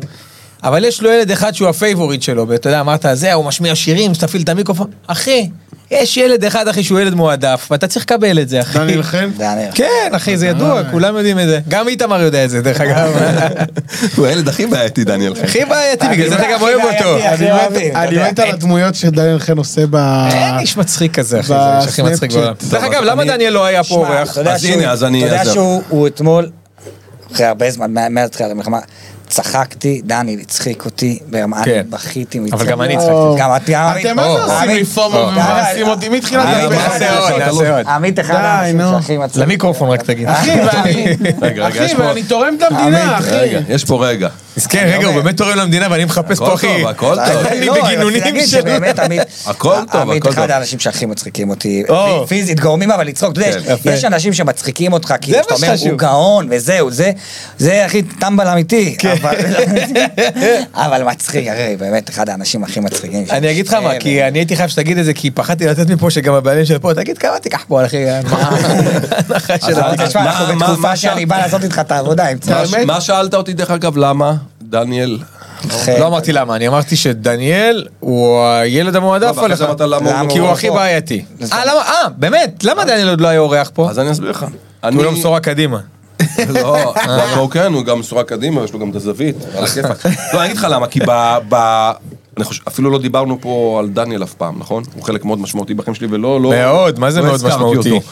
[SPEAKER 3] אבל יש לו ילד אחד שהוא הפייבוריט שלו, ואתה יודע, אמרת, זה, הוא משמיע שירים, שתפעיל את המיקרופון. אחי, יש ילד אחד, אחי, שהוא ילד מועדף, ואתה צריך לקבל את זה, אחי.
[SPEAKER 5] דניאל חן?
[SPEAKER 4] דניאל.
[SPEAKER 3] כן, אחי, זה ידוע, כולם יודעים את זה. גם איתמר יודע את זה, דרך אגב.
[SPEAKER 2] הוא הילד הכי בעייתי, דניאל.
[SPEAKER 3] הכי בעייתי, בגלל זה אתה גם אוהב אותו.
[SPEAKER 4] הכי בעייתי,
[SPEAKER 5] אני
[SPEAKER 4] הכי
[SPEAKER 5] מת-
[SPEAKER 4] אוהבים, אתה
[SPEAKER 5] אני
[SPEAKER 4] יודע.
[SPEAKER 5] מת על הדמויות שדניאל חן עושה ב...
[SPEAKER 3] אין איש מצחיק כזה, אחי, זה איש הכי מצחיק בעולם.
[SPEAKER 5] בסנאפצ'אט.
[SPEAKER 3] דרך אגב, למה דניאל לא היה פה
[SPEAKER 4] שמע,
[SPEAKER 3] אורח?
[SPEAKER 4] אתה יודע
[SPEAKER 2] אז
[SPEAKER 4] שהוא-
[SPEAKER 2] הנה, אז אני-
[SPEAKER 4] אתה
[SPEAKER 2] אז
[SPEAKER 4] יודע
[SPEAKER 2] זהו.
[SPEAKER 4] שהוא הוא אתמול, אחרי הרבה זמן, מה- מאז תחילת המלחמה, צחקתי, דני הצחיק אותי, ברמה, אני
[SPEAKER 3] כן.
[SPEAKER 4] בכיתי
[SPEAKER 3] אבל גם אני
[SPEAKER 4] מצחוק.
[SPEAKER 5] הצחקתי.
[SPEAKER 4] גם את, גם
[SPEAKER 5] אתם מה זה עושים לי פומו ומבאסים אותי מתחילת
[SPEAKER 4] אני-
[SPEAKER 5] הדרך?
[SPEAKER 4] אני-
[SPEAKER 3] נעשה עוד, נעשה עוד.
[SPEAKER 4] עמית אחד
[SPEAKER 5] די, נו.
[SPEAKER 4] האנשים שהכי מצחיק.
[SPEAKER 3] למיקרופון רק תגיד.
[SPEAKER 5] אחי, ואני-
[SPEAKER 2] רגע, רגע, יש
[SPEAKER 5] אחי,
[SPEAKER 2] פה...
[SPEAKER 5] ואני תורם את המדינה, אחי.
[SPEAKER 2] רגע, יש פה רגע.
[SPEAKER 3] מסכן, כן, רגע, הוא באמת תורם למדינה ואני מחפש
[SPEAKER 2] הכל
[SPEAKER 3] פה, אחי.
[SPEAKER 2] טוב, הכל טוב.
[SPEAKER 3] אני
[SPEAKER 4] לא,
[SPEAKER 3] בגינונים
[SPEAKER 4] רציתי להגיד
[SPEAKER 3] של-
[SPEAKER 4] שבאמת, עמית,
[SPEAKER 2] הכל טוב,
[SPEAKER 4] עמית
[SPEAKER 2] הכל
[SPEAKER 4] אחד
[SPEAKER 2] טוב.
[SPEAKER 4] האנשים שהכי מצחיקים אותי,
[SPEAKER 3] או.
[SPEAKER 4] פיזית גורמים אבל לצחוק, אתה יודע,
[SPEAKER 2] כן,
[SPEAKER 4] יש- יש אנשים שמצחיקים אותך, כי
[SPEAKER 3] זה
[SPEAKER 4] אתה
[SPEAKER 3] מה
[SPEAKER 4] אומר,
[SPEAKER 3] שחשוב.
[SPEAKER 4] הוא גאון וזהו, זה, זה הכי טמבל אמיתי,
[SPEAKER 3] כן.
[SPEAKER 4] אבל- אבל מצחיק, הרי באמת אחד האנשים הכי מצחיקים.
[SPEAKER 3] אני אגיד לך מה,
[SPEAKER 4] כן,
[SPEAKER 3] כי אני הייתי חייב שתגיד את זה, כי פחדתי לתת מפה שגם הבעלים של פה, תגיד כמה תיקח פה, אחי, מה ההנחה של
[SPEAKER 2] אז
[SPEAKER 3] ה-
[SPEAKER 4] תשמע,
[SPEAKER 2] מה-
[SPEAKER 4] אנחנו
[SPEAKER 2] מה-
[SPEAKER 4] בתקופה
[SPEAKER 2] מה
[SPEAKER 4] שאני
[SPEAKER 2] שם?
[SPEAKER 4] בא לעשות איתך את העבודה, אם צריך.
[SPEAKER 2] מה- מה שאלת אותי, דרך אגב, למה, דניאל?
[SPEAKER 4] אחי.
[SPEAKER 3] לא אמרתי למה, אני אמרתי שדניאל הוא הילד
[SPEAKER 2] לא,
[SPEAKER 3] המועדף
[SPEAKER 2] ואחרי
[SPEAKER 3] עליך.
[SPEAKER 2] זה אמרת למה הוא
[SPEAKER 4] למה
[SPEAKER 2] לא
[SPEAKER 3] כי הוא
[SPEAKER 2] פה.
[SPEAKER 3] הכי בעייתי. אה, למה, אה, באמת, למה דניאל עוד לא היה אורח פה?
[SPEAKER 2] אז אני אסביר לך.
[SPEAKER 3] כי הוא לא אה. מסורה קדימה.
[SPEAKER 2] לא, אבל הוא כן, הוא גם מסורה קדימה, יש לו גם את הזווית, על הכיפאק. לא, אני אגיד לך למה, כי ב... ב- אני חושב, אפילו לא דיברנו פה על דניאל אף פעם, נכון? הוא חלק מאוד משמעותי בחיים שלי, ולא, לא...
[SPEAKER 3] מאוד, מה זה
[SPEAKER 2] לא
[SPEAKER 3] מאוד
[SPEAKER 2] הזכרתי
[SPEAKER 3] משמעותי?
[SPEAKER 2] אותו.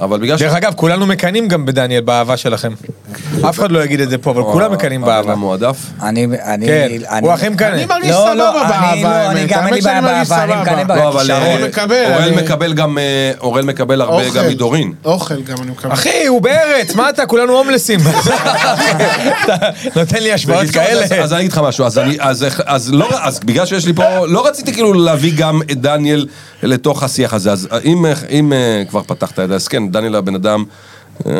[SPEAKER 2] אבל בגלל ש...
[SPEAKER 3] דרך אגב, כולנו מקנאים גם בדניאל, באהבה שלכם. אף אחד לא יגיד את זה פה, אבל כולם מקנאים באהבה.
[SPEAKER 2] המועדף.
[SPEAKER 4] אני, אני,
[SPEAKER 3] כן,
[SPEAKER 4] אני-
[SPEAKER 3] הוא הכי מקנא.
[SPEAKER 5] אני מרגיש
[SPEAKER 4] לא,
[SPEAKER 5] סבבה
[SPEAKER 4] לא, אני לא,
[SPEAKER 5] באהבה,
[SPEAKER 4] אני
[SPEAKER 5] האמת.
[SPEAKER 4] גם אין לי
[SPEAKER 5] האמת שאני
[SPEAKER 4] בעיה
[SPEAKER 5] מרגיש
[SPEAKER 4] באהבה,
[SPEAKER 5] סבבה.
[SPEAKER 4] אני מקנא
[SPEAKER 2] לא, אבל
[SPEAKER 4] בכישרון.
[SPEAKER 2] אה,
[SPEAKER 5] הוא מקבל,
[SPEAKER 2] אוראל
[SPEAKER 5] אני-
[SPEAKER 2] מקבל גם, אה, אוראל מקבל הרבה גם מדורין.
[SPEAKER 5] אוכל גם אני מקבל.
[SPEAKER 3] אחי, הוא בארץ, מה אתה? כולנו הומלסים. אתה נותן לי השוואות
[SPEAKER 2] בקיצור,
[SPEAKER 3] כאלה.
[SPEAKER 2] אז- אז אני אגיד לך משהו, אז אני- אז- אז לא- אז בגלל שיש לי פה, לא רציתי כאילו להביא גם את דניאל לתוך השיח הזה, אז אם- אם אה, כבר פתחת את זה, אז כן, דניאל הבן אדם... אה,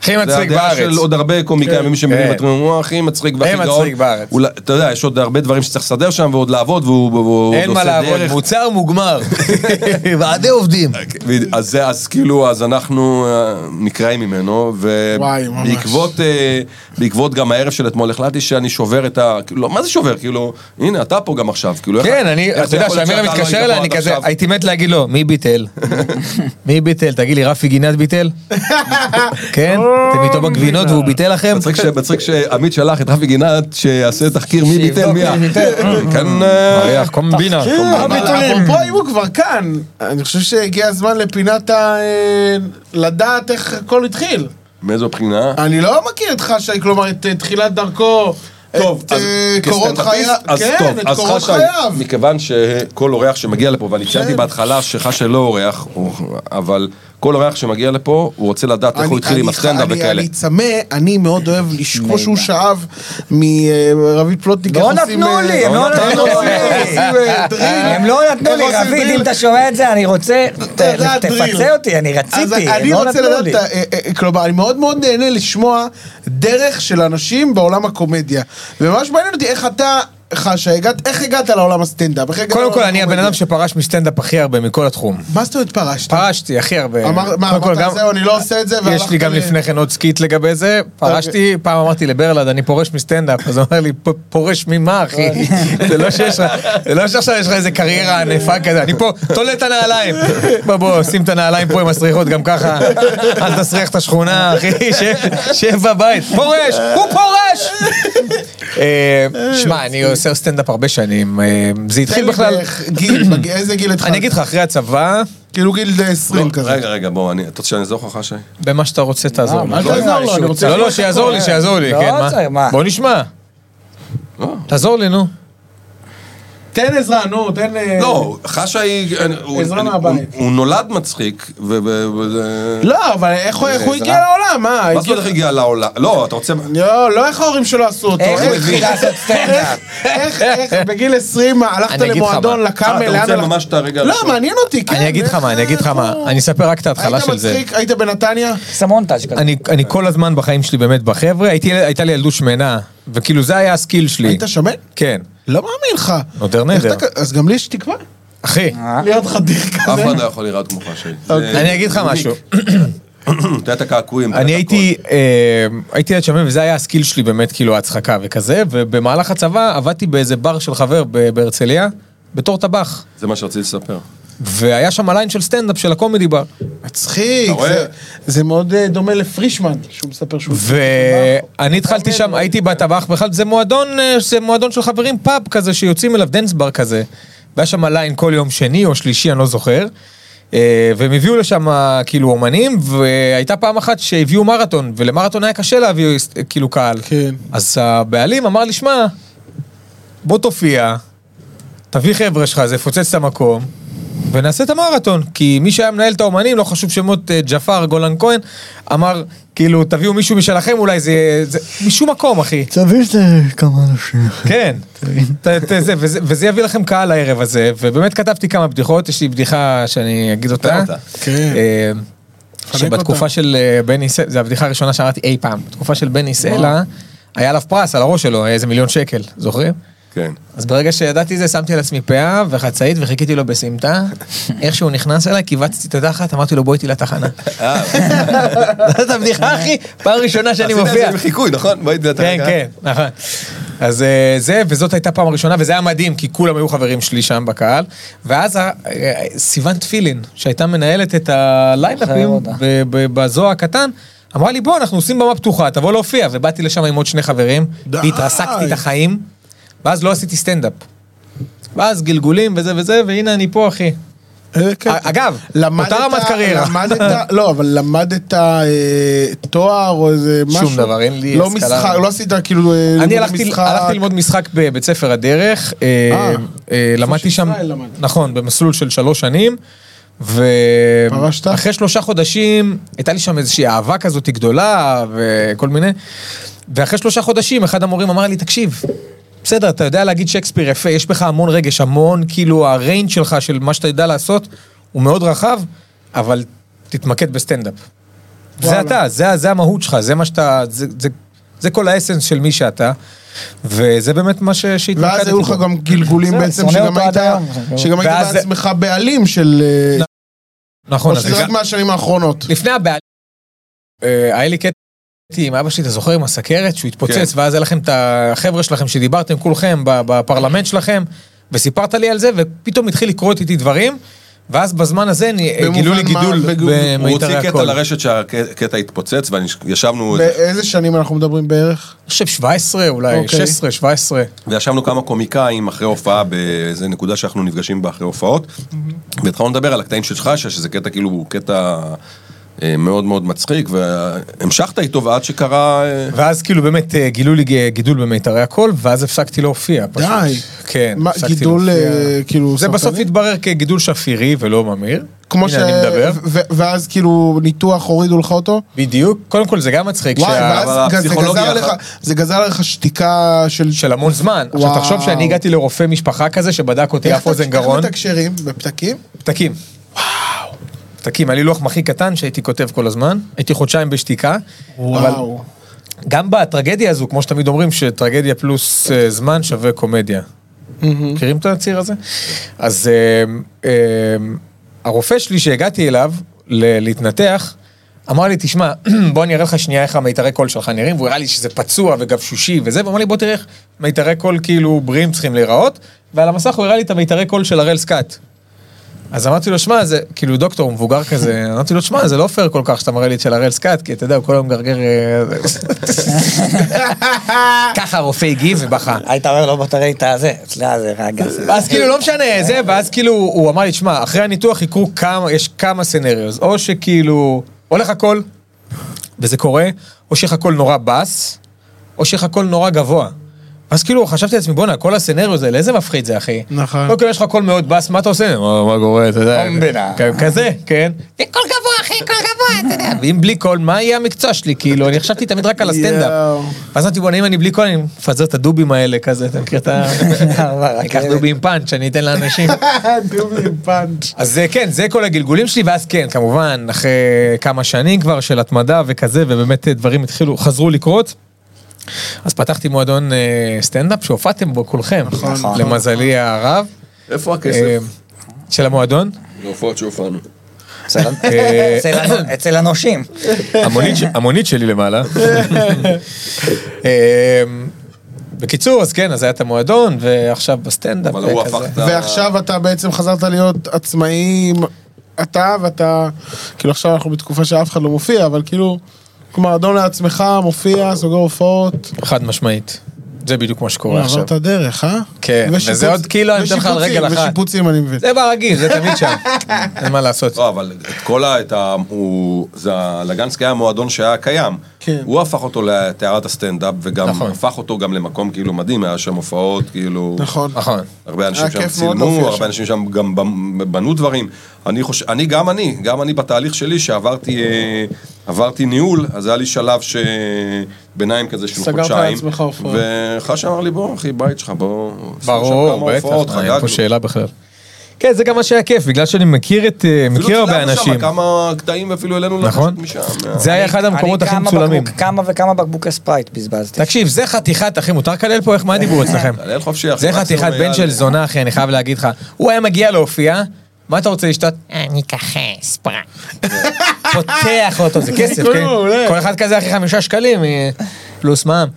[SPEAKER 3] הכי
[SPEAKER 2] זה
[SPEAKER 3] מצחיק
[SPEAKER 2] הדעה
[SPEAKER 3] בארץ.
[SPEAKER 2] של עוד הרבה קומיקאים, ומי שמבינים
[SPEAKER 3] כן.
[SPEAKER 2] את עצמם, הוא הכי מצחיק והכי
[SPEAKER 3] הכי
[SPEAKER 2] גאון.
[SPEAKER 3] מצחיק בארץ.
[SPEAKER 2] אולי- אתה יודע, יש עוד הרבה דברים שצריך לסדר שם, ועוד לעבוד, והוא והוא עוד
[SPEAKER 3] אין מה
[SPEAKER 2] עושה
[SPEAKER 3] לעבוד,
[SPEAKER 2] דרך.
[SPEAKER 3] מוצר מוגמר. ועדי עובדים.
[SPEAKER 2] אז זה, אז כאילו, אז אנחנו אה, נקרעים ממנו,
[SPEAKER 5] וואי, ממש.
[SPEAKER 2] ובעקבות אה, בעקבות גם הערב של אתמול החלטתי שאני שובר את ה... כאילו, מה זה שובר? כאילו, הנה, אתה פה גם עכשיו, כאילו... איך-
[SPEAKER 3] כן, אני,
[SPEAKER 2] איך זה
[SPEAKER 3] אתה יודע,
[SPEAKER 2] יכול להיות
[SPEAKER 3] כשאמירה
[SPEAKER 2] שאתה לא
[SPEAKER 3] מתקשר
[SPEAKER 2] היית
[SPEAKER 3] אליי,
[SPEAKER 2] פה
[SPEAKER 3] אני
[SPEAKER 2] עד
[SPEAKER 3] כזה,
[SPEAKER 2] עכשיו?
[SPEAKER 3] הייתי מת להגיד לו, מי ביטל? מי ביטל? תגיד לי, רפי גינת ביטל? כן? אתם איתו בגבינות והוא ביטל לכם?
[SPEAKER 2] מצחיק ש- מצחיק שעמית שלח את רפי גינת שיעשה תחקיר מי ביטל מי.
[SPEAKER 3] מי ביטל.
[SPEAKER 2] כאן... אה,
[SPEAKER 3] מריח, קומבינה.
[SPEAKER 5] הביטולים. אפרופו, אם הוא כבר כאן, אני חושב שהגיע הזמן לפינת ה... אה, לדעת איך הכל התחיל.
[SPEAKER 2] מאיזו בחינה?
[SPEAKER 5] אני לא מכיר את חשאי, כלומר, את אה, תחילת דרכו,
[SPEAKER 2] טוב,
[SPEAKER 5] את
[SPEAKER 2] אז
[SPEAKER 5] אה, קורות
[SPEAKER 2] כסטנדאפיסט,
[SPEAKER 5] חייו,
[SPEAKER 2] אז
[SPEAKER 5] כן,
[SPEAKER 2] טוב,
[SPEAKER 5] את
[SPEAKER 2] אז
[SPEAKER 5] קורות
[SPEAKER 2] חשי,
[SPEAKER 5] חייו. כן.
[SPEAKER 2] מכיוון שכל אורח שמגיע לפה, ואני ציינתי בהתחלה שחשי לא אורח, הוא- אבל כל אורח שמגיע לפה, הוא רוצה לדעת איך הוא
[SPEAKER 5] אני-
[SPEAKER 2] התחיל עם
[SPEAKER 5] אני-
[SPEAKER 2] הסטנדאפ
[SPEAKER 5] אני-
[SPEAKER 2] וכאלה.
[SPEAKER 5] אני צמא, אני מאוד אוהב לשמוע שהוא שאב מרביד פלוטניק.
[SPEAKER 4] לא
[SPEAKER 5] איך עושים,
[SPEAKER 4] נתנו
[SPEAKER 5] אה,
[SPEAKER 4] לי, הם לא
[SPEAKER 5] איך
[SPEAKER 4] נתנו
[SPEAKER 5] עושים,
[SPEAKER 4] לי.
[SPEAKER 5] איך עושים, אה, דריל.
[SPEAKER 4] הם לא נתנו
[SPEAKER 5] איך
[SPEAKER 4] לי,
[SPEAKER 5] עושים
[SPEAKER 4] רביד,
[SPEAKER 5] דריל.
[SPEAKER 4] אם אתה שומע את זה, אני רוצה, ת-
[SPEAKER 5] לדעת דריל.
[SPEAKER 4] תפצה אותי, אני רציתי,
[SPEAKER 5] אז
[SPEAKER 4] הם
[SPEAKER 5] אני
[SPEAKER 4] לא
[SPEAKER 5] רוצה
[SPEAKER 4] נתנו
[SPEAKER 5] לדעת,
[SPEAKER 4] לי.
[SPEAKER 5] את ה- אה, אה, כלומר, אני מאוד מאוד נהנה לשמוע דרך של אנשים בעולם הקומדיה. וממש מעניין אותי איך אתה חשה, הגעת- איך הגעת לעולם הסטנדאפ? איך הגעת
[SPEAKER 3] קודם כל,
[SPEAKER 5] לעולם
[SPEAKER 3] אני הבן
[SPEAKER 5] הקומדיה?
[SPEAKER 3] אדם שפרש מסטנדאפ הכי הרבה מכל התחום.
[SPEAKER 5] מה זאת אומרת פרשת?
[SPEAKER 3] פרשתי הכי הרבה.
[SPEAKER 5] אמר- מה,
[SPEAKER 3] אה, קודם כל,
[SPEAKER 5] אמרת,
[SPEAKER 3] גם-
[SPEAKER 5] זהו, אני לא עושה את זה,
[SPEAKER 3] יש לי
[SPEAKER 5] והלכת
[SPEAKER 3] גם
[SPEAKER 5] ל- אוקיי.
[SPEAKER 3] לפני כן עוד סקיט לגבי זה, פרשתי, פעם אמרתי לברלד, אני פורש מסטנדאפ, אז הוא אמר לי, "פ- פורש ממה אחי?
[SPEAKER 5] אוקיי.
[SPEAKER 3] זה לא שיש לך, זה לא שעכשיו יש לך איזה קריירה ענפה כזה, אני פה, תולה את הנעליים. בוא בוא, שים את הנעליים פה עם הסריחות גם ככה, אל תסריח את השכונה, אחי, שב- שב בבית, פורש, הוא פורש! אה, שמע, אני עושה סטנדאפ הרבה שנים, אה, זה התחיל בכלל,
[SPEAKER 5] בערך גיל, בג- איזה גיל התחלת?
[SPEAKER 3] אני אגיד לך, אחרי הצבא,
[SPEAKER 5] כאילו גיל אה, 20 כזה.
[SPEAKER 2] לא,
[SPEAKER 5] אה,
[SPEAKER 2] רגע, רגע, בוא, אני- אתה רוצה שאני אעזור לך, חשי?
[SPEAKER 3] במה שאתה רוצה תעזור לי.
[SPEAKER 5] אל תעזור לו, אני רוצה...
[SPEAKER 3] לא, לא, שיעזור לי, שיעזור לי,
[SPEAKER 4] לא
[SPEAKER 3] כן,
[SPEAKER 4] צריך,
[SPEAKER 3] מה?
[SPEAKER 4] מה?
[SPEAKER 3] בוא נשמע.
[SPEAKER 5] לא.
[SPEAKER 3] תעזור לי, נו.
[SPEAKER 5] תן עזרה, נו, תן... אה,
[SPEAKER 2] לא, חשי, אני- הוא-
[SPEAKER 5] עזרה
[SPEAKER 2] אני-
[SPEAKER 5] מהבית.
[SPEAKER 2] הוא הוא נולד מצחיק, ו- ו... וזה-
[SPEAKER 5] לא, אבל איך הוא- איך הוא הגיע לעולם, מה?
[SPEAKER 2] מה זאת אומרת איך הגיע לעולם? לא, אתה רוצה...
[SPEAKER 5] לא, לא איך ההורים שלו עשו אותו.
[SPEAKER 4] איך הוא התחיל לעשות סטנדאפ?
[SPEAKER 5] איך, איך, בגיל 20 הלכת
[SPEAKER 3] אני אגיד לך
[SPEAKER 5] למועדון,
[SPEAKER 3] מה.
[SPEAKER 2] אה,
[SPEAKER 5] לקאמל,
[SPEAKER 2] אתה רוצה
[SPEAKER 5] הלכת?
[SPEAKER 2] ממש את הרגע
[SPEAKER 5] לא,
[SPEAKER 2] הראשון?
[SPEAKER 5] מעניין אותי, כן.
[SPEAKER 3] אני אגיד לך
[SPEAKER 5] איך-
[SPEAKER 3] מה, אני אגיד לך מה.
[SPEAKER 5] איפה-
[SPEAKER 3] אני אספר רק את ההתחלה
[SPEAKER 5] היית
[SPEAKER 3] של זה.
[SPEAKER 5] מצחיק, היית בנתניה?
[SPEAKER 4] סמונטאז' כזה.
[SPEAKER 3] אני אני כל הזמן בחיים שלי באמת בחבר'ה, הייתי- הייתה לי ילדות שמנה, וכאילו זה היה הסקיל שלי.
[SPEAKER 5] היית שמן?
[SPEAKER 3] כן.
[SPEAKER 5] לא מאמין לך.
[SPEAKER 3] נודר
[SPEAKER 5] איך
[SPEAKER 3] נדר.
[SPEAKER 5] אתה כ- אז גם לי יש תקווה.
[SPEAKER 3] אחי,
[SPEAKER 5] להיות חתיך
[SPEAKER 2] אף
[SPEAKER 5] כזה.
[SPEAKER 2] אחד לא יכול להיראות כמו חשי.
[SPEAKER 5] אוקיי.
[SPEAKER 2] זה-
[SPEAKER 3] אני אגיד לך
[SPEAKER 2] זה
[SPEAKER 3] משהו.
[SPEAKER 2] אתה יודע את הקעקועים. אתה
[SPEAKER 3] אני
[SPEAKER 2] יודע את הכל.
[SPEAKER 3] הייתי, אה, הייתי ילד שמן, וזה היה הסקיל שלי באמת, כאילו ההצחקה וכזה, ובמהלך הצבא עבדתי באיזה בר של חבר ב- בהרצליה, בתור טבח.
[SPEAKER 2] זה מה שרציתי לספר.
[SPEAKER 3] והיה שם הליין של סטנדאפ של הקומדי בר.
[SPEAKER 5] מצחיק,
[SPEAKER 2] אתה רואה?
[SPEAKER 5] זה- זה מאוד אה, דומה לפרישמן, שהוא מספר שהוא...
[SPEAKER 3] ואני התחלתי שם, הייתי בטבח בכלל, זה מועדון, אה, זה מועדון של חברים, פאב כזה שיוצאים אליו, דנס בר כזה. והיה שם ליין כל יום שני או שלישי, אני לא זוכר. אה, והם הביאו לשם אה, כאילו אומנים, והייתה פעם אחת שהביאו מרתון, ולמרתון היה קשה להביא אה, כאילו קהל.
[SPEAKER 5] כן.
[SPEAKER 3] אז הבעלים אמר לי, שמע, בוא תופיע, תביא חבר'ה שלך, זה יפוצץ את המקום, ונעשה את המרתון. כי מי שהיה מנהל את האומנים, לא חשוב שמות אה, ג'פר, גולן כהן, אמר, כאילו, תביאו מישהו משלכם, אולי זה... זה משום מקום, אחי.
[SPEAKER 7] תביא איזה כמה אנשים.
[SPEAKER 3] כן. ת- ת- זה- וזה- וזה יביא לכם קהל הערב הזה, ובאמת כתבתי כמה בדיחות, יש לי בדיחה שאני אגיד אותה.
[SPEAKER 2] אותה.
[SPEAKER 5] כן.
[SPEAKER 3] אה,
[SPEAKER 5] חלק
[SPEAKER 3] שבתקופה
[SPEAKER 5] אותה.
[SPEAKER 3] של אה, בני סלע, זו הבדיחה הראשונה שאמרתי אי פעם, בתקופה של בני סלע, היה עליו פרס על הראש שלו, היה איזה מיליון שקל, זוכרים?
[SPEAKER 2] כן.
[SPEAKER 3] אז ברגע שידעתי זה, שמתי על עצמי פאה וחצאית וחיכיתי לו בסמטה. איך שהוא נכנס אליי, כיווצתי את התחת, אמרתי לו בוא איתי לתחנה.
[SPEAKER 2] אה.
[SPEAKER 3] זאת הבדיחה, אחי, פעם ראשונה שאני
[SPEAKER 2] עשית את זה
[SPEAKER 3] מופיע.
[SPEAKER 2] עם חיקוי, נכון? בואי נדעת.
[SPEAKER 3] כן, כן, נכון. אז אה, זה, וזאת הייתה פעם ראשונה, וזה היה מדהים, כי כולם היו חברים שלי שם בקהל. ואז ה- אה, סיוון תפילין, שהייתה מנהלת את
[SPEAKER 4] זוכר
[SPEAKER 3] הליינאפים
[SPEAKER 4] אותה.
[SPEAKER 3] ב- ב- בזוהר הקטן, אמרה לי, בוא, אנחנו עושים במה פתוחה, תבוא להופיע. ובאתי לשם עם עוד שני חברים,
[SPEAKER 5] די.
[SPEAKER 3] והתרסקתי את החיים, ואז לא עשיתי סטנדאפ. ואז גלגולים וזה וזה, והנה אני פה, אחי.
[SPEAKER 5] איזה קטע.
[SPEAKER 3] אה, אגב,
[SPEAKER 5] אה, כן. למדת-
[SPEAKER 3] אותה רמת קריירה.
[SPEAKER 5] למדת, לא, אבל למדת אה, תואר או איזה
[SPEAKER 3] שום
[SPEAKER 5] משהו.
[SPEAKER 3] דבר, אין לי
[SPEAKER 5] לא
[SPEAKER 3] השכלה.
[SPEAKER 5] משחק, לא עשית כאילו... אה,
[SPEAKER 3] אני
[SPEAKER 5] לימודי
[SPEAKER 3] הלכתי,
[SPEAKER 5] משחק.
[SPEAKER 3] הלכתי ללמוד משחק בבית ספר הדרך, אה,
[SPEAKER 5] אה,
[SPEAKER 3] אה, למדתי שם,
[SPEAKER 5] שישראל למדת.
[SPEAKER 3] נכון, במסלול של שלוש שנים,
[SPEAKER 5] פרשת?
[SPEAKER 3] ואחרי שלושה חודשים הייתה לי שם איזושהי אהבה כזאת גדולה וכל מיני, ואחרי שלושה חודשים אחד המורים אמר לי, תקשיב, בסדר, אתה יודע להגיד שייקספיר יפה, יש בך המון רגש, המון, כאילו הריינג' שלך של מה שאתה יודע לעשות, הוא מאוד רחב, אבל תתמקד בסטנדאפ. זה אתה, זה, זה המהות שלך, זה מה שאתה, זה, זה, זה כל האסנס של מי שאתה, וזה באמת מה ש- שהתמקדתי.
[SPEAKER 5] ואז היו לך
[SPEAKER 3] בו.
[SPEAKER 5] גם גלגולים
[SPEAKER 4] בסדר,
[SPEAKER 5] בעצם,
[SPEAKER 4] שונא
[SPEAKER 5] שגם
[SPEAKER 4] אותו
[SPEAKER 5] היית,
[SPEAKER 4] עד היום.
[SPEAKER 5] שגם היית
[SPEAKER 3] ואז-
[SPEAKER 5] בעצמך בעלים של... אה,
[SPEAKER 3] נכון,
[SPEAKER 5] או
[SPEAKER 3] אז
[SPEAKER 5] שזה רק
[SPEAKER 3] גם-
[SPEAKER 5] מהשנים האחרונות.
[SPEAKER 3] לפני הבעלים, אה, היה לי קטע עם אבא שלי, אתה זוכר עם הסכרת, שהוא התפוצץ,
[SPEAKER 5] כן.
[SPEAKER 3] ואז היה לכם את החבר'ה שלכם שדיברתם כולכם ב- בפרלמנט שלכם, וסיפרת לי על זה, ופתאום התחיל לקרות איתי דברים. ואז בזמן הזה נ-
[SPEAKER 5] במובן
[SPEAKER 3] גילו לי
[SPEAKER 5] מה-
[SPEAKER 3] גידול
[SPEAKER 5] בגו-
[SPEAKER 2] הוא
[SPEAKER 3] במיתרי
[SPEAKER 2] הוציא קטע
[SPEAKER 3] הקול. אני
[SPEAKER 2] לרשת שהקטע התפוצץ, וישבנו,
[SPEAKER 5] באיזה שנים אנחנו מדברים בערך?
[SPEAKER 3] חושב 17 אולי,
[SPEAKER 5] אוקיי.
[SPEAKER 3] 16, 17.
[SPEAKER 2] וישבנו כמה קומיקאים אחרי הופעה, באיזה נקודה שאנחנו נפגשים בה אחרי הופעות, והתחלנו לדבר על הקטעים של חשה, שזה קטע כאילו, הוא קטע אה, מאוד מאוד מצחיק, והמשכת איתו, ועד שקרה... אה,
[SPEAKER 3] ואז כאילו באמת אה, גילו לי ג- גידול במיתרי הקול, ואז הפסקתי להופיע. פשוט.
[SPEAKER 5] די.
[SPEAKER 3] כן,
[SPEAKER 5] מה,
[SPEAKER 3] הפסקתי
[SPEAKER 5] גידול,
[SPEAKER 3] להופיע.
[SPEAKER 5] אה, כאילו,
[SPEAKER 3] זה בסוף
[SPEAKER 5] סרטני?
[SPEAKER 3] התברר כגידול שפירי ולא ממאיר.
[SPEAKER 5] כמו ש...
[SPEAKER 3] הנה, אני מדבר.
[SPEAKER 5] ו- ואז כאילו ניתוח הורידו לך אותו?
[SPEAKER 3] בדיוק. קודם כל זה גם מצחיק.
[SPEAKER 5] וואי,
[SPEAKER 3] שה-
[SPEAKER 5] ואז
[SPEAKER 2] אבל
[SPEAKER 5] זה
[SPEAKER 2] הפסיכולוגיה
[SPEAKER 5] גזר לך,
[SPEAKER 2] אחת-
[SPEAKER 5] זה גזר לך שתיקה של...
[SPEAKER 3] של המון זמן. עכשיו
[SPEAKER 5] וואו.
[SPEAKER 3] תחשוב שאני הגעתי לרופא משפחה כזה שבדק אותי
[SPEAKER 5] איך
[SPEAKER 3] אף אוזן
[SPEAKER 5] אתה-
[SPEAKER 3] גרון.
[SPEAKER 5] איך מתקשרים? בפתקים?
[SPEAKER 3] פתקים. וואו. פתקים, היה לי לוח מחי קטן שהייתי כותב כל הזמן, הייתי חודשיים בשתיקה.
[SPEAKER 5] וואו.
[SPEAKER 3] גם בטרגדיה הזו, כמו שתמיד אומרים, שטרגדיה פלוס אה, זמן שווה קומדיה. מכירים את הציר הזה? אז אה, אה, הרופא שלי שהגעתי אליו ל- להתנתח, אמר לי, תשמע, בוא אני אראה לך שנייה איך המיתרי קול שלך נראים, והוא הראה לי שזה פצוע וגבשושי וזה, והוא אמר לי, בוא תראה איך מיתרי קול כאילו בריאים צריכים להיראות, ועל המסך הוא הראה לי את המיתרי קול של הראל סקאט. אז אמרתי לו, שמע, זה, כאילו דוקטור, הוא מבוגר כזה, אמרתי לו, שמע, זה לא פייר כל כך שאתה מראה לי את של הראל סקאט, כי אתה יודע, הוא כל היום מגרגר... אה, ככה הרופא הגיב ובכה.
[SPEAKER 4] היית אומר לו בוא תראה את הזה, אצלה זה רגע.
[SPEAKER 3] ואז כאילו, לא משנה, זה, ואז כאילו, הוא אמר לי, שמע, אחרי הניתוח יקרו כמה, יש כמה סנריוז, או שכאילו, הולך הכל, וזה קורה, או שיש לך קול נורא בס, או שיש לך קול נורא גבוה. אז כאילו, חשבתי לעצמי, בואנה, כל הסצנריו הזה, לאיזה מפחיד זה, אחי?
[SPEAKER 5] נכון.
[SPEAKER 3] לא, כאילו, יש לך קול מאוד בס, מה אתה עושה? מה מה קורה, אתה יודע.
[SPEAKER 4] קומבינה.
[SPEAKER 3] כ- כזה, כן.
[SPEAKER 8] זה קול גבוה, אחי, קול גבוה, אתה יודע.
[SPEAKER 3] ואם בלי קול, מה יהיה המקצוע שלי? כאילו, אני חשבתי תמיד רק על הסטנדאפ.
[SPEAKER 5] יואו.
[SPEAKER 3] ואז אמרתי, בוא'נה, אם אני בלי קול, אני מפזר את הדובים האלה כזה, אתה מכיר את ה... אני
[SPEAKER 4] אוקיי.
[SPEAKER 3] אקח דובי עם פאנץ', אני אתן לאנשים.
[SPEAKER 5] דובי עם פאנץ'.
[SPEAKER 3] אז אה, כן, זה כל הגלגולים שלי, ואז כן, כמובן, אחרי כמה שנים כבר של התמדה וכזה, ובאמת אה, דברים התחילו, חזרו לקרות. אז פתחתי מועדון אה, סטנדאפ שהופעתם בו כולכם,
[SPEAKER 4] נכון.
[SPEAKER 3] למזלי הרב.
[SPEAKER 2] איפה
[SPEAKER 3] אה,
[SPEAKER 2] הכסף?
[SPEAKER 3] של המועדון?
[SPEAKER 2] להופעות שהופענו.
[SPEAKER 4] אצל-
[SPEAKER 3] אה,
[SPEAKER 4] אצל אנ- אצל אנושים.
[SPEAKER 3] המונית, ש- המונית שלי למעלה. אמ, בקיצור, אז כן, אז היה את המועדון, ועכשיו בסטנדאפ.
[SPEAKER 2] אבל הוא
[SPEAKER 3] וכזה.
[SPEAKER 2] הפך את ה...
[SPEAKER 5] ועכשיו אתה בעצם חזרת להיות עצמאי, אתה ואתה, כאילו עכשיו אנחנו בתקופה שאף אחד לא מופיע, אבל כאילו, כלומר, אדון לעצמך, מופיע, סוגר הופעות.
[SPEAKER 3] חד משמעית. זה בדיוק מה שקורה עכשיו.
[SPEAKER 5] עברת דרך, אה?
[SPEAKER 3] כן,
[SPEAKER 5] ושיפוץ-
[SPEAKER 3] וזה עוד כאילו, אני נותן לך על
[SPEAKER 5] ושיפוצים,
[SPEAKER 3] רגל אחת.
[SPEAKER 5] ושיפוצים, אני מבין.
[SPEAKER 3] זה ברגיל, זה תמיד שם. אין מה לעשות.
[SPEAKER 2] לא, אבל את כל ה... את ה... הוא... זה ה- לגנסקי היה מועדון שהיה קיים.
[SPEAKER 5] כן.
[SPEAKER 2] הוא הפך אותו לטהרת הסטנדאפ, וגם
[SPEAKER 3] נכון.
[SPEAKER 2] הפך אותו גם למקום כאילו מדהים, היה שם הופעות, כאילו...
[SPEAKER 5] נכון.
[SPEAKER 3] נכון.
[SPEAKER 2] הרבה אנשים
[SPEAKER 5] היה
[SPEAKER 2] שם
[SPEAKER 5] כיף מאוד להופיע
[SPEAKER 2] צילמו,
[SPEAKER 5] שם.
[SPEAKER 2] הרבה אנשים שם גם במ- בנו דברים. אני חושב, אני גם אני, גם אני בתהליך שלי שעברתי אה, עברתי ניהול, אז היה לי שלב ש... ביניים כזה של
[SPEAKER 5] סגרת
[SPEAKER 2] חודשיים.
[SPEAKER 5] לעצמך הופעות.
[SPEAKER 2] וחש אמר לי, בוא אחי, בית שלך, בוא...
[SPEAKER 3] ברור, בטח. אין פה שאלה בכלל. כן, זה גם מה שהיה כיף, בגלל שאני מכיר את... אה,
[SPEAKER 2] כאילו,
[SPEAKER 3] מכיר הרבה
[SPEAKER 2] אפילו צילמנו
[SPEAKER 3] אנשים.
[SPEAKER 2] שם כמה קטעים ואפילו העלינו לרשת
[SPEAKER 3] נכון.
[SPEAKER 2] משם.
[SPEAKER 3] זה היה אחד המקומות
[SPEAKER 4] אני
[SPEAKER 3] הכי
[SPEAKER 4] כמה
[SPEAKER 3] מצולמים.
[SPEAKER 4] בקבוק- כמה וכמה בקבוקי ספרייט בזבזתי.
[SPEAKER 3] תקשיב, זה חתיכת, אחי, מותר לקלל פה? איך, מה הדיבור אצלכם?
[SPEAKER 2] תעלה אל חופשי, אחי,
[SPEAKER 3] זה
[SPEAKER 2] מקסימום
[SPEAKER 3] חתיכת בן
[SPEAKER 2] אייל.
[SPEAKER 3] של זונה, אחי, אני חייב להגיד לך. הוא היה מגיע להופיע, מה אתה רוצה לשתות?
[SPEAKER 8] אני אקח אה, ספרייט.
[SPEAKER 3] פותח אותו, זה כסף,
[SPEAKER 2] לא,
[SPEAKER 3] כן? כל אחד כזה, אחי, חמישה שקלים, אה, פלוס מע"מ.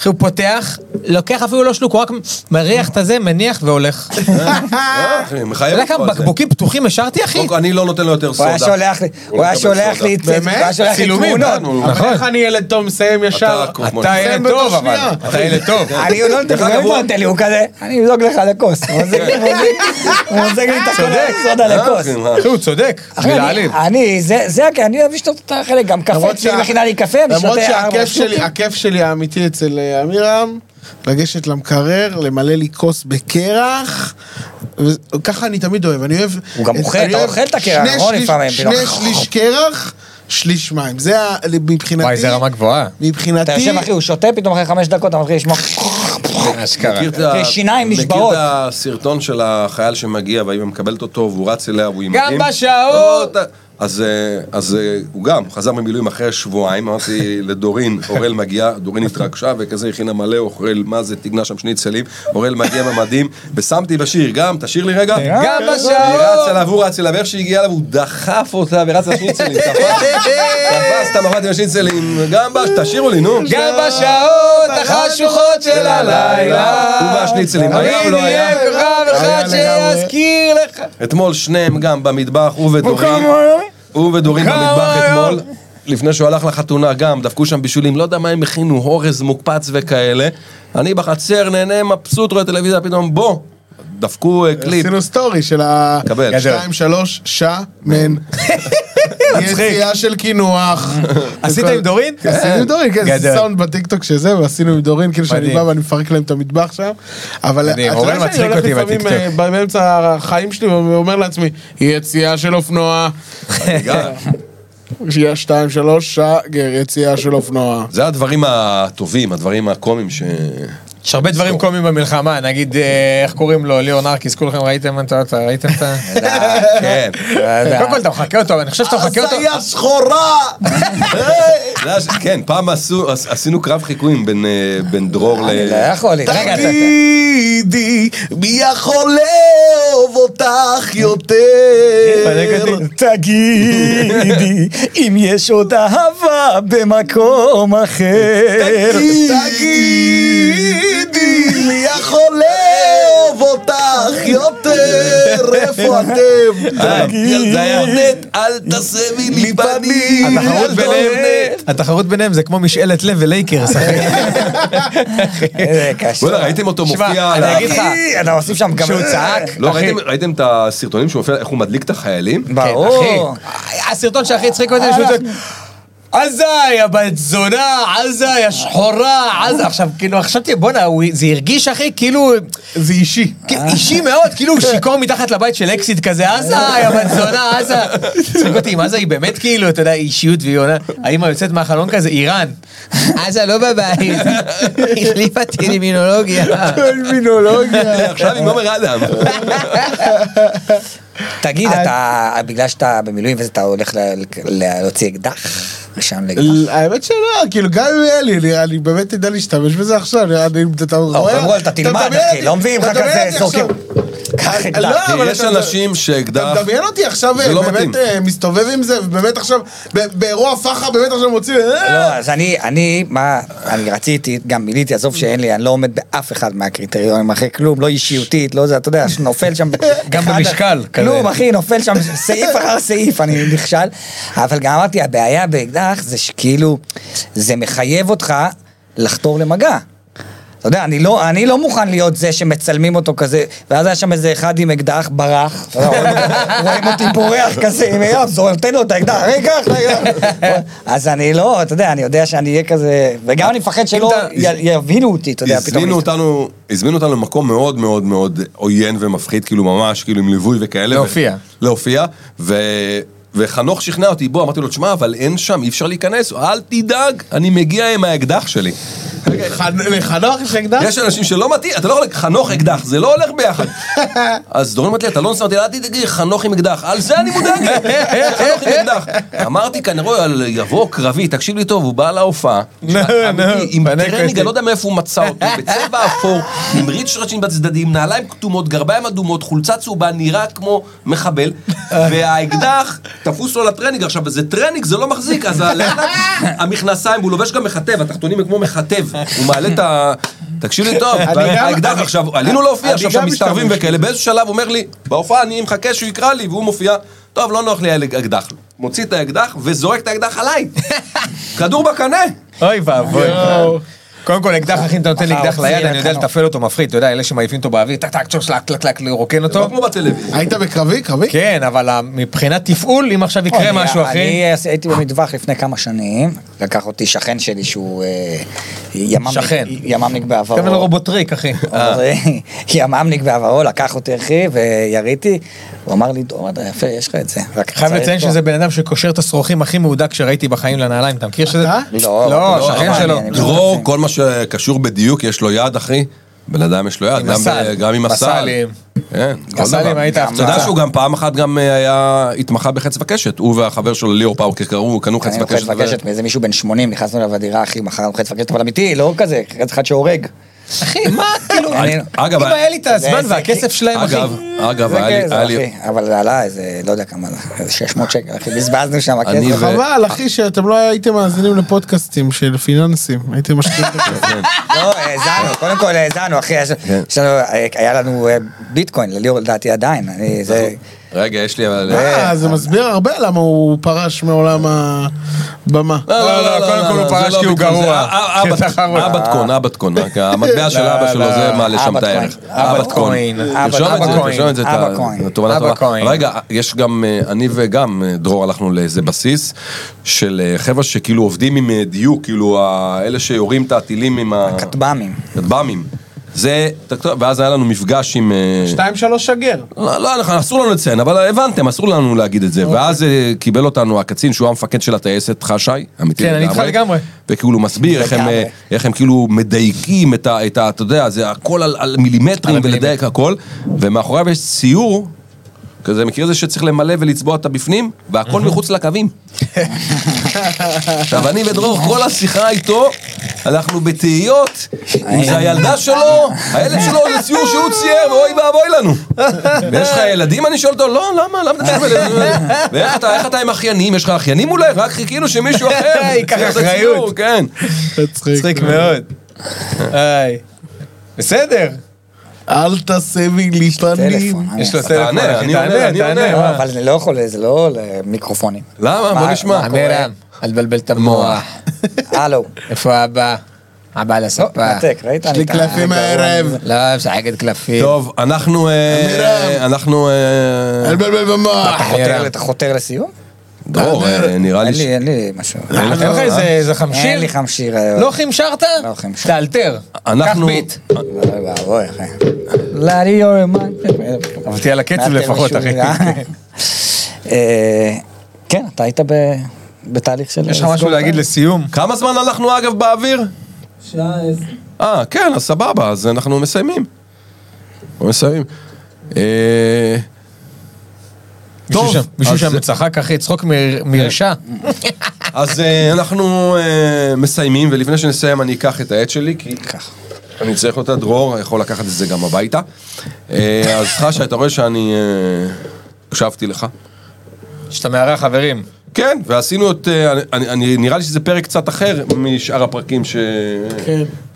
[SPEAKER 3] אחי, הוא פותח, לוקח אפילו לא שלוק, הוא רק מריח את הזה, מניח והולך. אתה
[SPEAKER 2] אה, אחי, מחייב
[SPEAKER 3] יודע
[SPEAKER 2] אותך
[SPEAKER 3] כמה
[SPEAKER 2] על זה.
[SPEAKER 3] בקבוקים פתוחים השארתי, אחי?
[SPEAKER 2] קודם כל, אני לא נותן לו יותר
[SPEAKER 4] הוא
[SPEAKER 2] סודה.
[SPEAKER 4] היה שולח לי,
[SPEAKER 2] הוא
[SPEAKER 4] הוא
[SPEAKER 2] לא
[SPEAKER 4] היה
[SPEAKER 2] מקבל
[SPEAKER 4] שולח
[SPEAKER 2] סודה.
[SPEAKER 4] לי, הוא היה שולח לי
[SPEAKER 3] צילומים,
[SPEAKER 4] תמונות.
[SPEAKER 5] אבל איך אני ילד טוב מסיים ישר?
[SPEAKER 2] כמו- כמו-
[SPEAKER 3] אתה ילד
[SPEAKER 5] מסיים בתוך
[SPEAKER 3] טוב, אבל.
[SPEAKER 5] שנייה.
[SPEAKER 3] אתה ילד טוב.
[SPEAKER 4] אני הוא לא נותן, הוא גם לא נותן לי, הוא כזה, אני אבדוק לך לכוס. הוא מוזג לי- הוא מוזג לי את הכל הסודה
[SPEAKER 2] אה,
[SPEAKER 4] לכוס.
[SPEAKER 2] אחי, מה?
[SPEAKER 3] אחי, הוא צודק,
[SPEAKER 4] אחי, אני-
[SPEAKER 3] מלהעליב.
[SPEAKER 4] אני, זה, זה, הכ- אני אוהב לשתות את החלק, גם קפה,
[SPEAKER 5] למרות
[SPEAKER 4] אצלי
[SPEAKER 5] שה-
[SPEAKER 4] מכינה לי קפה, אני
[SPEAKER 5] למרות
[SPEAKER 4] שותה ארבע
[SPEAKER 5] שהכיף שלי,
[SPEAKER 4] שטוקים.
[SPEAKER 5] הכיף שלי האמיתי אצל אה, עמירם, לגשת למקרר, למלא לי כוס בקרח, וככה אני תמיד אוהב, אני אוהב...
[SPEAKER 4] הוא גם
[SPEAKER 5] אני
[SPEAKER 4] אוכל, אתה
[SPEAKER 5] אוהב
[SPEAKER 4] אוכל את הקרח,
[SPEAKER 5] שני
[SPEAKER 4] נכון,
[SPEAKER 5] שליש-
[SPEAKER 4] לפעמים,
[SPEAKER 5] שני
[SPEAKER 4] פתאום.
[SPEAKER 5] שליש קרח, שליש מים, זה ה- מבחינתי...
[SPEAKER 3] וואי, זה רמה גבוהה.
[SPEAKER 5] מבחינתי...
[SPEAKER 4] אתה יושב אחי, הוא שותה, פתאום אחרי חמש דקות אתה מתחיל לשמוע,
[SPEAKER 3] אשכרה.
[SPEAKER 2] מכיר את ה-
[SPEAKER 4] אחי, שיניים
[SPEAKER 2] מכיר
[SPEAKER 4] נשברות.
[SPEAKER 2] את הסרטון של החייל שמגיע והאם מקבלת אותו והוא רץ אליה והוא עם
[SPEAKER 3] גם
[SPEAKER 2] מדים?
[SPEAKER 3] בשעות.
[SPEAKER 2] לא, אתה- אז, אה, אז אה, הוא גם חזר ממילואים אחרי שבועיים, אמרתי לדורין, אורל מגיע, דורין התרגשה וכזה הכינה מלא אוכל, מה זה, תגנה שם שניצלים, אורל מגיע במדים, ושמתי בשיר, גם, תשאיר לי רגע,
[SPEAKER 3] גם
[SPEAKER 2] היא
[SPEAKER 3] בשעות!
[SPEAKER 2] רצה אליו, הוא רץ אליו, איך שהיא הגיעה אליו, הוא דחף אותה ורץ לשניצלים, תפס, תפס את המפת עם השניצלים, גם בש... תשאירו לי, נו.
[SPEAKER 3] גם בשעות החשוכות של הלילה.
[SPEAKER 2] הוא והשניצלים, היה או
[SPEAKER 3] תמיד
[SPEAKER 2] לא היה?
[SPEAKER 3] יהיה כוכב אחד שיזכיר לך.
[SPEAKER 2] אתמול שניהם גם במטבח, הוא ודורין, הוא ודורין
[SPEAKER 3] כמה
[SPEAKER 2] במטבח
[SPEAKER 3] היום?
[SPEAKER 2] אתמול. לפני שהוא הלך לחתונה גם, דפקו שם בישולים, לא יודע מה הם הכינו, אורז מוקפץ וכאלה. אני בחצר, נהנה, מבסוט, רואה טלוויזיה, פתאום בוא, דפקו אה, קליפ.
[SPEAKER 5] עשינו סטורי של ה...
[SPEAKER 2] קבל.
[SPEAKER 5] שתיים, שלוש, שמן. יציאה של קינוח.
[SPEAKER 3] עשית עם דורין?
[SPEAKER 5] עשינו עם דורין, כן,
[SPEAKER 3] גדול.
[SPEAKER 5] זה סאונד בטיקטוק שזה, ועשינו עם דורין, כאילו שאני
[SPEAKER 3] מדהים.
[SPEAKER 5] בא ואני מפרק להם את המטבח שם, אבל
[SPEAKER 3] מדהים,
[SPEAKER 5] אתה
[SPEAKER 3] אורן
[SPEAKER 5] יודע שאני
[SPEAKER 3] מצחיק
[SPEAKER 5] הולך
[SPEAKER 3] אותי
[SPEAKER 5] לפעמים אה,
[SPEAKER 3] בטיקטוק.
[SPEAKER 5] באמצע החיים שלי ואומר לעצמי, יציאה של אופנוע, יציאה שתיים, שלוש, שגר, יציאה של אופנוע.
[SPEAKER 2] זה הדברים הטובים, הדברים הקומיים ש...
[SPEAKER 3] יש הרבה דברים קומיים במלחמה, נגיד, אה, איך קוראים לו, ליאור נרקיס, כולכם ראיתם את ה... אתה ראיתם את ה...
[SPEAKER 2] כן.
[SPEAKER 3] קודם כל אתה מחקה אותו, אבל אני חושב שאתה מחקה אותו.
[SPEAKER 2] שחורה! זה היה ש- כן, פעם עשו- עש- עשינו קרב חיקויים בין, אה, בין דרור ל...
[SPEAKER 3] לא יכול להיות. רגע, אתה-
[SPEAKER 2] תגידי, מי יכול לאהוב אותך יותר? אה,
[SPEAKER 4] תגידי, אם יש עוד אהבה במקום אחר.
[SPEAKER 2] תגידי, מי יכול לאהוב אותך יותר? איפה אתם? ירדנת, אל תסבי לי פנים.
[SPEAKER 3] התחרות ביניהם- התחרות ביניהם זה כמו משאלת לב ולייקרס, אחי.
[SPEAKER 4] איזה קשה.
[SPEAKER 2] בוא'נה, ראיתם אותו
[SPEAKER 3] שמע,
[SPEAKER 2] מופיע על
[SPEAKER 3] אני
[SPEAKER 2] ה...
[SPEAKER 3] אגיד לך,
[SPEAKER 4] אה, כן, אתה מוסיף שם גם...
[SPEAKER 3] שהוא צעק,
[SPEAKER 2] לא,
[SPEAKER 3] אחי,
[SPEAKER 2] ראיתם- ראיתם את הסרטונים שהוא מופיע, איך הוא מדליק את החיילים?
[SPEAKER 3] כן,
[SPEAKER 4] ברור.
[SPEAKER 3] אחי. הסרטון שהכי הצחיק אותי, שהוא צועק, עזה יא בת זונה, עזה יא שחורה, עזה. עכשיו, כאילו, חשבתי, בואנה, הוא- זה הרגיש, אחי, כאילו... זה אישי. אישי מאוד, כאילו הוא שיכור מתחת לבית של אקסיט כזה, עזה יא בת זונה, עזה. צחיק אותי, אם עזה היא באמת כאילו, אתה יודע, היא אישיות והיא עונה, האמא יוצאת מהחלון כזה, איראן. עזה לא בבית, החליפה טרמינולוגיה.
[SPEAKER 2] עכשיו עם עומר אדם.
[SPEAKER 4] תגיד, אתה, בגלל שאתה במילואים וזה, אתה הולך ל- ל- להוציא אקדח? רישיון לאקדח.
[SPEAKER 5] האמת שלא, כאילו גם אם יהיה לי, נראה לי באמת תדע להשתמש בזה עכשיו, נראה לי, אתה רואה?
[SPEAKER 4] קודם כל, אתה תלמד,
[SPEAKER 5] מדמיין
[SPEAKER 4] אחי,
[SPEAKER 5] אותי,
[SPEAKER 4] לא מביאים לך
[SPEAKER 5] אתה מדמיין
[SPEAKER 4] כזה,
[SPEAKER 5] אותי
[SPEAKER 4] זורקים.
[SPEAKER 5] עכשיו.
[SPEAKER 4] קח
[SPEAKER 5] לא,
[SPEAKER 4] אקדח.
[SPEAKER 5] אבל
[SPEAKER 2] יש
[SPEAKER 5] אתה-
[SPEAKER 2] אנשים
[SPEAKER 5] אתה
[SPEAKER 2] שאקדח...
[SPEAKER 5] מדמיין אותי עכשיו,
[SPEAKER 2] זה לא מתאים.
[SPEAKER 5] באמת אה, מסתובב עם זה, ובאמת עכשיו, ב- באירוע פח"ע, באמת עכשיו מוציא, אה,
[SPEAKER 4] לא, אז אני, אני, מה, אני רציתי, גם מילאתי, עזוב שאין לי, אני לא עומד באף אחד מהקריטריונים, אחרי כלום, לא אישיותית, לא זה, אתה יודע, נופל שם...
[SPEAKER 3] גם
[SPEAKER 4] אחד-
[SPEAKER 3] במשקל, כזה.
[SPEAKER 4] כלום, אחי, נופל שם סעיף אחר סעיף, אני נכשל. אבל גם אמרתי, הבעיה באקדח זה שכאילו, זה מחייב אותך לחתור למגע. אתה יודע, אני לא, אני לא מוכן להיות זה שמצלמים אותו כזה, ואז היה שם איזה אחד עם אקדח ברח, אתה יודע, רואים אותו- רואים אותי בורח כזה, עם יואב, זו- נותן לו את האקדח, רגע, רגע. אז אני לא, אתה יודע, אני יודע שאני אהיה כזה, וגם אני מפחד שלא
[SPEAKER 3] אתה-
[SPEAKER 4] י- יבינו אותי, אתה יודע, פתאום.
[SPEAKER 2] הזמינו אותנו, הזמינו אותנו למקום מאוד מאוד מאוד עוין ומפחיד, כאילו ממש, כאילו עם ליווי וכאלה.
[SPEAKER 3] להופיע.
[SPEAKER 2] ו- להופיע, ו... וחנוך שכנע אותי, בוא, אמרתי לו, תשמע, אבל אין שם, אי אפשר להיכנס, אל תדאג, אני מגיע עם האקדח שלי.
[SPEAKER 5] לחנוך יש אקדח?
[SPEAKER 2] יש אנשים שלא מתאים, אתה לא יכול, חנוך אקדח, זה לא הולך ביחד. אז דורון אמרת לי, אתה לא נוסע, אמרתי לה, אל תדאגי, חנוך עם אקדח, על זה אני מודאג, חנוך עם אקדח. אמרתי כנראה, על יבוא קרבי, תקשיב לי טוב, הוא בא להופעה, אמיתי, עם
[SPEAKER 3] פאנק
[SPEAKER 2] טרנינג,
[SPEAKER 3] אותי.
[SPEAKER 2] אני לא יודע מאיפה הוא מצא אותו, בצבע אפור, עם ריצ'רצ'ין בצדדים, נעליים כתומות, גרביים אדומות, חולצה צהובה, נראה כמו מחבל, והאקדח תפוס לו לטרנינג. עכשיו, זה טרנינג, זה לא מחזיק, אז לאט לאט המכנסיים, והוא לובש גם מכתב, התחתונים הם כמו מכתב, הוא מעלה את ה... תקשיב לי טוב, האקדח עכשיו, עלינו להופיע, עכשיו שם
[SPEAKER 5] גם
[SPEAKER 2] מסתערבים
[SPEAKER 5] משתמש.
[SPEAKER 2] וכאלה, באיזשהו שלב הוא אומר לי, בהופעה אני מחכה שהוא יקרא לי, והוא מופיע, טוב, לא נוח לי על אקדח. מוציא את האקדח וזורק את האקדח עליי. כדור בקנה. לא
[SPEAKER 3] אוי ואבוי. קודם כל אקדח אחי אם אתה נותן לי אקדח
[SPEAKER 4] הוציא
[SPEAKER 3] ליד אני יודע
[SPEAKER 4] לקנות.
[SPEAKER 3] לתפעל אותו מפחיד אתה יודע אלה שמעיפים אותו באוויר טק טק צ'וש לק לק לק לרוקן
[SPEAKER 2] לא
[SPEAKER 3] אותו.
[SPEAKER 2] כמו בטלוויזיה.
[SPEAKER 5] היית בקרבי? קרבי?
[SPEAKER 3] כן אבל ה- מבחינת תפעול אם עכשיו יקרה
[SPEAKER 4] אני-
[SPEAKER 3] משהו אחי.
[SPEAKER 4] אני עש- הייתי במטווח לפני כמה שנים, לקח אותי שכן שלי שהוא אה, ימ"מניק-
[SPEAKER 3] שכן.
[SPEAKER 4] ימ"מניק בעברו.
[SPEAKER 3] תקבל רובוטריק אחי.
[SPEAKER 2] אה.
[SPEAKER 3] אה,
[SPEAKER 4] אבל- ימ"מניק בעברו לקח אותי אחי ויריתי, הוא אמר לי, דור, אתה יפה, יש לך את זה. רק
[SPEAKER 3] חייב
[SPEAKER 4] צריך
[SPEAKER 3] לציין
[SPEAKER 4] פה."
[SPEAKER 3] שזה בן אדם שקושר את השרוכים הכי מהודק שראיתי בחיים לנעליים אתה מכיר שזה?
[SPEAKER 5] אתה?
[SPEAKER 4] לא,
[SPEAKER 3] לא
[SPEAKER 4] לא,
[SPEAKER 3] שכן
[SPEAKER 4] אבל
[SPEAKER 3] שלו.
[SPEAKER 4] אני-
[SPEAKER 2] דרור, כל מה שקשור בדיוק, יש לו יד, אחי. בן אדם יש לו יד,
[SPEAKER 3] עם
[SPEAKER 2] גם
[SPEAKER 3] הסל.
[SPEAKER 2] ב- גם עם הסל.
[SPEAKER 3] בסלים.
[SPEAKER 2] כן, כל
[SPEAKER 3] הסלים
[SPEAKER 2] דבר.
[SPEAKER 3] היית
[SPEAKER 2] אתה יודע
[SPEAKER 3] הפצצה.
[SPEAKER 2] שהוא גם פעם אחת גם אה, היה, התמחה בחץ וקשת. הוא והחבר שלו ליאור פאוקר קראו, קנו חץ
[SPEAKER 4] קנינו חץ
[SPEAKER 2] וקשת. ו-
[SPEAKER 4] וקשת מאיזה מישהו בן 80, נכנסנו אליו לדירה, אחי, מכרנו חץ וקשת, אבל אמיתי, לא כזה, חץ אחד שהורג.
[SPEAKER 3] אחי, מה, כאילו,
[SPEAKER 2] אני- אגב,
[SPEAKER 3] אם היה לי את הזמן
[SPEAKER 4] זה-
[SPEAKER 3] והכסף שלהם, אחי.
[SPEAKER 2] אגב, אגב,
[SPEAKER 4] זה
[SPEAKER 2] היה לי-
[SPEAKER 4] גזר,
[SPEAKER 2] היה לי...
[SPEAKER 4] אחי, אבל זה עלה איזה, לא יודע כמה, איזה 600 שקל, אחי, בזבזנו שם
[SPEAKER 2] אני
[SPEAKER 4] כסף.
[SPEAKER 2] ו-
[SPEAKER 5] חבל, אחי, שאתם לא הייתם מאזינים לפודקאסטים של פיננסים. הייתם משקיעים את הכסף.
[SPEAKER 4] לא, האזנו, קודם כל האזנו, אחי, יש-
[SPEAKER 2] כן.
[SPEAKER 4] יש לנו- היה לנו אה, ביטקוין, לליאור לדעתי עדיין, אני, זה...
[SPEAKER 2] רגע, יש לי אבל...
[SPEAKER 5] אה, זה מסביר הרבה למה הוא פרש מעולם הבמה.
[SPEAKER 3] לא, לא, קודם כל
[SPEAKER 2] זה
[SPEAKER 3] הוא פרש
[SPEAKER 2] לא
[SPEAKER 3] כי הוא
[SPEAKER 2] ביטקוין, זה
[SPEAKER 3] גרוע.
[SPEAKER 2] אה, אה,
[SPEAKER 3] כי אתה
[SPEAKER 2] אבט-
[SPEAKER 3] חרוד.
[SPEAKER 2] אבטקון, אבטקון, רק אה, המטבע של
[SPEAKER 3] לא,
[SPEAKER 2] אבא שלו
[SPEAKER 3] לא.
[SPEAKER 2] זה מעלה שם את
[SPEAKER 4] אבטקוין.
[SPEAKER 2] הערך.
[SPEAKER 3] אבטקוין.
[SPEAKER 2] תרשום את זה,
[SPEAKER 3] אבטקוין.
[SPEAKER 2] תרשום את זה, את ה-
[SPEAKER 4] אבטקוין.
[SPEAKER 2] את תובנת התורה.
[SPEAKER 3] אבטקוין.
[SPEAKER 2] רגע, יש גם, אה, אני וגם אה, דרור הלכנו לאיזה בסיס של אה, חבר'ה שכאילו עובדים עם אה, דיוק, כאילו ה- אלה שיורים את הטילים עם ה-
[SPEAKER 4] כטב"מים.
[SPEAKER 2] הכטב"מים. זה, ואז היה לנו מפגש עם... אה,
[SPEAKER 5] שתיים שלוש שגר.
[SPEAKER 2] לא, לא, אנחנו- אסור לנו לציין, אבל הבנתם, אסור לנו להגיד את זה.
[SPEAKER 3] אוקיי.
[SPEAKER 2] ואז אה, קיבל אותנו הקצין שהוא המפקד של הטייסת, חשי, אמיתי
[SPEAKER 3] כן, אני איתך לגמרי.
[SPEAKER 2] וכאילו מסביר איך הם,
[SPEAKER 4] לגמרי.
[SPEAKER 2] אה, איך הם כאילו מדייקים את ה... את ה- אתה יודע, זה הכל על, על מילימטרים ולדייק הכל, ומאחוריו יש ציור. כזה מכיר את זה שצריך למלא ולצבוע את הבפנים, והכל מחוץ לקווים. עכשיו, אני ודרור, כל השיחה איתו, אנחנו בתהיות, אם זה הילדה שלו, הילד שלו זה ציור שהוא צייר, ואוי ואבוי לנו. ויש לך ילדים? אני שואל אותו, לא, למה, למה אתה שואל ילדים? ואיך אתה, איך אתה עם אחיינים? יש לך אחיינים אולי? רק חיכינו שמישהו אחר
[SPEAKER 3] ייקח
[SPEAKER 2] יצייר את הציור,
[SPEAKER 3] אחריות.
[SPEAKER 2] כן.
[SPEAKER 3] מצחיק מאוד. היי. בסדר.
[SPEAKER 5] אל תעשה לי לי פנים.
[SPEAKER 4] טלפון.
[SPEAKER 3] יש לו
[SPEAKER 4] אה,
[SPEAKER 3] טלפון,
[SPEAKER 2] תענה,
[SPEAKER 3] אחי,
[SPEAKER 2] אני עונה, אני
[SPEAKER 3] תענה,
[SPEAKER 2] עונה.
[SPEAKER 3] תענה.
[SPEAKER 4] לא,
[SPEAKER 3] מה?
[SPEAKER 4] אבל זה לא יכול, זה לא למיקרופונים.
[SPEAKER 2] למה? בוא
[SPEAKER 4] מה-
[SPEAKER 2] נשמע.
[SPEAKER 4] מה
[SPEAKER 3] תענה
[SPEAKER 4] קורה?
[SPEAKER 3] רם, אל תבלבל את המוח.
[SPEAKER 4] הלו.
[SPEAKER 3] איפה אבא? אבא על
[SPEAKER 4] לא,
[SPEAKER 3] הספה.
[SPEAKER 4] נתק, ראית?
[SPEAKER 5] יש לי קלפים הערב.
[SPEAKER 3] לא, משחקת קלפים.
[SPEAKER 2] טוב, אנחנו... אה, אנחנו... אה,
[SPEAKER 5] אל בלבל במוח.
[SPEAKER 3] ערן.
[SPEAKER 4] אתה חותר לסיום?
[SPEAKER 2] דרור, אה, נראה
[SPEAKER 4] אין
[SPEAKER 2] לי ש...
[SPEAKER 4] לי, אין לי משהו.
[SPEAKER 3] אין לך איזה- איזה חמשיר?
[SPEAKER 4] אין לי חמשיר.
[SPEAKER 3] לא חמשרת?
[SPEAKER 4] לא חמשיר.
[SPEAKER 3] תאלתר.
[SPEAKER 2] אנחנו-
[SPEAKER 3] קח ביט.
[SPEAKER 4] אוי ואבוי, אחי. לאדי יור אמן.
[SPEAKER 3] אבל תהיה על הקצב לפחות, אחי.
[SPEAKER 4] כן, אתה היית ב- בתהליך של...
[SPEAKER 3] יש לך משהו להגיד לסיום?
[SPEAKER 2] כמה זמן אנחנו אגב באוויר?
[SPEAKER 9] שעה עשר.
[SPEAKER 2] אה, כן, אז סבבה, אז אנחנו מסיימים. אנחנו מסיימים. אה,
[SPEAKER 3] מישהו
[SPEAKER 2] טוב,
[SPEAKER 3] שם- מישהו
[SPEAKER 2] אז-
[SPEAKER 3] שם צחק, אחי, צחוק מ- מהרשע.
[SPEAKER 2] אז אה, אנחנו אה, מסיימים, ולפני שנסיים אני אקח את העט שלי, כי אני צריך אותה, דרור יכול לקחת את זה גם הביתה. אה, אז חשה, אתה רואה שאני אה, הקשבתי לך.
[SPEAKER 3] שאתה מארח חברים.
[SPEAKER 2] כן, ועשינו את... אה, אני- אני, אני, נראה לי שזה פרק קצת אחר משאר הפרקים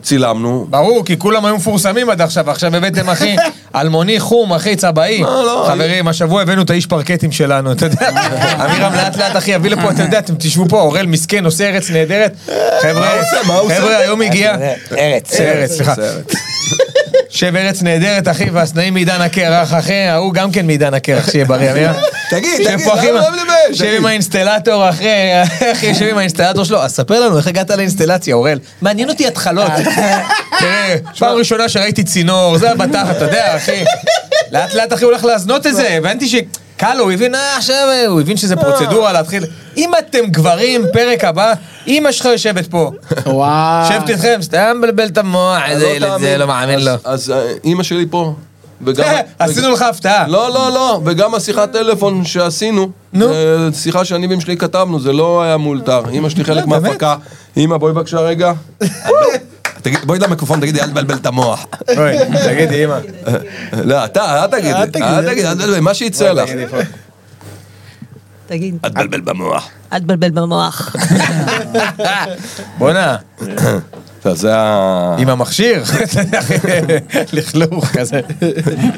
[SPEAKER 2] שצילמנו.
[SPEAKER 3] ברור, כי כולם היו מפורסמים עד עכשיו, ועכשיו הבאתם אחי, אלמוני חום, אחי, צבעי.
[SPEAKER 2] לא, לא,
[SPEAKER 3] חברים, השבוע הבאנו את האיש פרקטים שלנו, אתה יודע. אמירם לאט לאט אחי יביא לפה, אתה יודע, אתם תשבו פה, אוראל מסכן, עושה ארץ נהדרת. חבר'ה,
[SPEAKER 2] מה הוא עושה?
[SPEAKER 3] חבר'ה, היום הגיע...
[SPEAKER 4] אה, ארץ.
[SPEAKER 3] ארץ, סליחה.
[SPEAKER 2] סרט.
[SPEAKER 3] שב ארץ נהדרת, אחי, והסנאים מעידן הקרח, אחי, ההוא גם כן מעידן הקרח, שיהיה בריא, אמיר.
[SPEAKER 2] תגיד,
[SPEAKER 3] שב
[SPEAKER 2] תגיד,
[SPEAKER 3] פה, אחי,
[SPEAKER 2] למה
[SPEAKER 3] מה-
[SPEAKER 2] לא מדבר?
[SPEAKER 3] שב
[SPEAKER 2] תגיד.
[SPEAKER 3] עם האינסטלטור, אחי, אחי, שב עם האינסטלטור שלו. אז ספר לנו, איך הגעת לאינסטלציה, אוראל? מעניין אותי התחלות. תראה, פעם ראשונה שראיתי צינור, זה הבטח, אתה יודע, אחי. לאט לאט, אחי, הוא הולך להזנות את זה, הבנתי ש... קל לו, הוא הבין, אה, עכשיו, אה, הוא הבין שזה פרוצדורה להתחיל. אם אתם גברים, פרק הבא, אמא שלך יושבת פה.
[SPEAKER 5] וואו.
[SPEAKER 3] יושבת איתכם, סתם מבלבל את המוח, איזה
[SPEAKER 2] לא
[SPEAKER 3] ילד זה,
[SPEAKER 2] תאמין.
[SPEAKER 3] לא מאמין לו.
[SPEAKER 2] אז- אז אה, אימא שלי פה. וגם...
[SPEAKER 3] אה, עשינו לך הפתעה.
[SPEAKER 2] לא, לא, לא, וגם השיחת טלפון שעשינו,
[SPEAKER 3] נו.
[SPEAKER 2] אה, שיחה שאני ואמא שלי כתבנו, זה לא היה מאולתר. אמא שלי
[SPEAKER 3] לא,
[SPEAKER 2] חלק מההפקה. אמא, בואי בבקשה רגע. תגיד, בואי למיקרופון, תגידי, אל תבלבל את המוח.
[SPEAKER 3] אוי, תגידי, אמא.
[SPEAKER 2] לא, אתה, אל תגיד, אל תגיד, אל תבלבל, מה שיצא לך.
[SPEAKER 10] תגיד,
[SPEAKER 2] אל תבלבל במוח.
[SPEAKER 10] אל תבלבל במוח.
[SPEAKER 3] בואנה,
[SPEAKER 2] טוב, זה ה...
[SPEAKER 3] עם המכשיר. לכלוך כזה.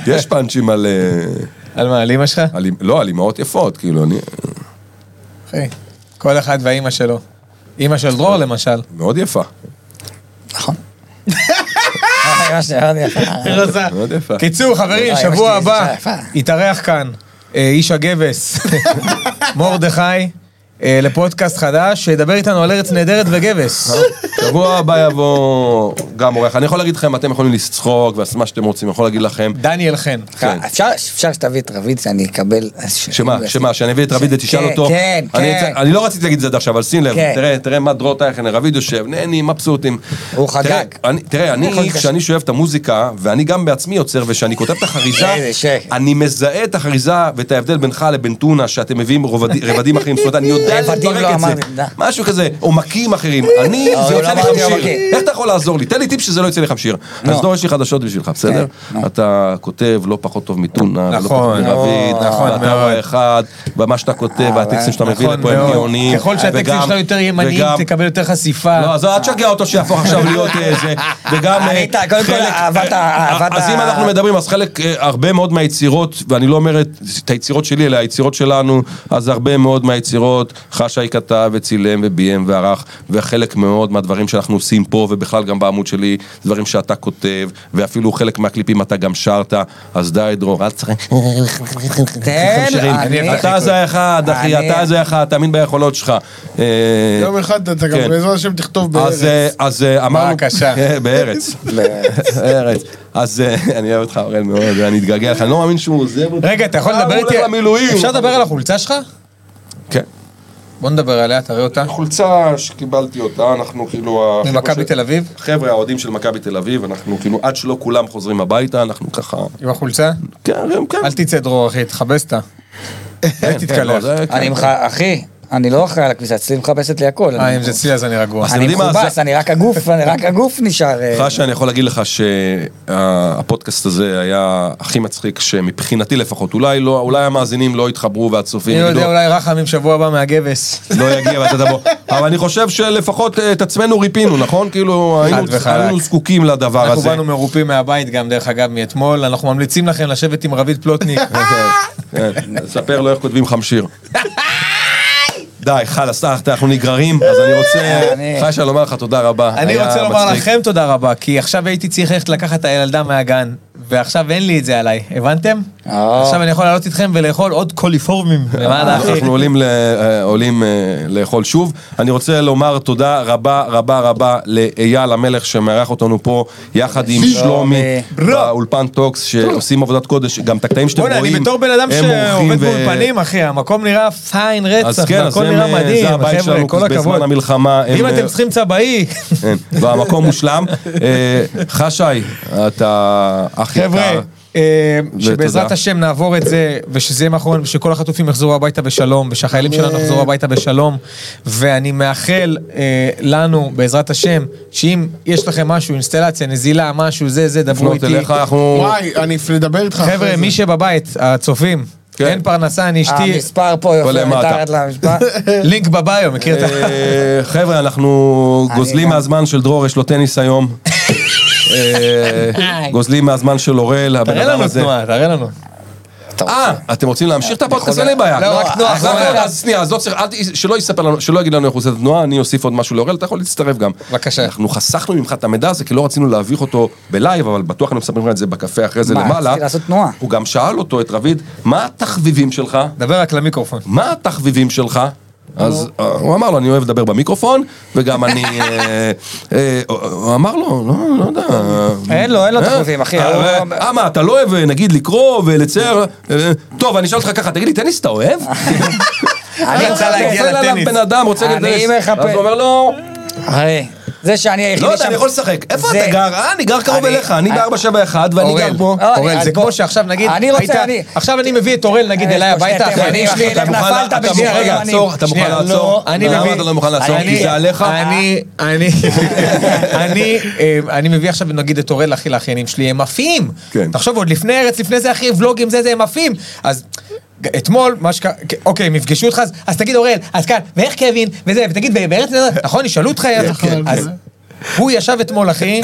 [SPEAKER 2] יש פאנצ'ים על... אה,
[SPEAKER 3] על מה, על אמא שלך?
[SPEAKER 2] על אימ- לא, על אימהות יפות, כאילו, אני...
[SPEAKER 3] אחי, כל אחד והאימא שלו. אימא של דרור למשל.
[SPEAKER 2] מאוד יפה.
[SPEAKER 4] נכון. אה, ממש מאוד יפה.
[SPEAKER 2] מאוד יפה.
[SPEAKER 3] קיצור, חברים,
[SPEAKER 4] אה, אמא
[SPEAKER 3] שבוע
[SPEAKER 4] שלי,
[SPEAKER 3] הבא,
[SPEAKER 4] אישה יפה.
[SPEAKER 3] יתארח כאן אה, איש הגבס, מרדכי. אה, לפודקאסט חדש, שידבר איתנו על ארץ נהדרת וגבס.
[SPEAKER 2] שבוע הבא יבוא גם אורח. אני יכול להגיד לכם, אתם יכולים לצחוק ועשות מה שאתם רוצים, אני יכול להגיד לכם.
[SPEAKER 3] דניאל חן.
[SPEAKER 2] כן.
[SPEAKER 4] אפשר אפשר שתביא את רביד שאני אקבל...
[SPEAKER 2] שמה, שמה, שאני אביא את רביד ותשאל
[SPEAKER 4] כן,
[SPEAKER 2] אותו.
[SPEAKER 4] כן,
[SPEAKER 2] אני
[SPEAKER 4] כן.
[SPEAKER 2] אצא- אני לא רציתי להגיד את זה עד עכשיו, אבל שים לב,
[SPEAKER 4] כן.
[SPEAKER 2] תראה, תראה מה דרות אייכנר, רביד יושב, נהנים, מבסוטים.
[SPEAKER 4] הוא
[SPEAKER 2] תראה,
[SPEAKER 4] חגג.
[SPEAKER 2] אני- תראה, אני, כשאני שואב את המוזיקה, ואני גם בעצמי יוצר, וכשאני כותב את
[SPEAKER 4] איזה
[SPEAKER 2] החריזה,
[SPEAKER 4] שקט.
[SPEAKER 2] אני מזהה את החריזה ואת ההבדל בינך לבין טונה, שאתם מביאים רובד- רבדים אחרים, זאת אומרת, אני יודע
[SPEAKER 4] רבדים
[SPEAKER 2] לפרק
[SPEAKER 4] לא
[SPEAKER 2] את זה.
[SPEAKER 4] אמרתי, תודה.
[SPEAKER 2] משהו כזה, עומקים אחרים. אני,
[SPEAKER 4] לא,
[SPEAKER 2] זה
[SPEAKER 4] לא
[SPEAKER 2] יוצא לי
[SPEAKER 4] אמרתי
[SPEAKER 2] חמשיר.
[SPEAKER 4] עומקים.
[SPEAKER 2] איך אתה יכול לעזור לי? תן לי טיפ שזה לא יוצא לך שיר. אז דור, יש לי חדשות בשבילך, בסדר?
[SPEAKER 4] כן, נו.
[SPEAKER 2] אתה כותב לא פחות טוב מטונה, ולא
[SPEAKER 3] נכון,
[SPEAKER 2] פחות מרביד,
[SPEAKER 3] נכון
[SPEAKER 2] ואתה
[SPEAKER 3] מאוד.
[SPEAKER 2] האחד, ומה שאתה כותב, והטקסטים שאתה מביא
[SPEAKER 3] נכון
[SPEAKER 2] לפה הם
[SPEAKER 3] מאוד.
[SPEAKER 2] גאונים.
[SPEAKER 3] ככל שהטקסטים
[SPEAKER 2] וגם-
[SPEAKER 3] שלו יותר ימניים,
[SPEAKER 2] וגם-
[SPEAKER 3] תקבל יותר חשיפה.
[SPEAKER 2] לא, אז אל תשגע אותו שיהפוך עכשיו להיות איזה, וגם... אה,
[SPEAKER 4] היית, קודם כל,
[SPEAKER 2] חלק- אה,
[SPEAKER 4] אהבת ה- אהבת
[SPEAKER 2] אז
[SPEAKER 4] ה-
[SPEAKER 2] אם אנחנו מדברים, אז חלק, אה, הרבה מאוד מהיצירות, ואני לא אומר את את היצירות שלי, אלא היצירות שלנו, אז הרבה מאוד מהיצירות, חשאי כתב וצילם וביים וערך, וחלק מאוד מהדברים שאנחנו עושים פה, ובכלל גם בעמוד שלי, דברים שאתה כותב, ואפילו חלק מהקליפים אתה גם שרת, אז די, דרור, אל תצחק.
[SPEAKER 4] תן, כן, אני...
[SPEAKER 2] אתה זה האחד, אחי,
[SPEAKER 4] אני-
[SPEAKER 2] אתה זה האחד, תאמין ביכולות שלך. אה,
[SPEAKER 5] יום אחד אתה גם
[SPEAKER 2] כן.
[SPEAKER 5] בעזרת השם תכתוב בארץ.
[SPEAKER 2] אז, אה, אז אה, אמרנו...
[SPEAKER 3] לא בבקשה.
[SPEAKER 2] אה, בארץ. בארץ. אז אה, אני אוהב אותך, אורן, מאוד, אני אתגעגע לך, אני לא מאמין שהוא עוזב אותי.
[SPEAKER 3] רגע, אתה יכול
[SPEAKER 2] אה,
[SPEAKER 3] לדבר
[SPEAKER 2] הוא
[SPEAKER 3] איתי...
[SPEAKER 2] הולך למילואים.
[SPEAKER 3] אפשר לדבר על החולצה שלך?
[SPEAKER 2] כן.
[SPEAKER 3] בוא נדבר עליה, תראה אותה.
[SPEAKER 2] החולצה שקיבלתי אותה, אנחנו כאילו... החבר'ה
[SPEAKER 3] ממכבי
[SPEAKER 2] ש-
[SPEAKER 3] תל אביב,
[SPEAKER 2] חבר'ה, האוהדים של מכבי תל אביב, אנחנו כאילו, עד שלא כולם חוזרים הביתה, אנחנו ככה...
[SPEAKER 3] עם החולצה.
[SPEAKER 2] כן, גם כן.
[SPEAKER 3] אל תצא דרור, אחי, תכבס אותה. אל
[SPEAKER 2] לא,
[SPEAKER 3] תתקלח.
[SPEAKER 2] כן, אוקיי,
[SPEAKER 4] אני ממך, אחי, אני לא אחראי על הכביסה, אצלי מחפשת לי הכל.
[SPEAKER 3] אה,
[SPEAKER 4] אני-
[SPEAKER 3] אם זה אצלי אז אני רגוע.
[SPEAKER 2] אז- אתם
[SPEAKER 4] אני
[SPEAKER 2] יודעים מה,
[SPEAKER 4] מכובס,
[SPEAKER 2] זה-
[SPEAKER 4] אני רק הגוף, אני רק הגוף נשאר. אה,
[SPEAKER 2] חשה, אני יכול להגיד לך שהפודקאסט הזה היה הכי מצחיק שמבחינתי לפחות, אולי לא, אולי המאזינים לא יתחברו והצופים
[SPEAKER 3] אני לא
[SPEAKER 2] יגידו,
[SPEAKER 3] יודע, אולי רחמים שבוע הבא מהגבס.
[SPEAKER 2] לא יגיע ואתה תבוא. אבל אני חושב שלפחות אה, את עצמנו ריפינו, נכון? כאילו, היינו-
[SPEAKER 3] וחלק.
[SPEAKER 2] היינו זקוקים לדבר
[SPEAKER 3] אנחנו
[SPEAKER 2] הזה.
[SPEAKER 3] באנו מרופים מהבית גם, דרך אגב, מאתמול. אנחנו ממליצים לכם לשבת עם רביד פלוטניק.
[SPEAKER 2] כן, כן. ספר לו איך כותבים חמשיר. די, חלאס, אה, אנחנו נגררים, אז אני רוצה,
[SPEAKER 4] אני-
[SPEAKER 2] חיישה לומר לך תודה רבה.
[SPEAKER 3] אני
[SPEAKER 2] היה
[SPEAKER 3] רוצה לומר
[SPEAKER 2] מצחיק.
[SPEAKER 3] לכם תודה רבה, כי עכשיו הייתי צריך ללכת לקחת את הילדה מהגן, ועכשיו אין לי את זה עליי, הבנתם?
[SPEAKER 4] אה.
[SPEAKER 3] עכשיו אני יכול לעלות איתכם ולאכול עוד קוליפורמים. למען אחי.
[SPEAKER 2] אה, אנחנו עולים, ל, אה, עולים אה, לאכול שוב. אני רוצה לומר תודה רבה רבה רבה לאייל המלך שמארח אותנו פה, יחד עם שלומי באולפן טוקס, שעושים עבודת קודש, גם את הקטעים שאתם
[SPEAKER 3] בוא'נה,
[SPEAKER 2] רואים.
[SPEAKER 3] אני בתור בן אדם
[SPEAKER 2] הם
[SPEAKER 3] שעובד
[SPEAKER 2] עורכים ו-
[SPEAKER 3] באולפנים, אחי, המקום נראה פיין
[SPEAKER 2] אז
[SPEAKER 3] רצח,
[SPEAKER 2] כן, אז
[SPEAKER 3] והכל
[SPEAKER 2] הם,
[SPEAKER 3] נראה
[SPEAKER 2] אה,
[SPEAKER 3] מדהים,
[SPEAKER 2] זה הבית
[SPEAKER 3] חבר'ה,
[SPEAKER 2] שלנו
[SPEAKER 3] כל
[SPEAKER 2] בזמן
[SPEAKER 3] הכבוד.
[SPEAKER 2] המלחמה. הם,
[SPEAKER 3] אם
[SPEAKER 2] אה,
[SPEAKER 3] אתם צריכים צבעי,
[SPEAKER 2] כן, והמקום מושלם. אה, חשי, אתה אח יקר.
[SPEAKER 3] חבר'ה, אה,
[SPEAKER 2] ותודה.
[SPEAKER 3] שבעזרת השם נעבור את זה, ושזה יהיה מאחורינו, ושכל החטופים יחזרו הביתה בשלום, ושהחיילים שלנו יחזרו הביתה בשלום, ואני מאחל אה, לנו, בעזרת השם, שאם יש לכם משהו, אינסטלציה, נזילה, משהו, זה, זה, דברו
[SPEAKER 2] לפנות
[SPEAKER 3] איתי.
[SPEAKER 2] אליך, אנחנו...
[SPEAKER 5] וואי, אני אפ- לדבר איתך אחרי זה.
[SPEAKER 3] חבר'ה, מי שבבית, הצופים,
[SPEAKER 2] כן.
[SPEAKER 3] אין פרנסה, אני אשתי,
[SPEAKER 4] המספר פה יופיע
[SPEAKER 2] למטה.
[SPEAKER 4] מתחת למספר.
[SPEAKER 3] לינק בביו, מכיר את ה...
[SPEAKER 2] אה, חבר'ה, אנחנו
[SPEAKER 4] אני
[SPEAKER 2] גוזלים
[SPEAKER 4] גם.
[SPEAKER 2] מהזמן של דרור, יש לו טניס היום. אה, גוזלים מהזמן של אוראל, הבן
[SPEAKER 3] תראה
[SPEAKER 2] אדם
[SPEAKER 3] לנו
[SPEAKER 2] הזה.
[SPEAKER 3] תנועה, תראה לנו.
[SPEAKER 2] אה, אתם רוצים להמשיך את הפודקאסט? אין לי בעיה.
[SPEAKER 3] לא, רק תנועה
[SPEAKER 2] אז
[SPEAKER 3] אחרונה.
[SPEAKER 2] נכון, אז שנייה, אז לא צריך, אל ת- שלא יספר לנו, שלא יגיד לנו איך הוא עושה את התנועה, אני אוסיף עוד משהו לאוראל, אתה יכול להצטרף גם.
[SPEAKER 3] בבקשה.
[SPEAKER 2] אנחנו חסכנו ממך את המידע הזה, כי לא רצינו להביך אותו בלייב, אבל בטוח אנחנו מספרים לך את זה בקפה אחרי זה
[SPEAKER 4] מה,
[SPEAKER 2] למעלה.
[SPEAKER 4] רציתי לעשות תנועה.
[SPEAKER 2] הוא גם שאל אותו, את רביד, מה התחביבים שלך?
[SPEAKER 3] דבר רק למיקרופון.
[SPEAKER 2] מה התחביבים שלך? אז אה, הוא אמר לו, אני אוהב לדבר במיקרופון, וגם אני... אה, אה, הוא אמר לו, לא, לא יודע.
[SPEAKER 4] אין לו, אין לו
[SPEAKER 2] אה?
[SPEAKER 4] תחביבים, אחי.
[SPEAKER 2] אה,
[SPEAKER 4] הוא-
[SPEAKER 2] אה, אה, מה, אתה לא אוהב, אה, נגיד, לקרוא ולצייר? אה, טוב, אני אשאל אותך ככה, תגיד לי, טניס אתה אוהב?
[SPEAKER 4] אני
[SPEAKER 3] רוצה
[SPEAKER 4] מחפש-
[SPEAKER 3] להגיע
[SPEAKER 2] נופל עליו
[SPEAKER 3] לטניס.
[SPEAKER 2] בן אדם, רוצה
[SPEAKER 4] כן, אני
[SPEAKER 2] לטניס.
[SPEAKER 4] מחפש-
[SPEAKER 2] אז הוא אומר לו,
[SPEAKER 4] אחי, זה שאני היחידי
[SPEAKER 2] לא יודע, אני יכול לשחק. איפה
[SPEAKER 4] זה-
[SPEAKER 2] אתה גר? אה, אני גר קרוב
[SPEAKER 4] אני-
[SPEAKER 2] אליך, אני ב-471 ואני
[SPEAKER 3] אורל,
[SPEAKER 2] גר פה.
[SPEAKER 4] לא, אני-
[SPEAKER 3] אורל, זה
[SPEAKER 4] אני-
[SPEAKER 3] כמו שעכשיו נגיד,
[SPEAKER 4] אני רוצה,
[SPEAKER 3] היית-
[SPEAKER 4] אני-
[SPEAKER 3] עכשיו אני מביא את אורל נגיד
[SPEAKER 4] אה,
[SPEAKER 3] אליי
[SPEAKER 4] יש פה שני
[SPEAKER 3] הביתה, אחי,
[SPEAKER 4] תימנים,
[SPEAKER 3] אני-
[SPEAKER 4] שני
[SPEAKER 3] אתה
[SPEAKER 4] תימנים.
[SPEAKER 3] מוכן-
[SPEAKER 4] נפלת
[SPEAKER 2] אתה
[SPEAKER 4] בשנייה,
[SPEAKER 2] מוכן
[SPEAKER 4] רגע,
[SPEAKER 2] לעצור?
[SPEAKER 4] אני-
[SPEAKER 2] אתה מוכן
[SPEAKER 3] שנייה,
[SPEAKER 2] לעצור?
[SPEAKER 3] לא, אני
[SPEAKER 2] למה
[SPEAKER 3] מביא-
[SPEAKER 2] אתה לא מוכן לעצור?
[SPEAKER 3] אני-
[SPEAKER 2] כי זה עליך?
[SPEAKER 3] אני, אני, אני, אה, אני מביא עכשיו נגיד את אורל אחי לאחיינים שלי, הם עפים.
[SPEAKER 2] כן.
[SPEAKER 3] תחשוב, עוד לפני ארץ, לפני זה אחי, ולוגים זה, זה, הם עפים. אז... ג- אתמול, מה שקרה, אוקיי, הם יפגשו אותך, אז- אז תגיד אורל, אז כאן, ואיך קווין, וזה, ותגיד, בארץ, נכון, ישאלו אותך, אז- אז הוא ישב אתמול, אחי,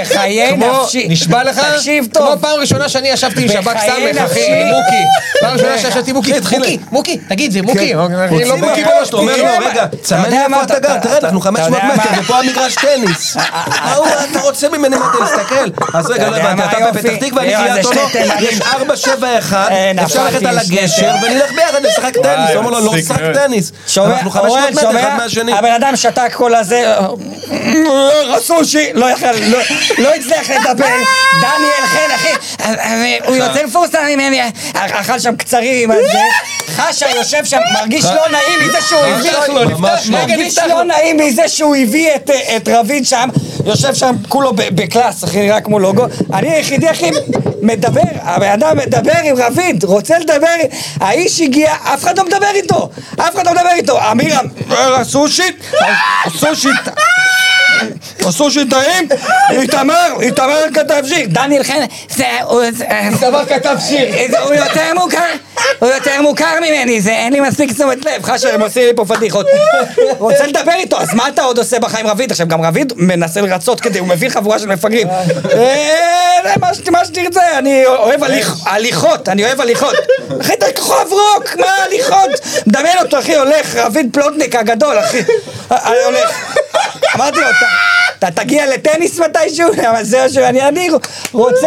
[SPEAKER 4] בחיי
[SPEAKER 3] כמו,
[SPEAKER 4] נפשי.
[SPEAKER 3] נשבע לך,
[SPEAKER 4] תקשיב
[SPEAKER 3] כמו
[SPEAKER 4] טוב.
[SPEAKER 3] פעם ראשונה שאני ישבתי עם שב"כ
[SPEAKER 4] בחיי
[SPEAKER 3] סמך, אחי,
[SPEAKER 4] נפשי.
[SPEAKER 3] עם מוקי. פעם ראשונה שישבתי עם מוקי, כן, מוקי, מוקי, תגיד, זה מוקי. אני לא מוקי בראש,
[SPEAKER 2] אומר
[SPEAKER 3] תראה מה-
[SPEAKER 2] לו, רגע, צמן
[SPEAKER 4] אתה יודע
[SPEAKER 2] מאיפה
[SPEAKER 4] מה,
[SPEAKER 2] אתה
[SPEAKER 4] אתה-
[SPEAKER 2] גר,
[SPEAKER 4] אתה-
[SPEAKER 2] תראה, אנחנו
[SPEAKER 4] אתה
[SPEAKER 2] 500
[SPEAKER 4] יודע
[SPEAKER 2] מטר,
[SPEAKER 4] מה? אה,
[SPEAKER 2] ופה המגרש טניס. ההוא, אתה רוצה ממני מה אתה מסתכל? אז רגע, לא
[SPEAKER 4] יודע
[SPEAKER 2] הבנתי,
[SPEAKER 4] מה
[SPEAKER 2] אתה
[SPEAKER 4] היופי?
[SPEAKER 2] בפתח תקווה, אני
[SPEAKER 4] יואו,
[SPEAKER 2] קריית
[SPEAKER 4] זה
[SPEAKER 2] אונו,
[SPEAKER 4] שני תימנים.
[SPEAKER 2] יש 471,
[SPEAKER 4] אה,
[SPEAKER 2] אפשר
[SPEAKER 4] נפלתי
[SPEAKER 2] ללכת על
[SPEAKER 4] לשני
[SPEAKER 2] הגשר,
[SPEAKER 4] תימנים.
[SPEAKER 2] ונלך ביחד לשחק טניס. הוא אומר לו, לא נשחק טניס.
[SPEAKER 4] שומע,
[SPEAKER 2] אנחנו 500
[SPEAKER 4] אורן,
[SPEAKER 2] מטר אחד
[SPEAKER 4] שומע?
[SPEAKER 2] מהשני.
[SPEAKER 4] הבן אדם שתק כל הזה, רסושי, לא יכל, לא- לא הצליח לטפל, דניאל חן, אחי, אה, הוא
[SPEAKER 2] אה.
[SPEAKER 4] יוצא מפורסם ממני, אכל שם קצרים על זה, חשה יושב שם, מרגיש
[SPEAKER 2] אה.
[SPEAKER 4] לא נעים מזה שהוא הביא,
[SPEAKER 2] ממש לא.
[SPEAKER 4] מרגיש לא נעים מזה שהוא הביא את- אה, את רביד שם, יושב שם כולו ב- בקלאס, אחי, נראה כמו לוגו, אני היחידי, אחי, מדבר, הבן אדם מדבר עם רביד, רוצה לדבר, האיש הגיע, אף אחד לא מדבר איתו, אף אחד לא מדבר איתו, אמירם, אה, סושית, אה, סושית, עשו שיטאים, איתמר, איתמר כתב שיר. דניאל חן, זה... הוא- זה-
[SPEAKER 3] דבר כתב שיר.
[SPEAKER 4] זה- הוא יותר מוכר, הוא יותר מוכר ממני, זה אין לי מספיק תשומת לב, חשה, הם עושים לי פה פדיחות. רוצה לדבר איתו, אז מה אתה עוד עושה בחיים רביד? עכשיו גם רביד מנסה לרצות כדי, הוא מביא חבורה של מפגרים. אה, זה מה ש- מה שתרצה, אני אוהב הליך- הליכות, אני אוהב הליכות. אחי, אתה כוכב רוק, מה הליכות? מדמיין אותו, אחי, הולך, רביד פלוטניק הגדול, אחי. אני הולך. אמרתי לו, "אתה- אתה תגיע לטניס מתישהו? אבל זהו שהוא, אני אני רוצה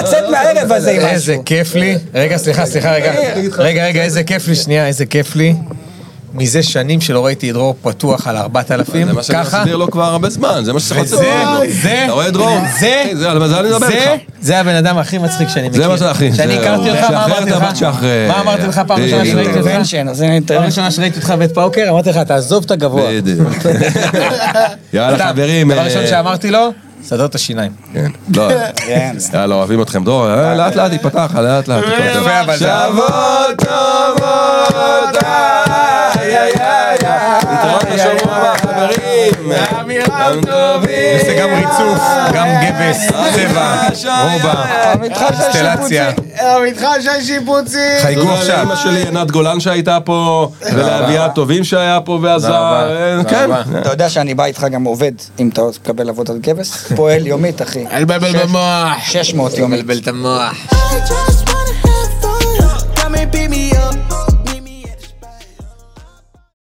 [SPEAKER 4] לצאת מהערב הזה עם
[SPEAKER 3] איזה
[SPEAKER 4] משהו.
[SPEAKER 3] כיף לי. רגע, סליחה, סליחה, רגע. רגע, רגע, איזה כיף לי, שנייה, איזה כיף לי. מזה שנים שלא ראיתי את דרור פתוח על 4,000,
[SPEAKER 2] זה מה שאני
[SPEAKER 3] ככה.
[SPEAKER 2] מסביר לו כבר הרבה זמן, זה מה שצריך
[SPEAKER 3] וזה,
[SPEAKER 2] לצאת ממנו.
[SPEAKER 3] זה,
[SPEAKER 2] אתה רואה דרור?
[SPEAKER 3] זה,
[SPEAKER 2] אחי, זה, על זה אני מדבר
[SPEAKER 3] זה,
[SPEAKER 2] איתך.
[SPEAKER 3] זה הבן אדם הכי מצחיק שאני מכיר.
[SPEAKER 2] זה מה זה, אחי,
[SPEAKER 3] שאני
[SPEAKER 2] זהו.
[SPEAKER 3] הכרתי אותך, מה
[SPEAKER 2] שאחרת
[SPEAKER 3] אמרתי
[SPEAKER 2] אמרת
[SPEAKER 3] לך?
[SPEAKER 2] שאחרי-
[SPEAKER 3] מה אמרתי לך פעם ראשונה
[SPEAKER 2] בדיוק.
[SPEAKER 3] שראיתי אותך?
[SPEAKER 4] אינטרנשן, אז הנה
[SPEAKER 3] פעם
[SPEAKER 4] אינטרנשן.
[SPEAKER 3] ראשונה שראיתי אותך ואת פאוקר, אמרתי לך, תעזוב את הגבוה.
[SPEAKER 2] בדיוק. יאללה,
[SPEAKER 3] סתם,
[SPEAKER 2] חברים.
[SPEAKER 3] דבר
[SPEAKER 2] אה,
[SPEAKER 3] ראשון שאמרתי לו, סדר את השיניים.
[SPEAKER 2] כן. לא. יאללה, אוהבים אתכם. דור, אה, לאט לאט התפתח, לאט לאט.
[SPEAKER 3] יפה, אבל זה-
[SPEAKER 2] שבועות טובות, איי איי איי איי. נתראות בשבוע הבא, חברים. אמירם טובים.
[SPEAKER 3] זה גם ריצוף, גם גבס, צבע, רובע, אינסטלציה.
[SPEAKER 5] המתחם של שיפוצים!
[SPEAKER 3] חייגו
[SPEAKER 2] תודה
[SPEAKER 3] עכשיו.
[SPEAKER 2] לאמא שלי עינת גולן שהייתה פה, ולאביה הטובים שהיה פה
[SPEAKER 3] תודה
[SPEAKER 2] ועזר.
[SPEAKER 3] רבה.
[SPEAKER 2] אה,
[SPEAKER 3] תודה
[SPEAKER 2] כן.
[SPEAKER 3] רבה.
[SPEAKER 4] אתה יודע שאני בא איתך גם עובד, אם אתה תקבל עבודת גבס, פועל יומית, אחי.
[SPEAKER 5] אל תבלבל במוח!
[SPEAKER 4] 600 יומית.
[SPEAKER 3] את המוח.
[SPEAKER 10] I just wanna have fun. Come and beat me up.